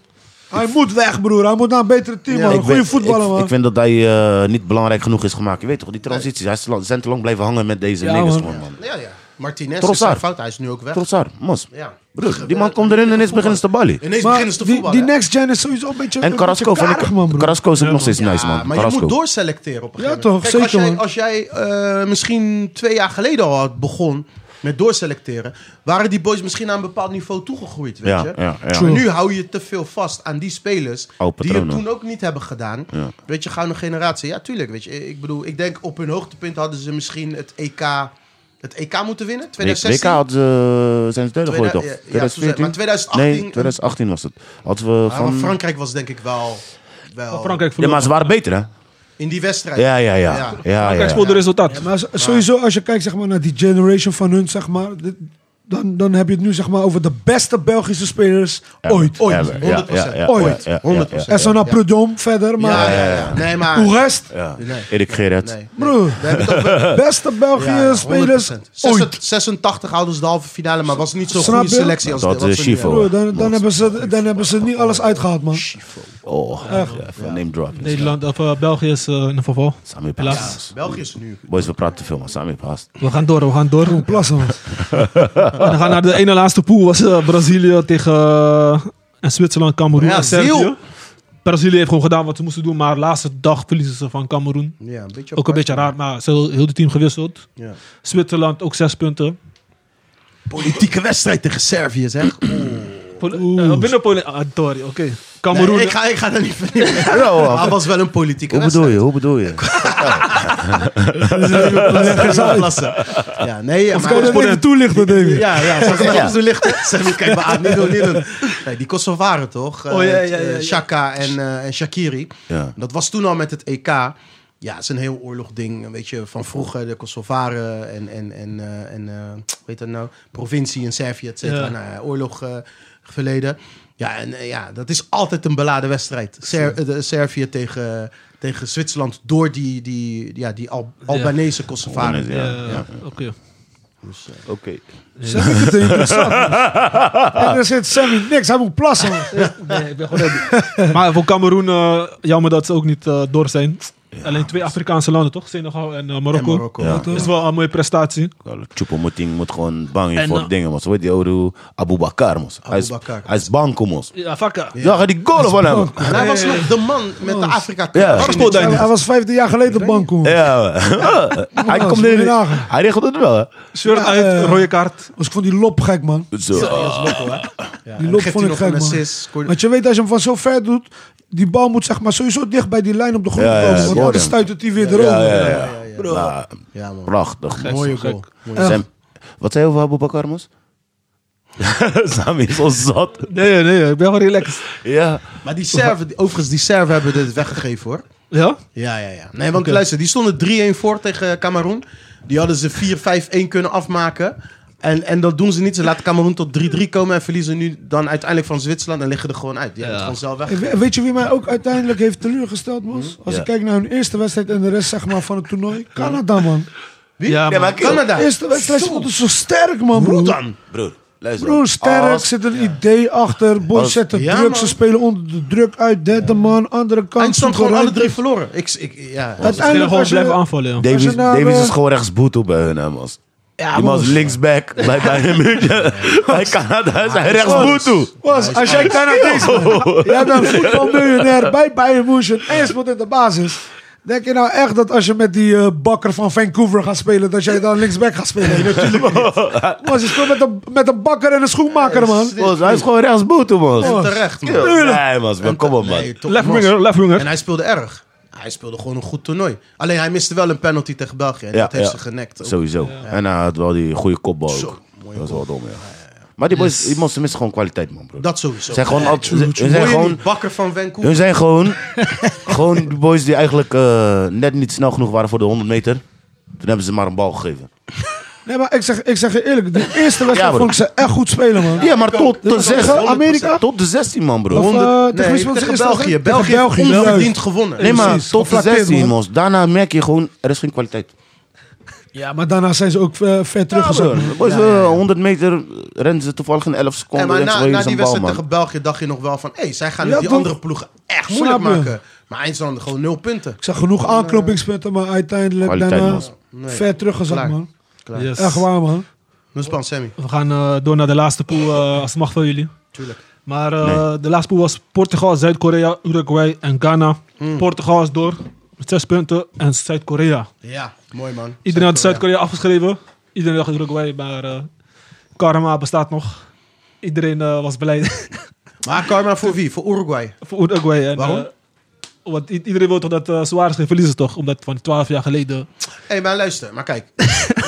E: Hij moet weg, broer. Hij moet naar een betere team, man.
D: ik
E: Een goede
D: weet-
E: voetballer,
D: ik,
E: man.
D: Ik vind dat hij eh, niet belangrijk genoeg is gemaakt. Je weet toch, die transities. Hij is te lang- zijn te lang blijven hangen met deze
E: Ja,
D: niggas
E: man.
D: gewoon, man.
F: Ja, ja. Martinez is
D: Trossard.
F: zijn fout. Hij is nu ook weg.
D: Trotsar, mos.
F: Ja. eh,
D: Broer, die man komt erin en ineens beginnen ze te ballen.
F: Ineens
E: Maar
F: beginnen ze te
E: die,
F: voetballen.
E: die
F: hè?
E: next gen is sowieso een
F: eh,
E: beetje
D: En
E: een
D: Carrasco
E: beetje
D: vind
E: karig,
D: ik...
E: man, broer.
D: Carrasco is ook nog steeds
F: Ja,
D: nice, man.
F: maar
D: Carrasco.
F: je moet doorselecteren op een
E: Ja,
F: gegeven moment.
E: toch,
F: Kijk,
E: zeker,
F: als jij, als jij eh, misschien twee jaar geleden al had begon met doorselecteren... waren die boys misschien aan een bepaald niveau toegegroeid, weet
D: Ja,
F: je?
D: ja, ja.
F: Maar nu hou je te veel vast aan die spelers
D: Oude
F: die het
D: patronen.
F: toen ook niet hebben gedaan. Weet je, gouden generatie. Ja, tuurlijk. Weet je, ik bedoel, ik denk op hun hoogtepunt hadden ze misschien het EK, het EK moeten winnen.
D: Nee, het
F: 2016.
D: WK had, eh, zijn ze derde gegooid, toch?
F: Tweede- ja, ja, toen zei- maar 2018
D: Nee, 2018 was het. Hadden we
F: Ja, maar
D: van...
F: Frankrijk was denk ik wel... wel
B: Frankrijk
D: Ja, maar
B: verloren.
D: ze waren beter, hè?
F: In die wedstrijd.
D: Ja, ja, ja. ja,
F: Ja.
D: ja,
B: Frankrijk
D: ja.
B: speelde resultaat.
E: Ja, maar zo- sowieso, als je kijkt zeg maar, naar die generation van hun, zeg maar, dit- dan, dan heb je het nu zeg maar, over de beste Belgische spelers ooit.
D: Ever,
E: ooit.
D: ever, ja,
F: 100%.
D: ja, ja,
E: Ooit.
D: ja, ja, ja, ja.
E: En zo naar Prudhomme verder,
F: Ja,
E: maar
F: ja, ja, ja. Nee, maar...
E: Oerest,
D: Ja.
F: Nee.
D: Erik Gerrits.
F: Nee.
E: broer,
F: We hebben het over-
E: beste België
F: Ja, ja, 100%.
E: spelers ooit.
F: 86 86 hadden ze de halve finale, maar was niet zo'n
E: Snap
F: goede
E: je?
F: selectie als
D: Dat
F: dit- wat
D: is
F: ze nu
D: Chifo.
F: hebben.
E: Broer, dan, dan, hebben ze, dan hebben ze niet alles uitgehaald, man.
D: Oh, ja, van name drop.
B: Nederland of eh, België is eh, in verval.
D: Samir
B: Helaas.
D: Paas.
F: België is nu.
D: Boys, we praten te veel, man. Samir Paas.
B: We gaan door, we gaan door.
E: Broer, Plassen, man.
B: En dan gaan we naar de ene laatste pool. was eh, Brazilië tegen eh, en Zwitserland, Cameroen
F: Ja,
B: en Servië.
F: Ziel.
B: Brazilië heeft gewoon gedaan wat ze moesten doen, maar de laatste dag verliezen ze van Cameroen.
F: Ja, een beetje
B: Ook een beetje raar, maar ze heel het team gewisseld.
F: Ja.
B: Zwitserland ook zes punten.
F: Politieke wedstrijd tegen Servië, zeg.
B: Pol- eh, binnen Pol- ah, sorry, oké. Cameroen.
F: Nee, ik, ga, ik ga daar niet van in. Hij was wel een politieke
D: Hoe
F: wedstrijd.
D: bedoel je? Hoe bedoel je?
F: Klasse. Ja, nee, ja,
E: Kan je dat even toelichten, David?
F: Ja, ja, zou ik dat even zo lichten? Sammy, kijk maar aan. Niet doen, niet doen. Nee, die Kosovaren toch? Eh,
B: Oh, ja, ja, ja, ja.
F: Shaka en, eh, en Shakiri.
D: Ja.
F: Dat was toen al met het EK. Ja, het is een heel oorlogding. Weet je, van vroeger de Kosovaren en, en, en, eh, en eh, hoe heet dat nou? Provincie in Servië, et cetera.
B: Ja.
F: Nou ja, oorlog eh, verleden. Ja, en eh, ja, dat is altijd een beladen wedstrijd. Ser- eh, de Servië tegen, tegen Zwitserland door die, die, ja, die Al- Albanese Kosovaren.
D: Ja,
B: Eh,
D: ja.
B: Oké.
D: Oké.
E: Ze vindt het interessant. man. En dan zit Sammy niks, hij moet plassen. man.
B: Nee, ik ben gewoon Maar voor Cameroen, eh, jammer dat ze ook niet eh, door zijn. Alleen twee Afrikaanse landen, toch? Senegal en eh,
F: En
B: Marokko.
F: Marokko.
D: Ja.
B: Dat is wel een mooie prestatie.
D: Choupo-Moting moet gewoon bang
B: En,
D: in voor
B: eh,
D: dingen, man. Zo weet die oude Abu Bakar, man. Hij is-
F: Bakar.
D: Hij is bang, kom, man.
B: Ja, vakka.
D: Ja, ga die goal van hem.
F: En hij was nog de man met de Afrika
D: Ja.
F: Cup.
D: Waar
B: speelde hij
E: Hij, hij was 15 jaar geleden bank, hoor.
D: Ja, man. hij komt
E: moet je
D: in.
E: nagaan.
D: Hij regelt het wel, hè?
B: Shirt uit,
E: eh,
B: rode kaart.
E: Dus ik vond die lop gek, man.
D: Zo.
E: Die lop
F: geeft hij
E: vond ik
F: nog
E: gek,
F: een
E: man.
F: assist, scoorde-
E: Want je weet, als je hem van zo ver doet... die bal moet zeg maar sowieso dicht bij die lijn op de grond
D: Ja, ja,
E: komen.
D: ik
E: Want
D: hoor
E: anders
D: hem.
E: stuit het die weer
D: Ja,
E: erover.
D: ja, ja.
E: Bro.
D: Maar,
F: Ja, man.
D: prachtig. man.
F: Mooie goal. Mooie-
D: Sam, wat zei je over Abu Bakar, Mos? Sami is al zat.
B: Nee, nee, ik ben wel relaxed.
D: Ja.
F: Maar die serven, die- overigens, die serven hebben dit weggegeven hoor.
B: Ja?
F: Ja, ja, ja. Nee, want luister, die stonden 3-1 voor tegen eh, Cameroen. Die hadden ze 4-5-1 kunnen afmaken. En, en dat doen ze niet. Ze laten Cameroen tot 3-3 komen en verliezen nu dan uiteindelijk van Zwitserland en liggen er gewoon uit. Die hebben het gewoon zelf
E: Ik
F: weg.
E: we- Weet je wie mij ook uiteindelijk heeft teleurgesteld, Mos? Als
D: Mhm. Ja.
E: ik kijk naar hun eerste wedstrijd en de rest zeg maar, van het toernooi. Canada, man.
B: Ja,
D: Nee,
B: man.
D: maar kill.
F: Canada.
E: eerste wedstrijd
F: Zo.
E: speelde zo sterk, man, broer.
F: Hoe dan?
D: Broer, luister.
E: Broer, sterk,
D: Als-
E: zit een idee achter. Boys
D: Als-
E: zetten
F: Ja,
E: druk,
F: man.
E: ze spelen onder de druk uit. Derde man, andere kant.
F: Eindstand
E: zoeken
F: gewoon alle
E: ruimte.
F: drie verloren. Ik, ik, ja.
B: Ze kunnen
E: Uiteindelijk
B: gewoon
E: als
B: blijven
E: je...
B: aanvallen, ja.
D: Davies,
E: Als je naar,
D: Davies
E: eh,
D: is gewoon rechtsboete bij hun, hè, Mos.
E: Ja,
D: Die man is
E: Mos.
D: linksback bij, bij hem. bij Canada is hij rechtsboete.
E: Mos, als jij Canadees bent, jij bent voetbalmiljonair bij Bayern München en je speelt in de basis. Denk je nou echt dat als je met die eh, bakker van Vancouver gaat spelen, dat jij dan linksback gaat spelen? Nee, natuurlijk niet. Mos, je speelt met een, met een bakker en een schoenmaker, man.
D: Mos, hij is gewoon rechtsboete,
F: En
D: man.
F: terecht, man.
D: Nee, man, maar kom op,
F: Nee,
D: man.
F: top,
B: Left
F: man.
B: winger, left
F: En
B: winger.
F: hij speelde erg. Hij speelde gewoon een goed toernooi. Alleen hij miste wel een penalty tegen België. En
D: Ja,
F: dat heeft
D: ja.
F: ze genekt. ook.
D: Sowieso. En hij had wel die goede kopbal
F: Zo,
D: ook. Dat is wel dom, ja. Maar die boys, die monsters missen gewoon kwaliteit, man, bro.
F: Dat sowieso.
D: Ze zijn gewoon altijd- ze- ze
F: Hoor
D: zijn
F: je
D: gewoon...
F: die bakker van Vancouver.
D: Hun zijn gewoon, gewoon de boys die eigenlijk eh, net niet snel genoeg waren voor de 100 meter. Toen hebben ze maar een bal gegeven.
E: Nee, maar ik zeg, ik zeg je eerlijk, de eerste wedstrijd
D: bro.
E: vond ik ze echt goed spelen, man.
D: Ja, maar tot de,
E: Dit was
D: zes,
E: tegen Amerika?
D: tot de 16 man, bro.
E: Of, eh,
D: Honderd-
E: tegen wie
F: Nee,
E: speelden ze
F: tegen
E: eerst
F: België.
E: tegen?
F: België
E: Tegen
F: heeft onverdiend
E: juist.
F: gewonnen.
D: nee, maar
E: precies.
D: tot de
E: Geflatteerd,
D: 16
E: man.
D: mos. Daarna merk je gewoon, er is geen kwaliteit.
E: Ja, maar daarna zijn ze ook eh, ver
D: Ja,
E: teruggezakt.
D: bro.
E: man.
D: Boys, eh, 100 meter rennen ze toevallig in 11
F: Nee,
D: seconden.
F: Eh, maar
D: en ze
F: na,
D: gooien
F: na
D: ze
F: die
D: een bal,
F: wedstrijd
D: man.
F: tegen België dacht je nog wel van... hé, zij gaan
E: Ja,
F: het die
E: toch?
F: andere ploegen echt moeilijk
E: Snap je?
F: maken. Maar Eindstand gewoon nul punten.
E: Ik zag genoeg aanknopingspunten, maar uiteindelijk
D: Kwaliteit,
E: daarna
D: man. Dus
F: Nee.
E: ver teruggezakt,
F: Klaar.
E: man.
F: Klaar.
B: Yes.
E: Echt waar, man.
F: Nuspan, Sammy.
B: We gaan eh, door naar de laatste pool, eh, als het mag van jullie.
F: Tuurlijk.
B: Maar eh, de laatste pool was Portugal, Zuid-Korea, Uruguay en Ghana. Portugal is door met zes punten en Zuid-Korea.
F: Ja, mooi man.
B: Iedereen had Zuid-Korea afgeschreven. Iedereen dacht Uruguay, maar eh, karma bestaat nog. Iedereen eh, was blij
F: Maar karma voor wie? Voor Uruguay.
B: voor Uruguay. En, eh,
F: Waarom?
B: want i- iedereen wil toch dat eh Suarez geen verliezen, toch? Omdat van 12 jaar geleden...
F: Hé, maar luister. Maar kijk.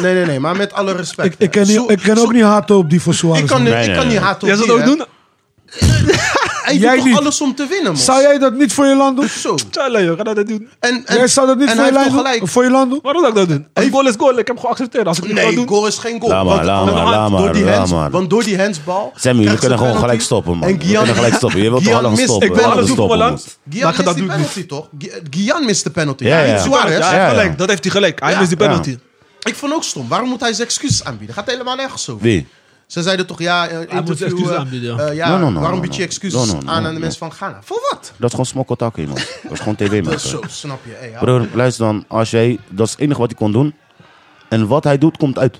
F: nee, nee, nee. Maar met alle respect.
E: Ik, ik, ken,
F: Zo-
E: niet, ik ken
F: zo-
E: ook niet haten op die voor
F: Ik
E: Suarez.
F: kan,
E: man.
F: niet-
D: Nee,
F: ik
D: nee,
F: kan niet
D: nee.
F: haat op
B: Jij zou
F: die,
B: dat ook
F: hè?
B: doen?
F: Hij
E: Jij
F: doet toch
E: niet?
F: alles om te winnen, man.
E: Zou jij dat niet voor je land doen?
F: Zo.
B: Tjala, joh, ga dat niet doen.
F: En, en,
E: Jij zou dat niet
F: en
E: voor
F: hij
E: je,
F: heeft
E: lijn
F: toch
E: doen?
F: gelijk.
E: voor je land doen?
B: Waarom zou ik dat doen? Als goal is goal, ik heb hem geaccepteerd. Als ik het niet
F: Nee,
B: kan doen...
F: goal is geen goal.
D: Laat maar,
F: want,
D: laat
F: want
D: maar,
F: door
D: laat maar,
F: die
D: laat
F: hands-
D: maar.
F: Want door die handsbal...
D: Sammy, we
F: krijgt
D: kunnen
F: ze
D: gewoon
F: penalty.
D: gelijk stoppen, man.
F: En
D: we kunnen
F: Gian-
D: gelijk stoppen. Je wilt toch
F: Gian
D: al lang
F: mist-
D: stoppen?
B: Ik wil
D: Laten
B: alles
D: we
B: doen voor mijn
D: stoppen,
B: land. Maar
F: Gian
B: ik ga
F: mist
B: dat
F: die
B: doen. niet.
F: penalty, toch? Gu- Gian mist de penalty.
D: Ja,
F: Ja,
D: ja.
F: Suarez.
B: Ja, hij heeft
D: Ja, ja.
B: gelijk. Dat heeft hij gelijk. Hij
F: Ja.
B: mist die penalty.
F: Ik vond ook stom. Waarom moet hij zijn excuses aanbieden? Gaat helemaal nergens over.
D: Wie?
F: Ze zeiden toch, ja, eh, interview,
B: moet zijn excuses
F: eh,
B: aanbieden, ja.
F: eh, ja,
D: No, no, no,
F: waarom
D: no,
F: bied je
D: no.
F: excuses
D: No, no, no,
F: aan aan de
D: no.
F: mensen van Ghana? Voor wat?
D: Dat is gewoon smokkeltakken, man. Dat is gewoon tv, man.
F: Dat is zo, snap je. eh, Hey,
D: Broer, luister dan. Als jij, dat is het enige wat hij kon doen. En wat hij doet, komt uit.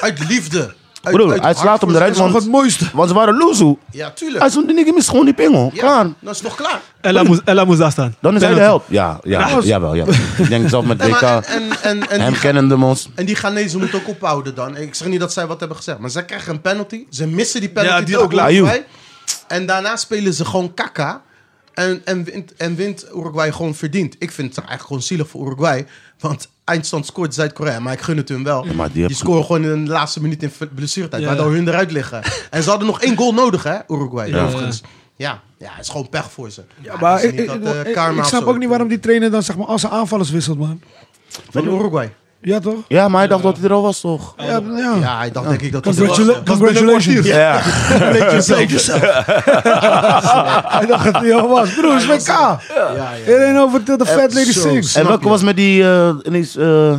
F: Uit liefde. Uit,
D: Broer,
F: uit
D: hij slaat
F: hart
D: hem
F: voor
D: eruit,
F: zijn-
D: man.
E: Nog het mooiste.
D: Want ze waren loezoe.
F: Ja,
D: Hij
F: tuurlijk.
D: stond die nigger mist gewoon die pingel.
F: Ja,
D: Klaar.
F: Dat is toch klaar?
B: Ella moest, Ella moest daar staan.
D: Dan is hij de
B: Penalty.
D: held. Ja, ja,
E: Nou,
D: jawel, ja. Ik denk zelf met
F: Nee,
D: WK.
F: maar en, en, en, en,
D: hem
F: die,
D: kennende, mons.
F: en die Ghanese moeten ook ophouden dan. Ik zeg niet dat zij wat hebben gezegd, maar zij krijgen een penalty. Ze missen die penalty.
B: Ja, die
F: tegen
B: ook laat.
F: Uruguay. En daarna spelen ze gewoon kaka. En, en, wint, en wint Uruguay gewoon verdiend. Ik vind het eigenlijk gewoon zielig voor Uruguay. Want eindstand scoort Zuid-Korea, maar ik gun het hun wel.
D: maar die
F: die
D: hebben-
F: scoren gewoon in de laatste minuut in ver- blessuretijd,
B: Ja, ja.
F: waardoor hun eruit liggen. En ze hadden nog één goal nodig, hè, Uruguay.
B: Ja.
F: Overigens. Ja, ja, het is gewoon pech voor ze. Ja,
E: Maar
F: het is
E: ik,
F: niet
E: ik-
F: dat, eh,
E: ik- ik
F: karma of
E: snap
F: zo.
E: ook niet waarom die trainer dan zeg maar als zijn aanvallers wisselt, man.
F: Van Uruguay.
E: Ja, toch?
D: Ja, maar hij dacht dat hij er al was, toch?
E: Ja, ja.
F: Ja, hij dacht denk ik dat... dat het was,
E: Congratula-
F: hè.
E: Congratulations.
D: Ja.
E: Hij dacht dat hij al was. Broer, het is WK.
F: Ja, ja.
E: Iedereen over Till the Fat Lady
F: Eh, zo
E: Sings.
D: En welke was met die, eh, ineens, eh,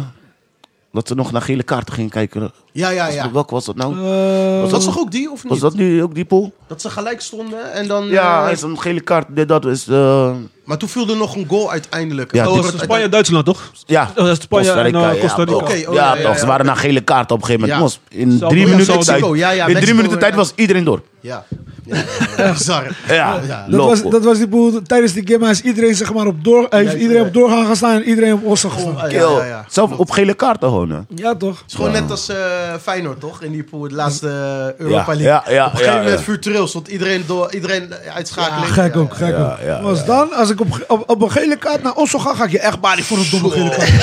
D: dat ze nog naar gele kaarten gingen kijken.
F: Ja, Ah, ja, ja.
D: Welke was dat nou?
E: Eh,
F: Was dat toch ook die, of niet?
D: Was dat nu ook die pool?
F: Dat ze gelijk stonden en dan...
D: Ja,
F: eh,
D: hij is een gele kaart. Dit, dat is, eh,
F: Maar toen viel er nog een goal uiteindelijk.
D: Ja,
F: Oh,
D: dit-
F: het- het-
B: Spanje-Duitsland, toch?
D: ja.
B: Oh, dat is Spanje en, eh, Costa Rica.
D: toch.
F: Oké, oh, ja,
D: ja,
F: ja,
D: toch.
F: ja.
D: Ze waren naar gele kaart op een gegeven moment.
F: Ja.
D: Mos, in
B: Zou-
D: drie
B: ja,
D: minuten
F: Mexico,
D: tijd.
F: ja, ja,
D: in drie
F: Mexico,
D: minuten tijd
F: ja.
D: was iedereen door.
F: Ja. Bizar.
D: Ja,
E: Dat was,
D: loco.
E: dat was die boel, tijdens die game is iedereen zeg maar op door, heeft iedereen op doorgaan gaan staan en iedereen op ossen gestaan.
F: Oh, Ja,
D: Kill.
F: ja, ja.
D: Zelf op gele kaarten gewoon, hè.
E: Ja toch?
F: Het is gewoon net als eh, Feyenoord, toch? In die pool, de laatste eh, Europa
D: Ja,
F: League.
D: ja, ja,
F: Op een gegeven
D: ja,
F: moment
D: ja.
F: virtueel stond iedereen, door, iedereen eh,
E: Ja,
F: uitschakeling.
E: gek ook, gek
D: ja,
E: ook.
D: ja,
E: maar als dan, als ik op, ge- op, op een gele kaart naar Osso ga, ga ik je echt balie voor een domme gele kaart.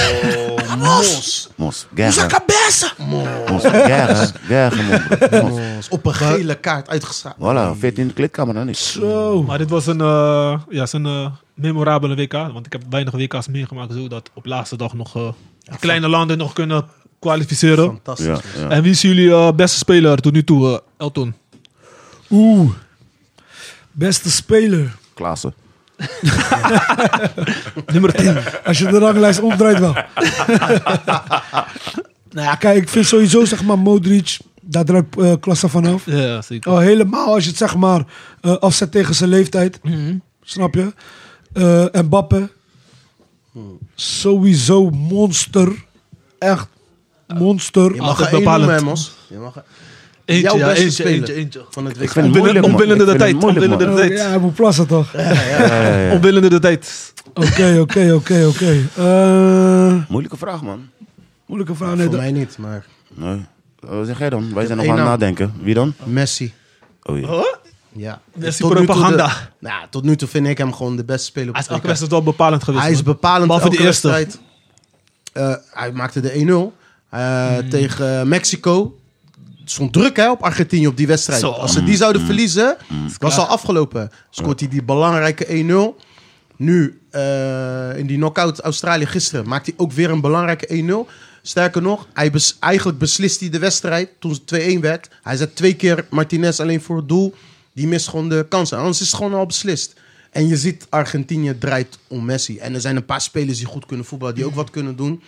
F: Oh, mos.
D: Mos,
E: Usa
D: guerre.
E: cabeça!
D: Mos, guerre. Guerre, man, bro. Mos.
F: Op een gele kaart uitgeschakeld.
D: Voilà, 14 klitkamer dan niet.
E: Zo.
B: Oh. Maar dit was een, eh, ja, het is een eh, memorabele WK. Want ik heb weinig WK's meegemaakt. Zo dat op laatste dag nog eh, die kleine landen nog kunnen kwalificeren.
F: Fantastisch.
D: Ja, ja.
B: En wie is jullie eh, beste speler tot nu toe, eh, Elton?
E: Oeh. Beste speler.
D: Klaassen.
B: Nummer 10.
E: Als je de ranglijst omdraait wel. nou ja, kijk, ik vind sowieso zeg maar Modric, daar draait eh klasse van af.
B: ja, zeker.
E: Oh, helemaal als je het zeg maar eh, afzet tegen zijn leeftijd. Snap je? Eh, en Mbappe. Sowieso monster. Echt monster.
F: Je
E: Ja,
F: mag
B: Altijd
F: er één
B: bepalend.
F: noemen, hè, Mos. Je mag er-
B: Eentje,
F: Jouw
B: ja,
F: beste
B: eentje,
F: speler.
B: eentje, eentje.
F: van het
D: Ik
F: WK.
D: vind het
B: Omwillende-
D: moeilijk, man.
B: omwillende
D: Ik vind het
B: tijd,
D: moeilijk, man.
B: omwillende tijd.
E: ja, hij moet plassen toch?
B: Omwillende de tijd.
E: Oké, oké, oké, oké. Eh,
D: Moeilijke vraag, man.
E: Moeilijke vraag. Nee,
F: Voor
E: dat-
F: mij niet, maar
D: Nee. Wat zeg jij dan? Wij zijn nog
F: één
D: aan het
F: naam.
D: nadenken. Wie dan?
F: Messi.
D: Oh ja.
F: Ja.
B: Messi
F: Tot nu toe
B: propaganda.
F: de- Nou, tot nu toe vind ik hem gewoon de beste speler op
B: Hij is
F: het
B: elke
F: WK.
B: wedstrijd wel bepalend geweest.
F: Hij is
B: man.
F: bepalend
B: Behalve
F: elke
B: de eerste.
F: wedstrijd. Eh, hij maakte de 1-0 eh,
B: Hmm.
F: tegen eh, Mexico. Het stond druk hè, op Argentinië op die wedstrijd.
B: Zo.
F: Als ze die zouden verliezen, was het al afgelopen. Scoort hij die belangrijke 1-0. Nu, eh, in die knockout Australië gisteren, maakt hij ook weer een belangrijke 1-0. Sterker nog, hij bes- eigenlijk beslist hij de wedstrijd toen het 2-1 werd. Hij zet twee keer Martinez alleen voor het doel. Die mist gewoon de kansen. Anders is het gewoon al beslist. En je ziet, Argentinië draait om Messi. En er zijn een paar spelers die goed kunnen voetballen, die ook wat kunnen doen.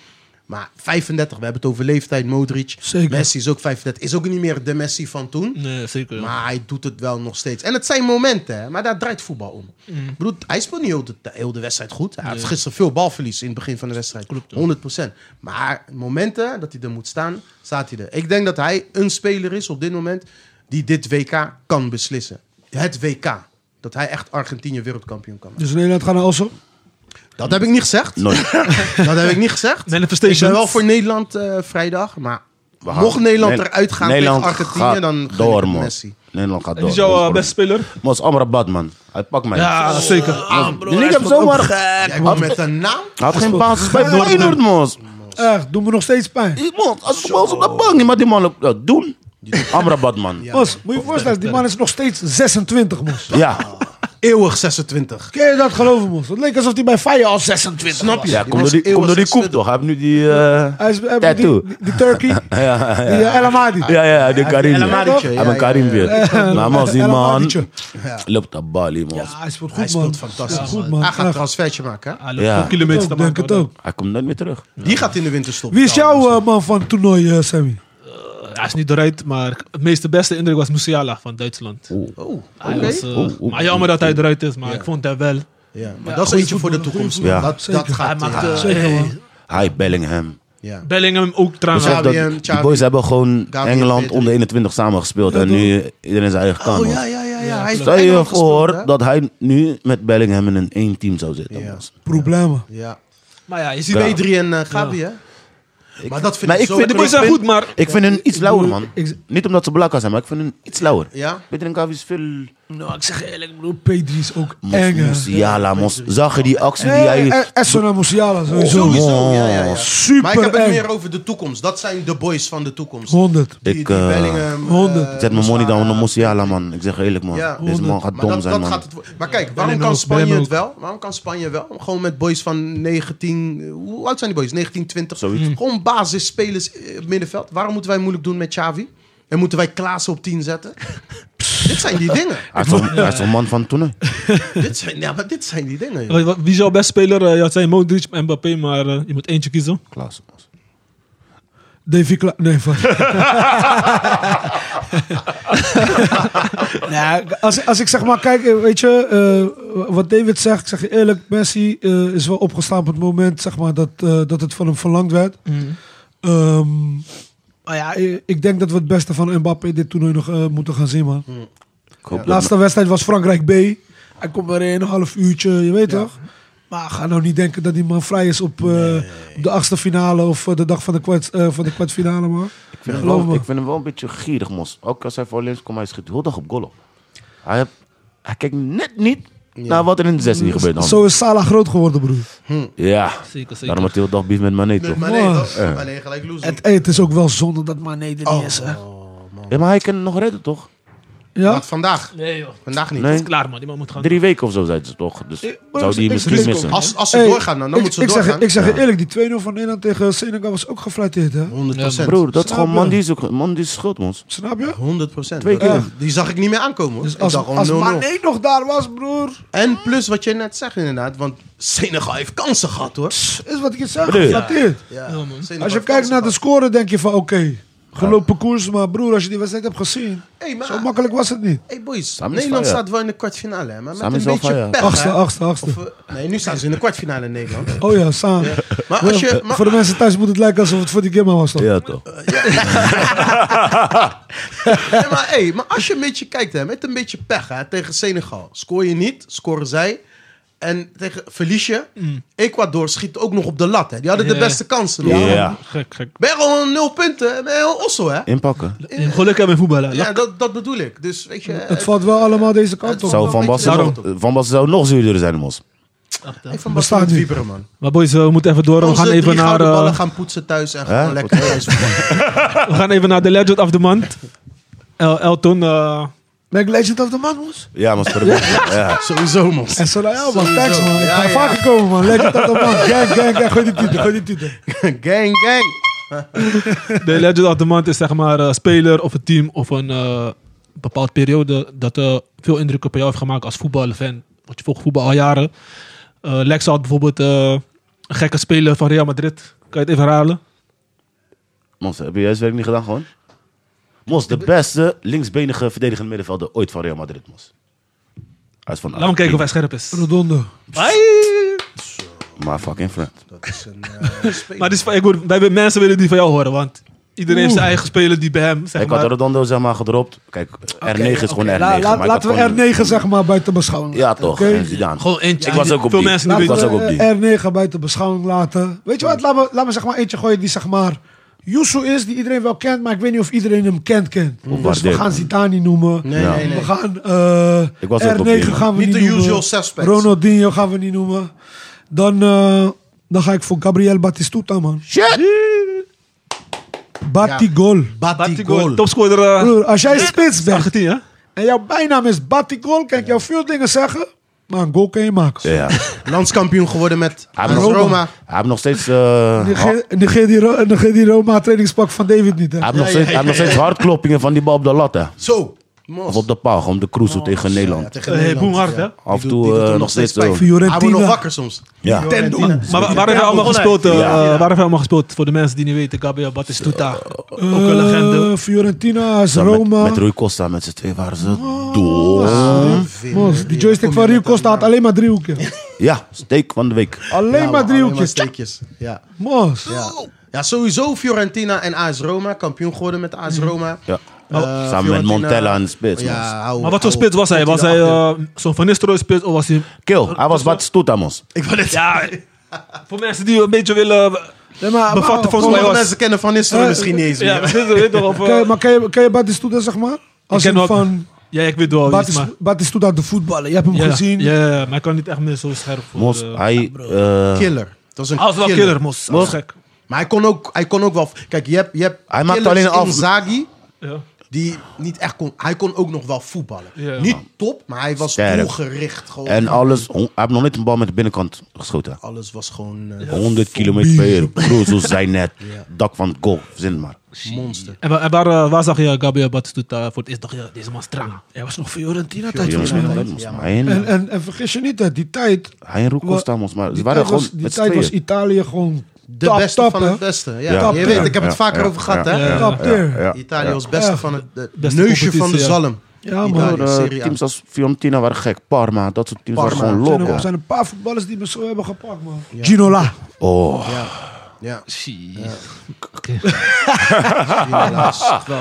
F: Maar 35, we hebben het over leeftijd, Modric.
E: Zeker.
F: Messi is ook 35. Is ook niet meer de Messi van toen.
B: Nee, zeker. ja.
F: Maar hij doet het wel nog steeds. En het zijn momenten, hè? maar daar draait voetbal om. Ik bedoel, hij speelt niet heel de, heel de wedstrijd goed. Hij heeft gisteren veel balverlies in het begin van de wedstrijd. 100%. Maar momenten dat hij er moet staan, staat hij er. Ik denk dat hij een speler is op dit moment die dit WK kan beslissen. Het WK. Dat hij echt Argentinië wereldkampioen kan maken.
E: Dus Nederland gaat naar Osso.
F: Dat heb ik niet gezegd.
D: Nooit.
F: Dat heb ik niet gezegd.
B: Manifestation.
F: Ik ben wel voor Nederland eh, vrijdag, maar
D: We gaan-
F: mocht Nederland
D: Ne-
F: eruit gaan
D: Nederland
F: tegen
D: gaat
F: Argentinië, dan gun ik
D: door,
F: het
D: man.
F: Messi.
D: Nederland gaat
B: En
D: door.
B: Wie is jouw eh, beste speler?
D: Mos Amrabat, man. Hij pakt mij.
B: Ja, zeker.
E: Ah,
D: Die liep hem zomaar gek.
F: Jij bent met een naam?
D: Hij had geen basis bij Feyenoord, Mos.
E: Echt, doet me nog steeds pijn.
D: Die Mos, als ik Mos op de bank niet, maar die man op... ja, Doen. Amrabat, man. Ja.
E: Mos, moet je je voorstellen, die man is nog steeds 26, Mos.
D: Ja,
F: Eeuwig 26.
E: Kun je dat geloven, Mos? Het leek alsof hij bij Fire al 26
F: Snap je?
D: kom door die, kom door die koep, toch. Hij heeft nu die... eh
E: Hij is, hij-
D: Tattoo.
E: Die, die, die Turkey,
D: ja,
E: die eh, El Amadi.
D: Ja, ja, de Karim.
F: El Amadietje,
D: Hij
F: ja,
D: ben Karim
F: ja,
D: weer. Maar man, die
E: El
D: man
E: Amadietje.
D: loopt naar Bali, man.
E: Ja, hij speelt goed,
F: Hij
E: man.
F: speelt fantastisch.
E: Goed, man.
F: Hij gaat een
E: Echt.
F: transfertje maken. hè?
B: Hij loopt
D: Ja.
B: veel kilometers
E: Ik
B: te
E: ook, denk
B: maken.
E: het ook.
D: Hij komt nooit meer terug.
F: Die gaat in de winter stoppen.
E: Wie is jouw eh, man van het toernooi, eh, Sammy?
B: hoor. eh, Hij is niet eruit, maar het meest de beste indruk was Musiala van Duitsland.
F: Oh, oké.
B: Hij was, eh,
D: Oeh, oeh.
B: Maar jammer dat hij eruit is, maar ik vond hem wel.
F: Ja, maar dat is eentje voor de toekomst.
D: Ja.
F: Dat, dat
E: Zeker.
F: gaat...
B: Hij maakt,
F: ja.
B: eh,
E: Zeker, man.
D: Hij, Bellingham.
F: Ja.
B: Bellingham ook trouwens.
D: Besef dat
F: Nou, Gabriel,
D: die
F: Xavi,
D: boys hebben gewoon
F: Gabriel,
D: Engeland
F: Peter.
D: onder 21 samen gespeeld. En nu iedereen zijn eigen kamer.
F: Oh, ja, ja, ja. ja. Hij is
D: Stel je
F: Engeland gespeeld,
D: voor
F: hè?
D: dat hij nu met Bellingham in een één team zou zitten.
F: Ja.
D: boys.
E: Problemen.
F: Ja.
B: Maar ja, je ziet
F: Pedri en eh, Gabi, hè? Maar dat vind
D: Maar
F: ik
D: ik
F: zo...
D: vind
B: De boys zijn goed, maar
D: Ik vind hun iets lauwer, man.
E: ik-
D: Niet omdat ze blakken zijn, maar ik vind hun iets lauwer.
F: Ja?
D: Peter en Gavi is veel...
E: Nou, ik zeg eerlijk, bro, Pedri is ook
D: Mos,
E: eng, hè.
D: Musiala, Mos. Zag je die actie die
E: Hey,
D: hij... Oh,
E: eh, Esso naar Musiala, sowieso.
F: Sowieso, ja, ja, ja.
E: Super
F: Maar ik heb het
E: eng.
F: meer over de toekomst. Dat zijn de boys van de toekomst.
E: 100.
F: Die,
D: Ik,
F: die
D: eh,
F: Bellingham... eh,
E: honderd.
D: Ik zet mijn money down op
F: Musiala.
D: Musiala, man. Ik zeg je eerlijk, man.
F: Ja.
D: Deze man gaat
F: Maar,
D: dom
F: dat,
D: zijn,
F: dat
D: man.
F: gaat het worden. maar kijk, waarom
B: Bellingham
F: kan
B: ook,
F: Spanje
B: Bellingham
F: het wel? Waarom kan Spanje wel? Gewoon met boys van 19... Hoe oud zijn die boys? 19, 20?
E: Hmm.
D: Zoiets.
F: Gewoon basisspelers eh, op middenveld. Waarom moeten wij moeilijk doen met Xavi? En moeten wij Klaassen op 10 zetten? dit zijn die dingen.
D: Hij is toch- hij is toch een man van toen,
F: dit, zijn, ja, maar dit zijn die dingen. joh.
B: Wat- wat- Wie is jouw beste speler? Eh, Ja, het zijn Modric en Mbappé, maar eh, je moet eentje kiezen.
D: Klaas, Mos.
E: Davy Kla... Nee, van... nou, als, als ik zeg maar, kijk, eh, weet je, eh, wat David zegt, ik zeg je eerlijk, Messi eh, is wel opgestaan op het moment zeg maar, dat, eh, dat het van hem verlangd werd. Ehm, maar ja, eh, ik denk dat we het beste van Mbappé dit toernooi nog eh, moeten gaan zien, man.
D: hoop dat-
E: Laatste wedstrijd was Frankrijk B. Hij komt erin, een half uurtje, je weet toch? Maar ga nou niet denken dat die man vrij is op, eh, op de achtste finale of eh, de dag van de, kwart, eh, van de kwartfinale, man.
D: Ik vind, hem
E: Geloof
D: wel,
E: me.
D: ik vind hem wel een beetje gierig, mos. Ook als hij voor links komt, hij schiet heel dag op goal op. Hij, heb- hij kijkt net niet naar wat er in de 16 gebeurt. Dan.
E: Zo is Salah groot geworden, broer.
D: Ja,
B: Zeker, zeker.
D: daarom had hij heel dag beef met Mané, toch?
F: Maar nee, toch? Maar nee, gelijk loezen.
E: Het, hey, het is ook wel zonde dat Mané er niet is, hè.
D: Oh, Ja, maar hij kan het nog redden, toch?
E: Ja?
F: Wat vandaag?
B: Nee joh.
F: Vandaag niet.
D: Nee,
B: Klaar man, die man moet gaan.
D: drie weken of zo, zeiden ze toch? Dus
E: maar
D: zou die
E: ik-
D: misschien
E: ik-
D: missen.
F: Als, als ze
E: Hey,
F: doorgaan, dan, dan
E: ik,
F: moeten
E: ik
F: ze
E: zeg,
F: doorgaan.
E: ik zeg je eerlijk, die 2-0 van Nederland tegen Senegal was ook geflatteerd, hè.
F: 100
D: Broer, dat is
E: Snap
D: gewoon
E: je?
D: man die, is ook- man die is schuld, mos.
E: Snap je?
F: 100 procent.
D: Twee keer.
F: Die zag ik niet meer aankomen. Hoor.
E: Dus
F: ik
E: als,
F: dacht
E: als
F: gewoon 0-0.
E: Mané nog daar was, broer,
F: En plus wat jij net zegt inderdaad, want Senegal heeft kansen gehad hoor.
E: is wat ik je zeg,
D: Broer.
E: geflatteerd.
F: Ja,
B: Oh, man.
F: Senegal
E: Als je
F: heeft
E: kijkt
F: kansen
E: naar de
F: gehad.
E: score, denk je van oké, gelopen koers. Maar broer, als je die wedstrijd hebt gezien,
F: Hey, maar-
E: zo makkelijk was het niet.
F: Hey boys,
D: Samen is
F: Nederland
D: fire.
F: staat wel in de kwartfinale, hè, maar met
D: Samen is
F: een
D: wel
F: beetje
D: fire.
F: pech.
E: Achtste,
F: hè.
E: achtste, achtste.
F: Of, eh, nee, nu staan ze in de kwartfinale in Nederland.
E: Oh ja, Saan.
F: Maar als je, maar-
E: Voor de mensen thuis moet het lijken alsof het voor die Gemma was. toch?
D: Ja, toch?
F: Ja, maar, hey, maar als je een beetje kijkt, hè, met een beetje pech hè, tegen Senegal. Scoor je niet, scoren zij. En tegen, verlies je. Ecuador schiet ook nog op de lat. Hè. Die hadden
B: Mm. Ja.
F: de beste kansen.
D: Ja.
F: nog.
B: Gek, gek.
F: Ben je gewoon nul punten. Ben je heel osso, hè?
D: Inpakken.
B: Geluk hebben in voetballen.
F: Ja, dat, dat bedoel ik. Dus weet je...
E: Het valt wel allemaal deze kant op.
F: valt-
D: Zou van Basten
F: Daarom.
D: nog, van Basten zou nog zuurder zijn, mos.
F: Ik van
E: Bestaat
F: Basten moet
E: niet.
F: wieberen, man.
B: Maar boys, eh, we moeten even door. We
F: Onze
B: gaan even,
F: drie
B: naar,
F: gouden ballen
B: eh,
F: gaan poetsen thuis en
D: Hè?
F: gewoon lekker thuis voetballen.
B: we gaan even naar de legend of the month. El, Elton. eh,
E: Ben ik Legend of the Man, moes?
D: Ja, mos. voor de- Ja.
F: Sowieso, man.
E: En zo, nou ja, man, thanks man. Ik
F: Ja,
E: ga
F: ja.
E: vaker komen, man. Legend of the Man. Gang, gang, gang. Gooi die titel, gooi die titel.
F: gang, gang.
B: de legend of the month is zeg maar een speler of een team of een eh bepaald periode dat eh, veel indruk op jou heeft gemaakt als voetbalfan. Want je volgt voetbal al jaren. Eh Lex had bijvoorbeeld eh, een gekke speler van Real Madrid. Kan je het even herhalen?
D: Mos, heb je juist werk niet gedaan gewoon? Mos, de beste linksbenige verdedigende middenvelder ooit van Real Madrid, Mos. Hij is van
B: Laat hem kijken of hij scherp is.
E: Rodondo.
D: Maar fucking friend.
F: Dat is een eh, speler.
B: Maar dit is, van- ik hoor, wij, willen- mensen willen die van jou horen, want iedereen heeft zijn eigen speler die bij hem, zeg
D: Ik
B: maar.
D: had Redondo zeg maar gedropt. Kijk, R9 is gewoon R9.
E: La- la-
D: maar ik had
E: laten
D: gewoon-
E: we R9 zeg maar buiten beschouwing
D: Ja
E: laten,
D: toch,
E: oké?
D: en Zidane.
B: Gewoon eentje.
D: Ik was ook op
B: Veel
D: die.
B: mensen
D: Ik
B: die
D: was
E: Laten
B: weten.
D: ook op die.
E: we R9 buiten beschouwing laten. Weet je wat, laat me, laat me zeg maar eentje gooien die zeg maar Yusu is, die iedereen wel kent, maar ik weet niet of iedereen hem kent kent. Dus we
D: waardeer-
E: gaan Zidane noemen.
F: Nee,
D: Ja.
F: nee, nee.
E: We gaan eh,
D: Ik was ook op die,
E: R9 gaan we
F: Niet
E: niet
F: de
E: noemen.
F: usual suspects.
E: Ronaldinho gaan we niet noemen. Dan, eh, dan ga ik voor Gabriel Batistuta, man.
D: Shit!
E: Batigol.
B: Batigol,
F: Batigol.
B: topscorer eh,
E: Broer, als jij spits bent
B: 18, hè?
E: en jouw bijnaam is Batigol, kan ik jou veel dingen zeggen, maar een goal kan je maken.
D: Ja.
F: Landskampioen geworden met
D: Hij
F: AS
D: heeft nog,
F: Roma.
D: hij heeft nog steeds... eh,
E: Negeer- Negeer die, Ro- negeer die Roma trainingspak van David niet, hè?
D: Hij heeft nog steeds- hij heeft nog steeds hardkloppingen van die bal op de lat, hè.
F: Zo.
D: Of op de paal, gewoon de
E: Oh,
D: cruise tegen Nederland.
F: tegen
B: Hey,
F: Nederland.
B: boemhard, hè?
D: Af en
F: Die doet- die
D: toe
F: doet
D: eh,
F: hem
D: nog steeds zo.
F: Hij
E: Fiorentina.
F: wordt nog wakker soms.
D: Ja.
F: Fiorentina.
B: Maar wa- waar hebben we allemaal gespeeld? eh,
D: Ja.
B: Waar hebben we allemaal gespeeld? Voor de mensen die niet weten, Gabriel Batistuta. Ook een legende.
E: Eh, Fiorentina, AS
D: Met-
E: Roma. Oh.
D: Met Rui Costa, met z'n twee waren ze door.
E: Mos, die joystick van Rio Costa had alleen maar driehoekje.
D: Ja, steek van de week.
E: Alleen maar driehoekjes.
F: steekjes. Ja.
E: Mos.
F: Ja. ja, sowieso Fiorentina en AS Roma. Kampioen geworden met AS
B: Mhm.
F: Roma.
D: Ja.
F: Eh,
D: Oh, Samen met
F: Fiorentina-
D: Montella en Spits.
F: Ja,
D: Ja.
F: hou-
B: Maar wat voor
F: hou-
B: spits was hij? Was
F: hij
B: hij
F: erachter?
B: eh, zo'n Van Nistelrooy spits of was hij...
D: Kill, hij was Batistuta, mos.
F: Ik wil het
B: Ja, voor mensen die een beetje willen...
E: Nee, maar,
B: Bevatte
E: maar-
B: volgens
E: maar-
B: mij
F: Sommige
B: was-
F: mensen kennen Van Nistelrooy
E: Eh,
F: misschien niet eens
B: Ja,
F: meer.
B: weet je- weet je toch, of, eh,
E: Kan je- Maar kan je, kan je Batistuta, zeg maar? Als
B: ken
E: in
B: wel-
E: van
B: Ja, ik weet wel. wie het is,
E: Batis,
B: maar-
E: Batistuta de voetballer. Je hebt hem
B: Ja,
E: gezien.
B: Ja, ja, maar ik kan niet echt meer zo scherp voor
D: Mos,
B: de-
D: hij... eh,
F: Killer. Dat is een
B: Hij was wel
F: killer.
B: killer, Mos. Hij was gek.
F: Maar hij kon ook, hij kon ook wel... Kijk, je hebt, je hebt
D: Hij maakt
F: killers
D: alleen af-
F: in Zagi,
B: Ja.
F: die niet echt kon... Hij kon ook nog wel voetballen.
B: Ja.
F: Niet top, maar hij was
D: Sterk.
F: doelgericht. Gewoon.
D: En alles... Hij heeft nog niet een bal met de binnenkant geschoten.
F: alles was gewoon eh,
D: 100 km per uur. Cruzo zijn net. Dak van het goal. Verzin maar.
F: monster.
B: En, wa- en waar, eh, waar zag je Gabriel Batistuta voor het eerst? Dacht je, deze man is strang.
E: Hij was nog Fiorentina tijd.
D: Jongens,
E: volgens mij.
D: hij moest maar heen.
E: En, en, en vergis je niet, hè, die tijd.
D: Hij en Rui Costa, mos. Maar ze
E: Die
D: waren
E: tijd,
D: gewoon
E: was, die
D: met z'n
E: tijd was
D: tweeën.
E: Italië gewoon
F: De
E: top,
F: beste
E: top,
F: van
E: hè.
F: het beste. Ja.
D: Ja.
F: Je weet, ik heb
D: Ja,
F: het vaker
D: ja,
F: over gehad.
D: ja,
F: hè?
B: ja.
E: Top tier.
D: Ja.
F: Italië was beste
E: Ja.
F: van het de
B: Beste
F: neusje van de
B: competitie, ja.
F: zalm.
E: Ja, man.
F: Italië,
D: Broer, eh,
F: Serie A.
D: teams als Fiorentina waren gek. Parma, dat soort teams
F: Parma.
D: waren
E: Er
D: gewoon
E: zijn, er
D: loco.
E: zijn een paar voetballers die me zo hebben gepakt, man. Ginola.
D: Oh,
F: Ja.
B: Oké.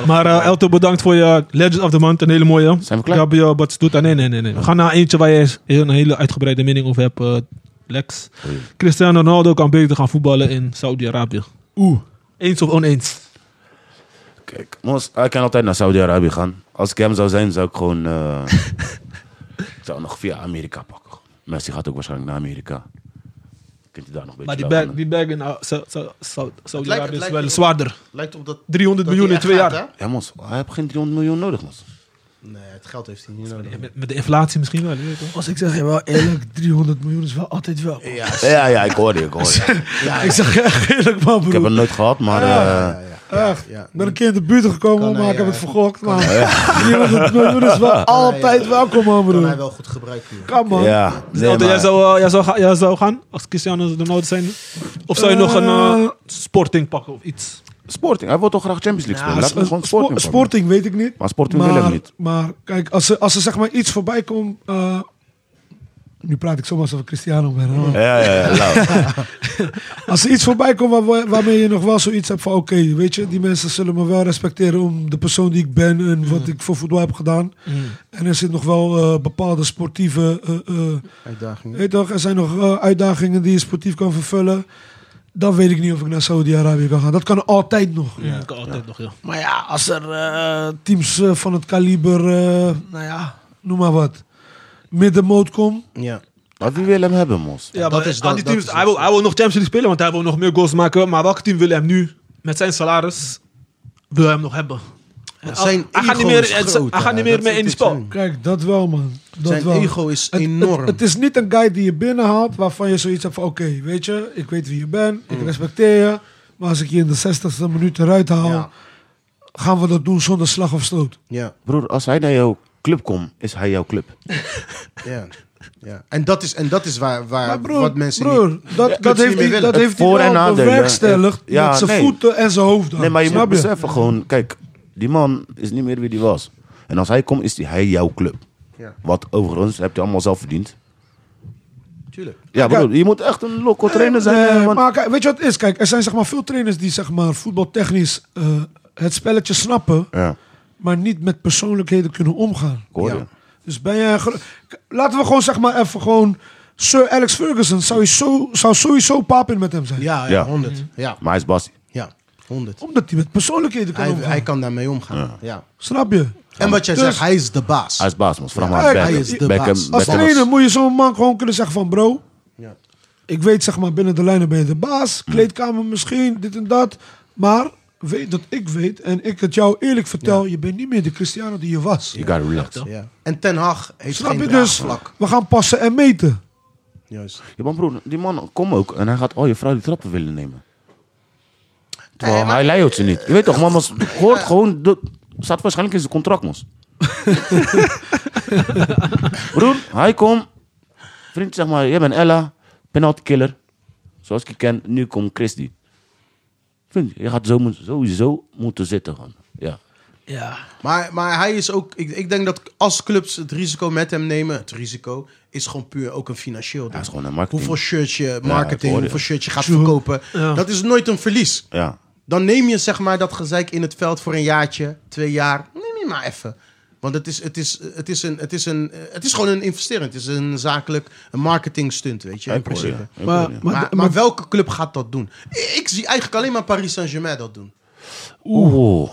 B: maar eh, Elto, bedankt voor je Legends of the Month. Een hele mooie.
D: Zijn we klaar?
B: Gabriel Bats doet. Ah, nee, nee, nee, nee. We gaan naar eentje waar je een hele uitgebreide mening over hebt. eh, Lex. Cristiano Ronaldo kan beter gaan voetballen in Saudi-Arabië. Oeh. Eens of oneens?
D: Kijk, mos, hij kan altijd naar Saudi-Arabië gaan. Als ik hem zou zijn, zou ik gewoon... eh, ik zou nog via Amerika pakken. Messi gaat ook waarschijnlijk naar Amerika. Kunt hij daar nog een
B: Maar
D: beetje
B: die bag,
D: laten.
B: die bag in eh, Sa- Sa- Sa-
F: het
B: Saudi-Arabië is
F: lijkt
B: wel
F: erop-
B: zwaarder.
F: Lijkt op dat...
B: 300
F: dat
B: miljoen
F: hij
B: in
F: echt
B: twee
F: gaat,
B: jaar.
D: Ja, mos. Hij heeft geen 300 miljoen nodig, mos.
F: hè? Nee, het geld heeft hij niet nodig.
B: Met, met de inflatie misschien wel. je weet toch?
E: Als ik zeg, ja, wel eerlijk, 300 miljoen is wel altijd wel.
D: Ja, ja, ik hoor je, ik hoor je.
E: Ik zeg je echt eerlijk, man,
D: Ik heb
E: broer.
D: het nooit gehad, maar... eh,
E: Echt.
F: Ja, ja.
E: Ik ben een keer in de buurt gekomen,
F: Kan
E: maar
F: hij,
E: ik heb
F: eh,
E: het vergokt. Maar 300 miljoen is wel altijd
F: eh,
E: welkom, man,
F: Kan hij
E: broer.
F: wel goed gebruiken. hier.
E: Kan, man.
D: ja,
B: Dus
D: nee,
B: Elto, jij,
D: maar-
B: zou, eh, jij, zou, ga- jij zou gaan als Cristiano Ronaldo zijn? Of zou je nog een eh,
E: Eh,
B: sporting pakken of iets?
D: Sporting, hij wil toch graag Champions League spelen? Laat hem gewoon
E: Spo-
D: Sporting pakken.
E: sporting weet ik niet.
D: Maar Sporting wil hem niet.
E: Maar kijk, als er, als er zeg maar iets voorbij komt... eh, nu praat ik zomaar alsof ik Cristiano ben. hè, maar
D: Ja, ja, ja. lauw.
E: Als er iets voorbij komt waar- waar- waarmee je nog wel zoiets hebt van... Oké, weet je, die mensen zullen me wel respecteren om de persoon die ik ben... en wat ik voor voetbal heb gedaan. En er zit nog wel eh, bepaalde sportieve... eh, eh,
F: Uitdaging.
E: Weet toch, er zijn nog eh, uitdagingen die je sportief kan vervullen. Dan weet ik niet of ik naar Saudi-Arabië kan gaan. Dat kan altijd nog.
B: Ja. Kan altijd nog, ja.
E: Maar ja, als er eh, teams eh, van het kaliber, eh, nou ja, noem maar wat, middenmoot komen.
F: Ja.
D: Maar wie wil hem hebben, mos?
B: Ja, maar
F: dat is
B: aan
F: dan-
B: die
F: dat
B: teams,
F: is
B: hij, wil, hij wil nog Champions League spelen, want hij wil nog meer goals maken. Maar welk team wil hem nu, met zijn salaris, wil hij hem nog hebben?
F: Want
B: Al-
F: Zijn
B: hij gaat niet
F: ego
B: meer,
F: is
B: het-
F: groot,
B: hij gaat
F: hè.
B: niet meer
F: Dat
B: mee in
F: vind
B: die
F: ik
B: spel.
F: zijn.
E: Kijk, dat wel man. Dat
F: Zijn
E: wel.
F: ego is
E: Het- het-
F: enorm.
E: Het, is niet een guy die je binnenhaalt waarvan je zoiets hebt van... Oké, weet je, ik weet wie je bent,
F: Mm.
E: ik respecteer je. Maar als ik je in de 60ste minuut eruit haal,
F: Ja.
E: gaan we dat doen zonder slag of stoot.
F: Ja,
D: Broer, als hij naar jouw club komt, is hij jouw club.
F: ja. ja. En dat is, en dat is waar, waar
E: Maar broer,
F: wat mensen
E: broer,
F: niet...
E: dat,
F: Ja,
E: dat
F: ze niet
E: heeft
F: meer
E: hij,
F: willen.
E: dat
D: Het
E: heeft hij
D: voor- en
E: wel
D: nadelen.
E: bewerkstelligd
D: Ja,
E: met zijn
D: nee.
E: voeten en zijn hoofd. aan.
D: Nee, maar je
E: Snap
D: moet beseffen gewoon, kijk, die man is niet meer wie die was. En als hij komt, is die, hij jouw club.
F: Ja.
D: Wat overigens, heb je allemaal zelf verdiend.
F: Tuurlijk.
D: Ja, broer, je moet echt een loco trainer zijn.
E: Nee,
D: eh, want-
E: maar kijk, weet je wat het is? Kijk, er zijn zeg maar veel trainers die zeg maar voetbaltechnisch eh, het spelletje snappen,
D: Ja,
E: maar niet met persoonlijkheden kunnen omgaan.
D: ik hoor
F: Ja.
D: je.
E: Dus ben jij... gro- K- Laten we gewoon zeg maar even gewoon... Sir Alex Ferguson zou, je zo, zou sowieso papin met hem zijn.
F: Ja, ja,
D: Ja.
F: 100. Mm-hmm. Ja,
D: Maar hij is Bas.
F: ja, 100.
E: Omdat hij met persoonlijkheden kan
F: Hij,
E: omgaan.
F: hij kan daarmee omgaan. Ja.
E: Snap je?
F: En wat jij
E: Dus-
F: zegt, hij is de baas.
D: Hij is Baas, man. Vraag
F: Ja,
D: maar
E: hij-
D: aan Beckham.
E: hij
F: is de
D: Beckham-
F: baas.
E: Als
D: Beckham was-
E: trainer moet je zo'n man gewoon kunnen zeggen van... Bro,
F: Ja.
E: ik weet zeg maar binnen de lijnen ben je de baas.
D: Mm.
E: Kleedkamer misschien, dit en dat. Maar weet dat ik weet en ik het jou eerlijk vertel. Je bent niet meer de Cristiano die je was.
D: You gotta relax.
F: Ja. En Ten Hag heeft
E: Snap
F: geen
E: je dus?
F: draagvlak.
E: We gaan passen en meten.
F: Juist.
D: Ja, maar broer, die man komt ook en hij gaat al je vrouw die trappen willen nemen. Terwijl hij leidt ze niet. Je weet toch, man, mos, hoort gewoon... Dat, staat waarschijnlijk in zijn contract, mos. broer, hij komt. Vriend, zeg maar, jij bent Ella, penalty killer. Zoals ik je ken, nu komt Christy. Vriend, je gaat zo, moet- sowieso moeten zitten, gewoon. Ja.
F: Maar, maar hij is ook... Ik, ik denk dat als clubs het risico met hem nemen... Het risico is gewoon puur ook een financieel ding.
D: Hij is gewoon een marketing.
F: Hoeveel shirts je
D: ik hoor
F: marketing,
D: je.
F: hoeveel shirts je gaat verkopen. Dat is nooit een verlies.
D: Ja.
F: Dan neem je zeg maar dat gezeik in het veld voor een jaartje, twee jaar. Neem je maar even. Want het is, het, is, het, is een, het, is een, eh, het is gewoon een investering. Het is een zakelijk een marketing stunt, weet je, in
D: Ik hoor je.
F: principe.
D: Ik hoor
E: Maar,
D: je.
E: maar,
F: Maar,
E: maar,
F: maar welke club gaat dat doen? Ik, ik zie eigenlijk alleen maar Paris Saint-Germain dat doen.
D: Oeh.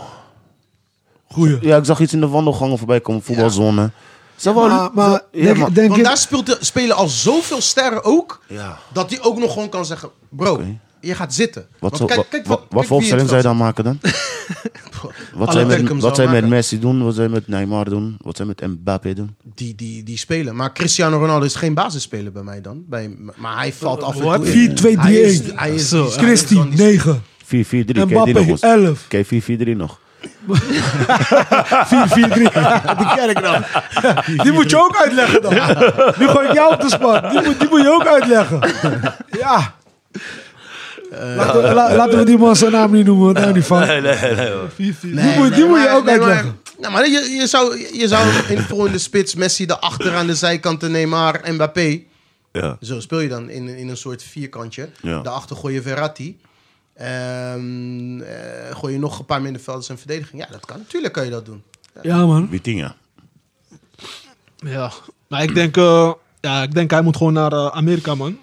E: goeie.
D: Ja, ik zag iets in de wandelgangen voorbij komen, voetbalzone. Ze wel-
E: Maar, maar
D: ze- ja,
E: denk,
D: maar-
E: denk
F: Want
E: je-
F: daar speelt de- spelen al zoveel sterren ook,
D: Ja.
F: dat die ook nog gewoon kan zeggen... Bro,
D: Oké.
F: je gaat zitten.
D: Wat,
F: Want
D: zou- wa- wa-
F: kijk
D: wat
F: wie
D: voor
F: in
D: opstelling zou je
F: het veld
D: dan maken dan? wat
F: Alle
D: zij, met,
F: Beckham
D: wat
F: zou
D: zij met
F: maken.
D: Messi doen, wat zij met Neymar doen, wat zij met Mbappé doen.
F: die, die, die spelen. Maar Cristiano Ronaldo is geen basisspeler bij mij dan. Bij, maar hij valt af en toe
B: Wat?
F: in.
E: 4, 2, 3,
F: Hij is-
E: 1.
F: hij is- hij is
E: Christie,
F: dan die-
E: 9.
D: 4-4-3, ken je die nog
E: Mbappé,
D: eens?
E: 11.
D: Ken je 4-4-3 nog?
E: 4, 4, 3. Ah. Die ken ik dan. Die moet je ook uitleggen dan. Nu gooi ik jou op de span. Die moet, die moet je ook uitleggen. Ja.
F: Eh,
E: Laten, we- la- laten we die man zijn naam niet noemen. Daar niet van. die moet, die moet je
F: maar-
E: ook
F: nee, maar-
E: uitleggen.
F: Nou, maar je, je, zou, je zou in voor in de spits Messi daarachter aan de zijkanten, Neymar, Mbappé.
D: Ja.
F: Zo speel je dan in, in een soort vierkantje.
D: Ja.
F: Daarachter gooi je Verratti. Ehm, eh, gooi je nog een paar middenvelders en verdediging. Ja, dat kan. Natuurlijk kan je dat doen.
E: Ja, man.
G: Vitinha.
B: Ja, maar ik denk, eh, ja, ik denk hij moet gewoon naar eh, Amerika, man.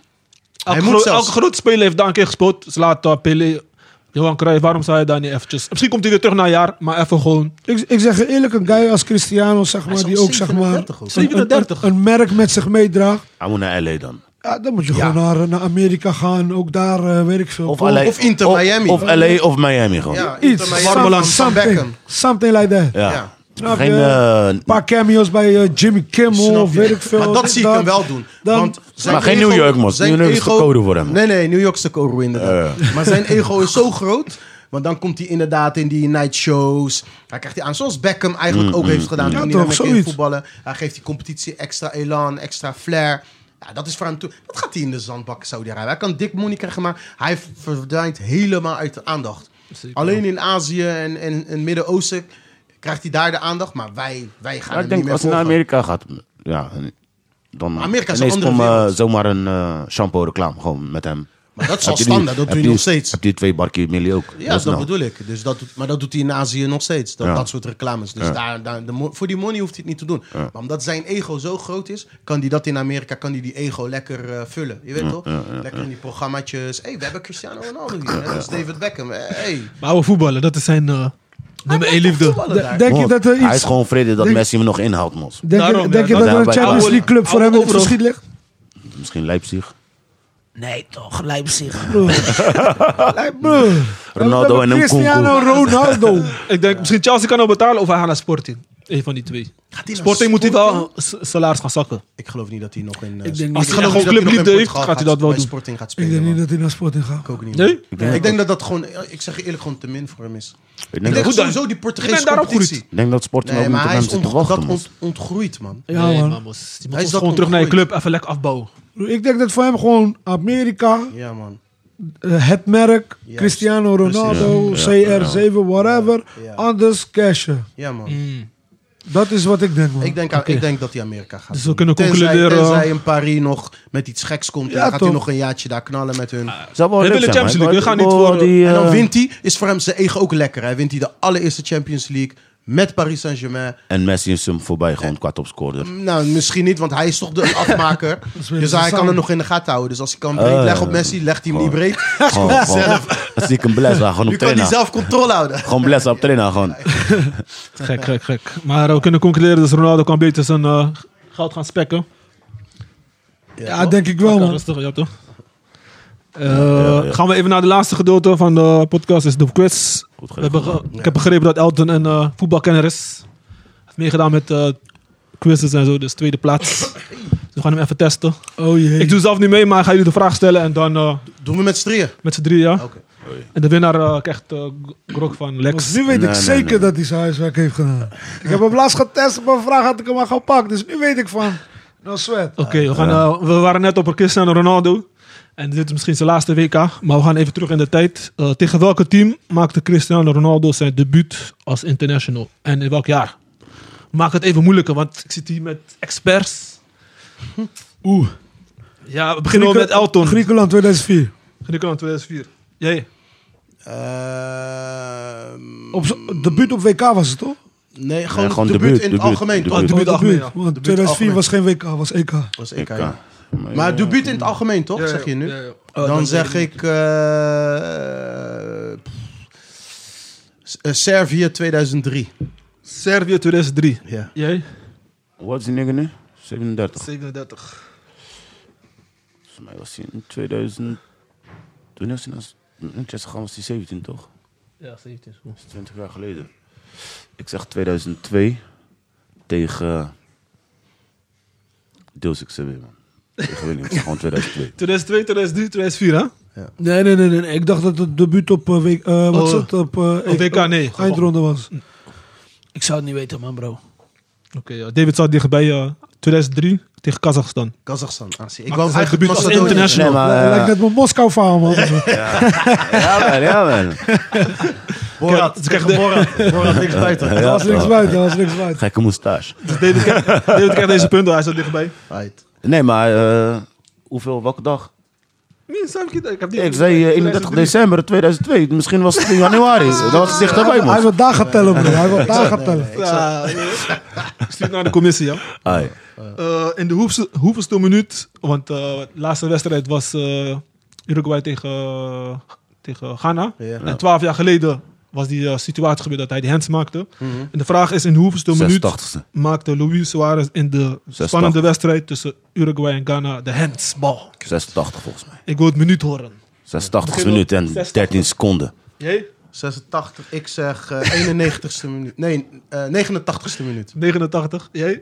B: Elke,
F: Hij moet
B: gro-
F: zelfs.
B: elke grote speler heeft daar een keer gespeeld. Slaat uh, Pele, Johan Cruijff, waarom zou je daar niet eventjes... Misschien komt hij weer terug na een jaar, maar even gewoon...
E: Ik, ik zeg je eerlijk, een guy als Cristiano, zeg maar,
F: is
E: die
F: al
E: ook, zeg maar,
F: 37 ook.
E: een- een- Een,
B: 37.
E: merk met zich meedraagt.
G: Hij moet naar LA dan.
E: Ja, dan moet je gewoon naar, naar Amerika gaan. Ook daar eh, weet ik veel.
D: Of
E: Kom,
D: LA.
F: Of Inter Miami.
G: Of LA of Miami
D: Oh.
G: gewoon. Ja.
F: Ja,
E: Iets.
F: Inter Miami
E: some-
F: van- van
E: Something,
F: Beckham.
E: something like that.
F: Ja.
E: Snap
G: Geen,
E: je?
G: eh,
E: Een paar cameo's bij eh, Jimmy
F: Snap
E: Kimmel of
F: je?
E: weet ik veel.
F: Maar dat
E: dit,
F: zie ik hem wel doen.
E: Dan-
F: want zijn
D: Maar geen New York, man.
F: zijn
D: New York is te
F: ego-
D: code voor hem.
F: Nee, nee, New York is de code inderdaad. Maar zijn ego is zo groot. Want dan komt hij inderdaad in die night shows. Hij krijgt die aan, zoals Beckham
D: Mm,
F: eigenlijk ook heeft gedaan. toen
E: Ja,
F: hij
E: toch,
F: daarmee ging
E: zoiets.
F: voetballen. Hij geeft die competitie extra elan, extra flair. Ja, dat is voor hem toe. Dat gaat hij in de zandbak Saudi-Arabië. Hij kan dik money krijgen, maar hij verdwijnt helemaal uit de aandacht. Alleen in Azië en, en, en Midden-Oosten krijgt hij daar de aandacht. Maar wij, wij gaan
D: Maar ik
F: hem niet
D: denk,
F: meer
D: als hij naar
F: volgen.
D: Amerika gaat, ja, dan
F: Amerika is een
D: ineens
F: andere
D: komt eh,
F: wereld.
D: zomaar een eh, shampoo-reclame gewoon met hem.
F: Maar dat is
D: Heb
F: al
D: je nu-
F: standaard, dat
D: heb
F: doe je nog steeds.
D: Heb je twee barkie milie ook? nou-
F: Ja, dat bedoel ik. Dus dat doet, maar dat doet hij in Azië nog steeds. Dat,
D: Ja.
F: dat soort reclames. Dus daar, daar, de, mo- voor die money hoeft hij het niet te doen. Maar omdat zijn ego zo groot is, kan hij dat in Amerika, kan hij die ego lekker eh, vullen. Je weet toch? lekker in die programmaatjes. hey, we hebben Cristiano Ronaldo hier. hè? Dat is David Beckham. Hey.
B: Maar we voetballen, dat is zijn eh, nummer 1 liefde.
F: Voetballen
E: de-
F: daar.
E: Denk je dat er
D: Hij
E: iets...
D: is gewoon vrede dat
E: Denk-
D: Messi hem nog inhaalt, mos.
E: Denk je,
B: Daarom,
E: denk je
F: eh,
B: ja,
D: dat-
E: dat er een
D: daarbij-
E: Champions
D: Oude-
E: League club voor hem in het
B: overal.
E: verschiet ligt?
D: Misschien Leipzig.
E: Nee, toch, Leipzig. Ronaldo
D: Ronaldo en een
E: Cristiano
D: Kunku.
E: Ronaldo.
B: Ik denk, misschien Chelsea kan hem betalen of hij gaat naar Sporting. Eén van die twee.
F: Gaat hij naar
B: Sporting moet hij
F: Sporting?
B: wel s- salaris gaan zakken.
F: Ik geloof niet dat hij nog in... eh,
E: Ik denk
B: Als
E: niet,
B: hij
F: geloof
B: gewoon
F: niet dat nog in
B: clubliefde heeft,
F: Portugal
B: gaat hij dat wel
F: bij
B: doen.
F: Sporting gaat
E: ik
F: spelen.
E: denk niet
F: man.
E: dat hij naar Sporting gaat.
F: Ik ook niet.
B: Nee?
F: man.
B: Ik
F: Ik denk dat dat gewoon... eh, Ik zeg je eerlijk, gewoon te min voor hem is.
D: Ik
F: Ik
D: denk
F: denk
D: dat-
B: Goed dan.
F: sowieso die
B: Ik
F: Portugese
B: ben daar ook
F: competitie.
D: ik denk dat Sporting
F: Nee,
D: ook niet
F: maar
D: op
F: hij
D: hem
F: is
D: zit te
F: ont-
D: wachten,
F: dat
D: mos.
F: ont- ontgroeid, man.
E: Ja,
B: Nee,
E: man.
B: man, mos. Die moet
F: Hij is
B: ons
F: dat
B: gewoon terug naar je
F: ontgroeid.
B: club, even lekker afbouwen.
E: Ik denk dat voor hem gewoon Amerika,
F: Ja, man.
E: eh, het merk,
F: Juist.
E: Cristiano Ronaldo,
D: Precies. Ja, ja,
E: CR7, whatever.
F: Ja.
E: Anders cashen.
F: Ja, man.
B: Mm.
E: Dat is wat ik denk, man.
F: Ik denk, ik denk dat hij Amerika gaat.
B: Dus we
F: doen.
B: kunnen
F: Tenzij-
B: concluderen-
F: Tenzij in Parijs nog met iets geks komt. en
E: Ja,
F: dan gaat hij
E: toch.
F: nog een jaartje daar knallen met hun.
D: Zou wel
B: We
D: leuk
B: willen
D: zijn,
B: Champions
D: man.
B: League, we gaan niet
D: Ik hoor
B: voor-
D: die,
F: en dan
D: eh,
F: wint hij. Is voor hem zijn ego ook lekker. Hij wint hij de allereerste Champions League met Paris Saint-Germain.
D: En Messi is hem voorbij, gewoon qua topscorer.
F: Nou, misschien niet, want hij is toch de afmaker.
E: weer
F: dus
E: zo
F: hij kan
E: saai.
F: hem nog in de gaten houden. Dus als hij kan breed
D: Eh,
F: leggen op Messi, legt hij hem niet breed.
D: Gewoon, gewoon. Stiekem blessa, gewoon
F: Nu
D: op
F: kan hij
D: trainen.
F: zelf controle houden.
D: Gewoon blessa op trainen, gewoon.
B: Gek, gek, gek. Maar eh, we kunnen concluderen dat Ronaldo kan beter zijn eh, goud gaan spekken.
E: ja, denk ik wel,
B: Oké,
E: man.
B: Rustig, ja toch? Eh, Gaan we even naar de laatste gedeelte van de podcast, is de quiz. We hebben ge- Ik heb begrepen dat Elton een eh, voetbalkenner is. heeft meegedaan met eh, quizzes en zo, dus tweede plaats. Dus we gaan hem even testen.
E: Oh jee.
B: Ik doe zelf niet mee, maar ik ga jullie de vraag stellen en dan eh,
F: Doen we met z'n drieën.
B: met z'n drieën. Ja.
F: Oké.
B: En de winnaar eh, krijgt eh, g- grok van
E: Want
B: Lex.
E: nu weet
D: Nee,
E: ik
D: nee,
E: zeker
D: nee.
E: dat hij zijn huiswerk heeft gedaan. Ik heb hem laatst getest, maar vraag had ik hem al gepakt. Dus nu weet ik van, no sweat.
B: Oké, we, gaan, eh, we waren net op een Cristiano Ronaldo. En dit is misschien zijn laatste WK. Maar we gaan even terug in de tijd. Eh, tegen welke team maakte Cristiano Ronaldo zijn debuut als international? En in welk jaar? Maak het even moeilijker, want ik zit hier met experts. Hm. Oeh. Ja, we beginnen wel met Elton.
E: Griekenland 2004.
B: Griekenland 2004.
F: Oh,
B: Jij?
F: Ehm,
E: Op zo- debuut op WK was het toch?
F: nee, gewoon,
D: gewoon
F: debuut,
D: debuut,
F: in het
D: debuut,
F: algemeen. toch?
D: debuut.
B: Oh, Debuut algemeen, ja.
E: Want
F: algemeen.
E: 2004 was geen WK, was E EK.
F: Was ik,
D: Ik,
F: ja.
D: eh,
F: Maar debuut in het algemeen, toch?
B: Ja,
F: zeg je nu?
B: ja, ja.
F: dan, zeg ik... eh, eh, S- eh, Servië 2003.
B: Servië 2003.
F: Ja.
B: Jij?
D: Wat is die nigger nu? 37.
B: 37.
D: Volgens mij was hij in 2000... Toen was hij naar Manchester gegaan, was hij 17, toch?
B: Ja, 17.
D: Dat is 20 jaar geleden. Ik zeg 2002 tegen... Deels XCB, man. Ik weet niet, ik zeg gewoon 2002.
B: 2002, 2003, 2004, hè?
E: Nee, nee, nee, nee. Ik dacht dat het debuut op eh, WK, eh, wat
B: Oh,
E: is het? Op, eh,
B: op WK, nee.
E: eh, Eindronde was. Ik zou het niet weten, man, bro.
B: Oké, ja. David zat dichtbij. eh, 2003 tegen Kazachstan.
F: Kazachstan. Ah, zie,
B: Maakte
F: ik wou
B: zijn
F: eigenlijk
B: debuut als
F: Macedonië
B: international.
F: zeggen.
D: Nee, maar... eh,
E: Lijkt net mijn Moskou verhaal, man.
D: ja, man, ja, man.
F: Borat.
B: Kijk,
F: Tegen
B: de-
F: Borat. Borat niks buiten.
E: Dat was niks buiten, dat was niks buiten.
D: Gekke moustache.
B: Dus David, krijgt- David krijgt deze punten, hij zat dichtbij.
F: Right.
D: Nee, maar eh, hoeveel, welke dag?
B: Nee, Sam Kita, ik heb die...
D: Ik zei eh, 31 december 2002. Misschien was het in januari. Dat was het dichterbij,
E: Hij
D: man.
E: wil dagen tellen, bro. Hij wil dagen tellen.
B: Ja, Ah, ik stuur het naar de commissie, ja.
D: Ai.
B: Eh, in de hoeveel, hoeveelste minuut, want eh, de laatste wedstrijd was eh, Uruguay tegen, eh, tegen Ghana. En twaalf jaar geleden was die eh, situatie gebeurd dat hij die hands maakte.
D: Mhm.
B: En de vraag is in de hoeveelste minuut
D: 86ste.
B: maakte Luis Suarez in de
D: 86.
B: spannende wedstrijd tussen Uruguay en Ghana de handsbal.
D: 86 volgens mij.
B: Ik wil het minuut horen.
D: 86 minuten en 13 seconden.
B: Jij?
F: 86, ik zeg eh 91ste minuut. Nee, eh 89ste minuut.
B: 89. Jij?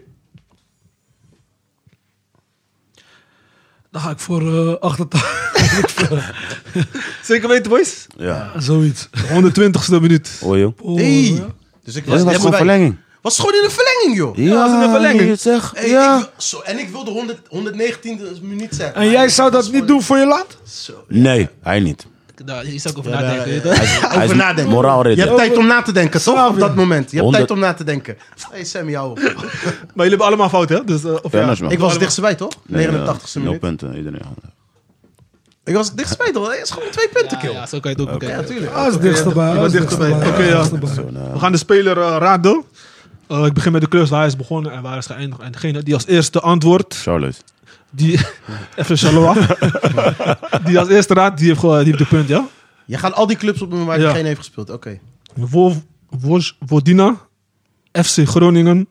E: Dan ga ik voor eh 88.
B: Zeker weten, boys?
D: Ja.
E: Zoiets.
B: 120ste minuut.
D: Hoor je?
E: Oh,
F: Hey.
E: ja.
F: Dus ik
D: Dat was
F: helemaal
D: gewoon
F: bij.
D: verlenging.
F: Was gewoon in de verlenging, joh.
D: Ja,
B: was in de verlenging.
D: je het zegt.
F: Hey,
D: ja.
F: ik wil- zo, en ik wilde 100, 119 minuut zeggen.
E: En jij zou dat niet doen voor je land?
D: Nee, hij niet.
B: Daar is ook over
F: nadenken,
B: nadenken.
F: weet je Over
D: is
F: nadenken.
D: moraal
F: je
D: ridder.
F: hebt tijd om na te denken, toch? Op dat moment. Je hebt
D: Honderd-
F: tijd om na te denken. hey, Sam, jou. op.
B: Maar jullie hebben allemaal fout, hè? Dus, eh, of ja.
D: Fernandes, man.
F: Ik was het dichtstbij, toch?
D: Nee,
F: 89ste
D: ja, Nul
F: minuut.
D: punten, iedereen.
F: Ik was het dichtstbij, toch? Het is gewoon twee punten,
B: Ja,
F: kill.
B: ja, zo kan je het ook bekijken.
F: Ja, tuurlijk.
E: Dat Ah, is dichterbij.
B: Je
E: dat
B: was
E: is
B: dichterbij. Oké, ja.
D: Zo'n, eh,
B: We gaan de speler eh, raden. Eh, ik begin met de kleurs waar hij is begonnen en waar hij is geëindigd. En degene die als eerste antwoordt,
D: Charlotte.
B: die... Even shalom af. die als eerste raadt, die heeft, gewoon- die heeft de punt, ja?
F: Je gaat al die clubs opnoemen waar je
B: Ja.
F: geen heeft gespeeld. Oké.
B: Wo- Wo- Wodina, FC Groningen,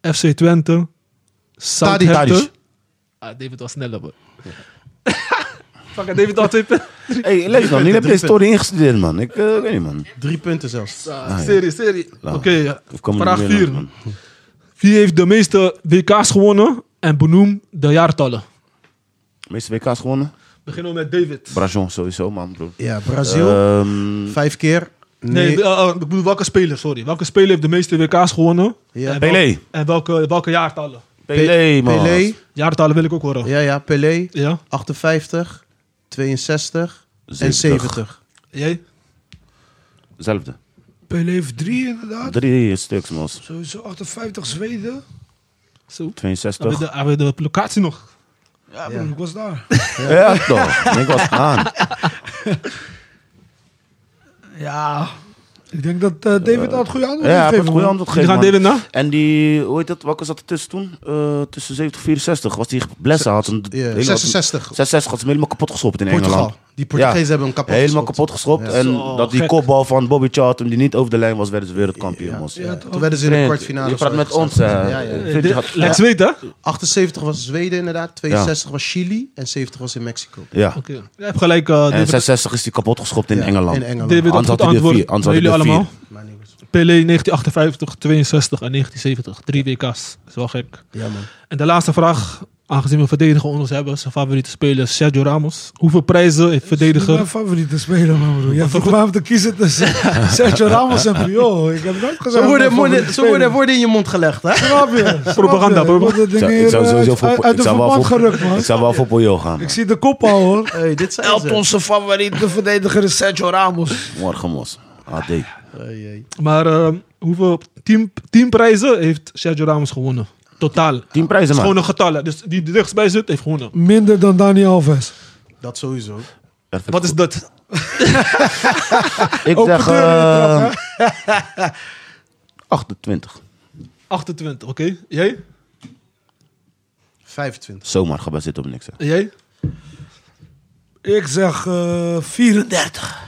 B: FC Twente, Southampton.
F: Tadic.
B: Ah, David was sneller, hoor. Ah, Fuck, had David al twee punten.
D: Hé, hey, lees dan. Jullie hebben deze story ingestudeerd, man. Ik eh, weet niet, man.
F: Drie punten zelfs.
B: Ah, serie, serie. Oké, ja.
D: Of komen er
B: vraag
D: meer langs,
B: 4.
D: man?
B: Wie heeft de meeste WK's gewonnen en benoem de jaartallen?
D: De meeste WK's gewonnen?
B: Beginnen we met David.
D: Brajon sowieso, man, broer.
F: Ja, Brazil.
D: Ehm
F: vijf keer.
B: Nee,
F: Nee.
B: eh, eh, ik bedoel welke speler, sorry. Welke speler heeft de meeste WK's gewonnen?
F: Ja.
B: En, wel-
D: Pelé.
B: en welke, welke jaartallen?
D: Pelé, man.
F: Pelé.
B: Jaartallen wil ik ook horen. Ja.
F: Ja, ja. Pelé.
B: ja?
F: 58, 62 en
D: 70.
F: 70.
B: Jij?
D: Zelfde.
E: Pelé heeft drie inderdaad.
D: Drie stuks, man.
E: Sowieso 58 Zweden.
B: Zo.
D: 62.
B: Hebben we de, hebben we de locatie nog?
E: Ja, broer, dus ik was daar.
D: Ja, toch. Ik was aan.
E: Ja. Ik denk dat eh, David al het goede antwoord
D: Ja, hij
E: heeft
D: heeft het
E: gegeven.
D: goede
E: man.
D: antwoord
B: Jullie gaan
D: gegeven, man.
B: David na?
D: En die, hoe heet dat, welke zat er tussen toen? Eh, tussen 70 en 64 was die blessen. Had een,
F: Ja,
D: hele-
F: 66.
D: 66 had ze hem helemaal kapot geschopt in
F: Portugal.
D: Engeland.
F: Die Portugezen
D: Ja.
F: hebben hem kapot
D: helemaal
F: geschopt.
D: kapot geschopt. En
B: Zo,
D: dat die
B: gek.
D: kopbal van Bobby Charlton, die niet over de lijn was, werden ze wereldkampioen.
F: Ja,
D: mos.
F: ja, Toen werden ze in de
D: Trent,
F: kwartfinale.
D: Je
F: of zo
D: praat met
F: uitgeschakeld.
D: ons. eh.
F: Ja, ja.
D: Vindt je gaat-
B: Lex weet, hè?
F: 78 was Zweden inderdaad, 62 was Chili en 70 was in Mexico.
D: Ja.
B: Oké. Je hebt gelijk, eh,
D: En
B: David.
D: 66 is die kapot geschopt in
F: Ja,
D: Engeland.
F: In Engeland.
B: David had
D: Anders
B: goed
D: had hij er
B: antwoord.
D: vier. Anders
B: Maar
D: had
B: jullie
D: hij er
B: allemaal?
F: Maar niet goed.
B: Pelé 1958, 62 en 1970. Drie WK's. Dat is wel gek.
F: Ja, man.
B: En de laatste vraag, aangezien we verdedigen onder ons hebben, zijn favoriete speler Sergio Ramos. Hoeveel prijzen heeft
E: Dat is
B: verdediger?
E: mijn favoriete speler, man, broer. Jij vroeg mij om te kiezen tussen Sergio Ramos en Pio. Ik heb nooit gezegd...
F: Zo worden,
E: mijn
F: woorden,
E: favoriete
F: zo worden
E: speler.
F: woorden in je mond gelegd, hè?
E: Snap je? Snap je?
B: Propaganda,
E: Ik
B: propaganda.
E: word dat ding
D: Ik zou-
E: hier,
D: ik zou
E: eh,
D: sowieso voor-
E: uit- uit
D: ik
E: de
D: zou wel
E: verband
D: voor-
E: gerukt, man.
D: Ik zou wel voor Poyo gaan.
E: Ik zie de kop al, hoor.
F: Hey, dit zijn ze.
E: Onze favoriete verdediger is Sergio Ramos.
D: Morgen, mos. AD.
F: Hey, hey.
B: Maar eh, hoeveel team, teamprijzen heeft Sergio Ramos gewonnen? Totaal.
D: Tien prijzen,
B: Gewoon
D: man.
B: een getal. hè. Dus die er dichtstbij zit, heeft gewonnen.
E: Minder dan Dani Alves.
F: Dat sowieso.
D: Perfect.
B: Wat is dat?
D: Ik
E: Open
D: zeg...
E: deur,
D: eh, 28.
B: 28, oké. Jij?
F: 25.
D: Zomaar gebaseerd op niks. hè.
B: Jij?
E: Ik zeg eh 34.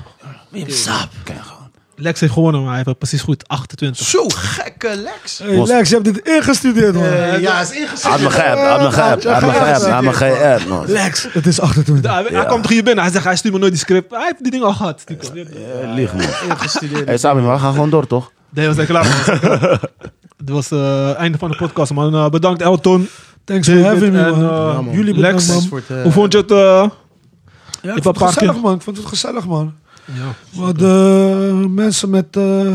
D: Kijk gewoon.
B: Lex heeft gewonnen, maar hij heeft het precies goed. 28.
F: Zo, gekke Lex.
E: Hey,
D: Was-
E: Lex, je hebt dit ingestudeerd, man.
F: Eh, ja, is ingezet.
D: Had me geappt, had me geappt, had me geappt, had me geappt, man.
E: Lex, het is 28.
B: Hij, hij kwam toch hier binnen. Hij zegt, hij stuurt me nooit die script. Hij heeft die dingen al gehad.
D: Eh, Lieg, man.
F: Ingestudeerd.
D: Hé, Sami, maar we gaan gewoon door, toch?
B: Nee, was lekker laat. Het was eh, het einde van de podcast, man. Eh, bedankt, Elton.
E: Thanks for having me,
B: en,
E: man.
B: eh,
F: man.
E: Jullie bedankt,
B: Lex.
E: man.
F: Voor het, eh,
B: Hoe vond je het? eh,
E: Ja,
B: Ik wou
E: ik vond het
B: een paar
E: gezellig,
B: keer-
E: man. Ik vond het gezellig, man.
B: Ja.
E: We hadden eh, mensen met, eh,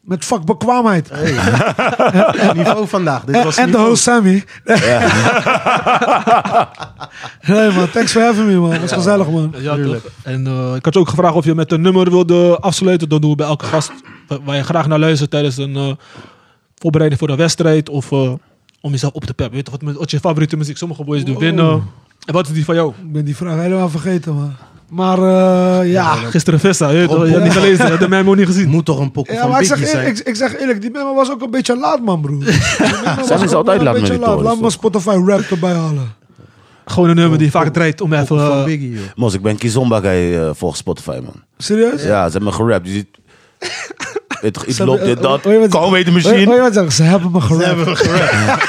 E: met vakbekwaamheid.
F: Ja, niveau vandaag. Dit was
E: en de
F: niveau.
E: host Sammy. nee, man. Thanks for having me, man. Het was gezellig, man.
B: Ja, toch. En eh, ik had je ook gevraagd of je met een nummer wilde afsluiten. Dat doen we bij elke gast wa- waar je graag naar luistert tijdens een eh, voorbereiding voor een wedstrijd. Of eh, om jezelf op te peppen. Weet je, wat, mu- wat je favoriete muziek? Sommige boys doen winnen. En wat is die van jou?
E: Ik ben die vraag helemaal vergeten, man. Maar eh, ja.
B: Gisteren Vesta, je, weet toch, je hebt niet gelezen, je hebt de memo niet gezien.
F: Moet toch een pokkel
E: Ja,
F: van
E: maar ik
F: Biggie
E: zeg,
F: zijn?
E: eerlijk, ik, ik zeg eerlijk, die memo was ook een beetje laat, man, broer.
D: Zijn is altijd laat met die
E: Laat,
D: toren.
E: laat maar Spotify rap erbij halen.
B: Gewoon een nummer die vaak draait om even...
F: Van
B: eh,
F: Biggie, joh.
G: Mos, ik ben Kizomba guy eh, volgens Spotify, man.
E: Serieus?
G: Ja, ze hebben me gerapt. Je ziet... Weet toch, iets
E: Ze hebben-
G: loopt, dit,
E: eh,
G: dat.
E: hoor je wat-
G: Kan weten
E: Hoor je- hoor je
G: misschien.
E: wat zeggen? Ze hebben me gerapt.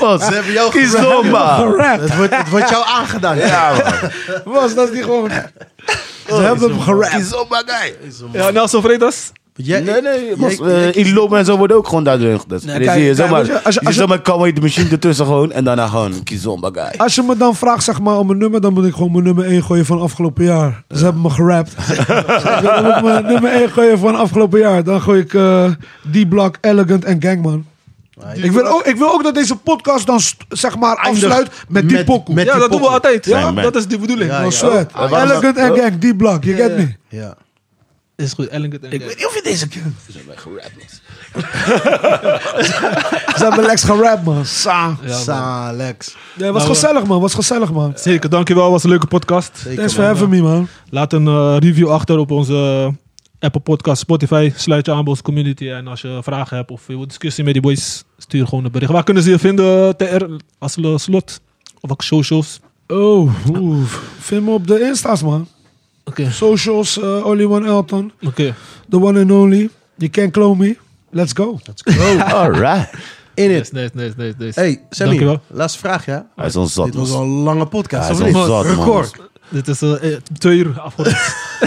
G: Mos, Ze hebben jou Kizomba.
E: Gerapt.
F: Het wordt, het wordt jou aangedaan.
G: Ja, man.
E: Was, dat is niet gewoon... Ze hebben hem gerapt.
G: Kizomba guy.
B: ja, Nelson Freitas.
F: Jij-
G: nee, nee. Mos,
F: jij-
G: eh, Ilo en zo worden ook gewoon daardoor gedacht.
E: Nee,
G: Nee,
E: kijk,
G: zie je,
E: kijk,
G: zomaar.
E: weet je, als je-
G: je
E: als je-
G: zomaar kan weten misschien ertussen gewoon. En daarna gewoon Kizomba guy.
E: Als je me dan vraagt zeg maar, om een nummer, dan moet ik gewoon mijn nummer 1 gooien van afgelopen jaar. Ze hebben me gerapt. Dus dan moet ik mijn nummer 1 gooien van afgelopen jaar. Dan gooi ik eh D-Block, Elegant en Gangman. Ik wil, ook, ik wil ook dat deze podcast dan st- zeg maar afsluit met die
F: met-
E: pokoe.
F: met-
B: Ja,
F: die
B: dat doen we
F: pokoe.
B: altijd. Ja,
G: Nee, man.
B: dat is de bedoeling.
F: Ja,
E: No
F: ja.
E: sweat.
F: Ah, waarom-
E: Elegant en Gang, D-Block, je kent me.
F: Ja.
B: Is goed, Ellen en
E: weet niet of je deze kent. Ze hebben Lex gerapt man. Sa.
F: Salex.
E: Ja, was gezellig man, was gezellig man.
B: Zeker, dankjewel. Was een leuke podcast.
F: Zeker,
E: Thanks for
F: man.
E: having me man.
B: Laat een eh, review achter op onze eh, Apple Podcast, Spotify. Sluit je aan bij onze community. En als je vragen hebt of je wil discussie met die boys, stuur gewoon een bericht. Waar kunnen ze je vinden, TR? Als eh, slot? Of ook socials?
E: Oh, oeh. vind me op de Insta's man.
B: Oké.
E: Socials, eh, Only One Elton,
B: Oké.
E: the one and only. You can clone me. Let's go. Ah.
G: Alright.
F: In
B: Nice,
F: it.
B: nice, nice, nice, nice.
F: Hey, Sammy.
B: Dankjewel.
F: Laatste vraag, ja?
G: Hij is ons zat,
F: Dit was
G: Mos.
F: al een lange podcast.
G: Hij is
F: of niet?
G: ons zat, man.
F: Record.
B: Dit is eh, eh, twee uur afgerond.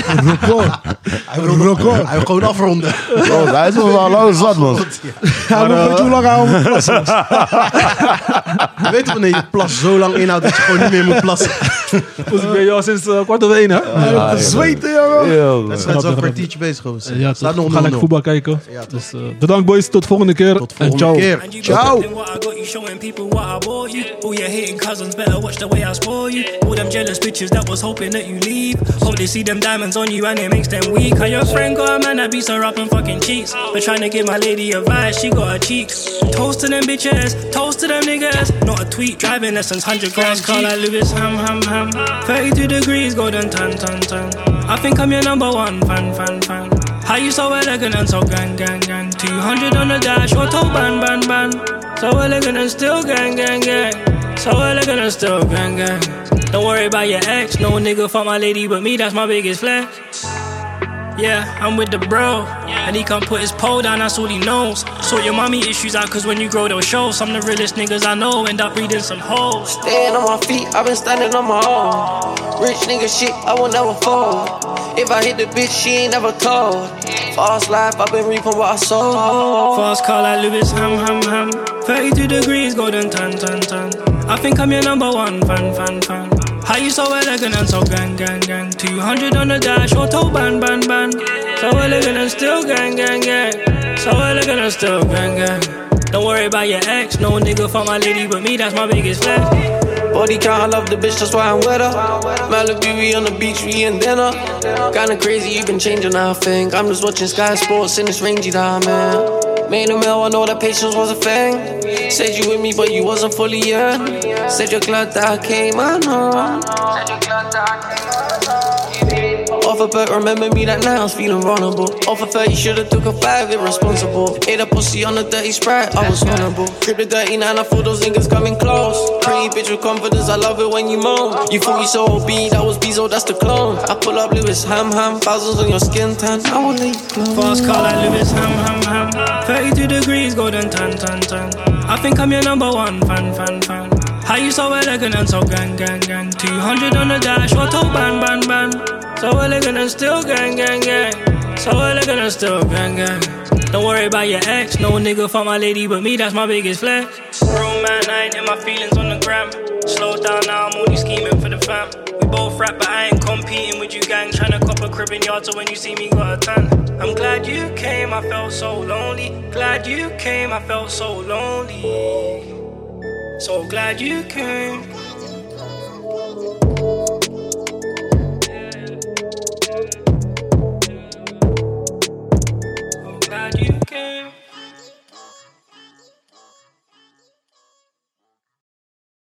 F: Hij wil record. Hij wil gewoon afronden.
G: Bro, hij is wel al lang zat, man.
E: Ja, maar weet je hoe lang hij over plassen was?
F: Je weet toch wanneer je plas zo lang inhoudt dat je gewoon niet meer moet plassen.
B: dus ik ben jou sinds eh, kwart over één, hè?
E: Hij heeft zweten, jongen.
G: Yo,
F: Dat is wel een
B: Grappig.
F: kwartiertje bezig, hoor.
B: Eh, ja,
F: Staat
B: toch.
F: nog
B: Ga
F: onder
B: lekker voetbal kijken. dus, eh, bedankt, boys. Tot volgende keer.
F: Tot
B: en
F: volgende
B: ciao.
F: keer.
H: And you
F: Ciao.
H: Ciao. what I got, you showing people what I bought you. All your hating cousins better watch the way I spoil you. All them jealous bitches that was hoping that you leave. Hope they see them diamonds on you and it makes them weak. How your friend got a man that beats her up and fucking cheats. But trying to give my lady advice, she got her cheeks. Toast to them bitches, toast to them niggas. Not a tweet, driving lessons, 100 grams, car like Lewis. Ham, ham, ham. 32 degrees, golden tan, tan, tan. I think I'm your number one fan, fan, fan. How you so elegant and so gang, gang, gang? 200 on the dash, what toe ban, ban, ban. So elegant and still gang, gang, gang. So elegant and still gang, gang. Don't worry about your ex, no nigga fuck my lady but me, that's my biggest flex. Yeah, I'm with the bro. And he can't put his pole down, that's all he knows. Sort your mommy issues out, cause when you grow, they'll show. Some of the realest niggas I know end up reading some hoes.
I: Staying on my feet, I've been standing on my own. Rich nigga shit, I will never fold. If I hit the bitch, she ain't never told. False life, I've been reaping what I sow.
H: Fast car like Lewis, ham, ham, ham. 32 degrees, golden tan, tan, tan. I think I'm your number one fan, fan, fan. How you so elegant and so gang, gang, gang? 200 on the dash, or toe ban, ban, ban. So elegant and still gang, gang, gang. So elegant and still gang, gang. Don't worry about your ex, no nigga fuck my lady but me, that's my biggest flex.
I: Body count, I love the bitch, that's why I'm with her. Malibu, we on the beach, we in dinner. Kinda crazy, you been changing, I think. I'm just watching Sky Sports in this rangy diamond. Made a meal, I know that patience was a thing. Said you with me, but you wasn't fully in. Said you're glad that I came, I know. Off a bet, remember me that now I was feeling vulnerable. Off a bet, you should've took a five, irresponsible. Ate a pussy on a dirty sprite, I was vulnerable. Grip the dirty nine, I feel those niggas coming close. Pretty bitch with confidence, I love it when you moan. You thought you so OB, that was Bezo, that's the clone. I pull up Lewis, ham ham, thousands on your skin tan. I will leave you alone.
H: Fast car like Lewis, ham, ham, ham. 32 degrees, golden tan, tan, tan. I think I'm your number one fan, fan, fan. How you so elegant and so gang, gang, gang? 200 on the dash, what toe ban, ban, ban. So elegant and still gang, gang, gang. So elegant and still gang, gang. Don't worry about your ex, no nigga fuck my lady but me, that's my biggest flex. Real man, I ain't in my feelings on the gram. Slow down now, I'm only scheming for the fam. We both rap, but I ain't competing with you gang. Tryna cop a crib in yard, so when you see me, got a tan. I'm glad you came, I felt so lonely. Glad you came, I felt so lonely. So glad you came.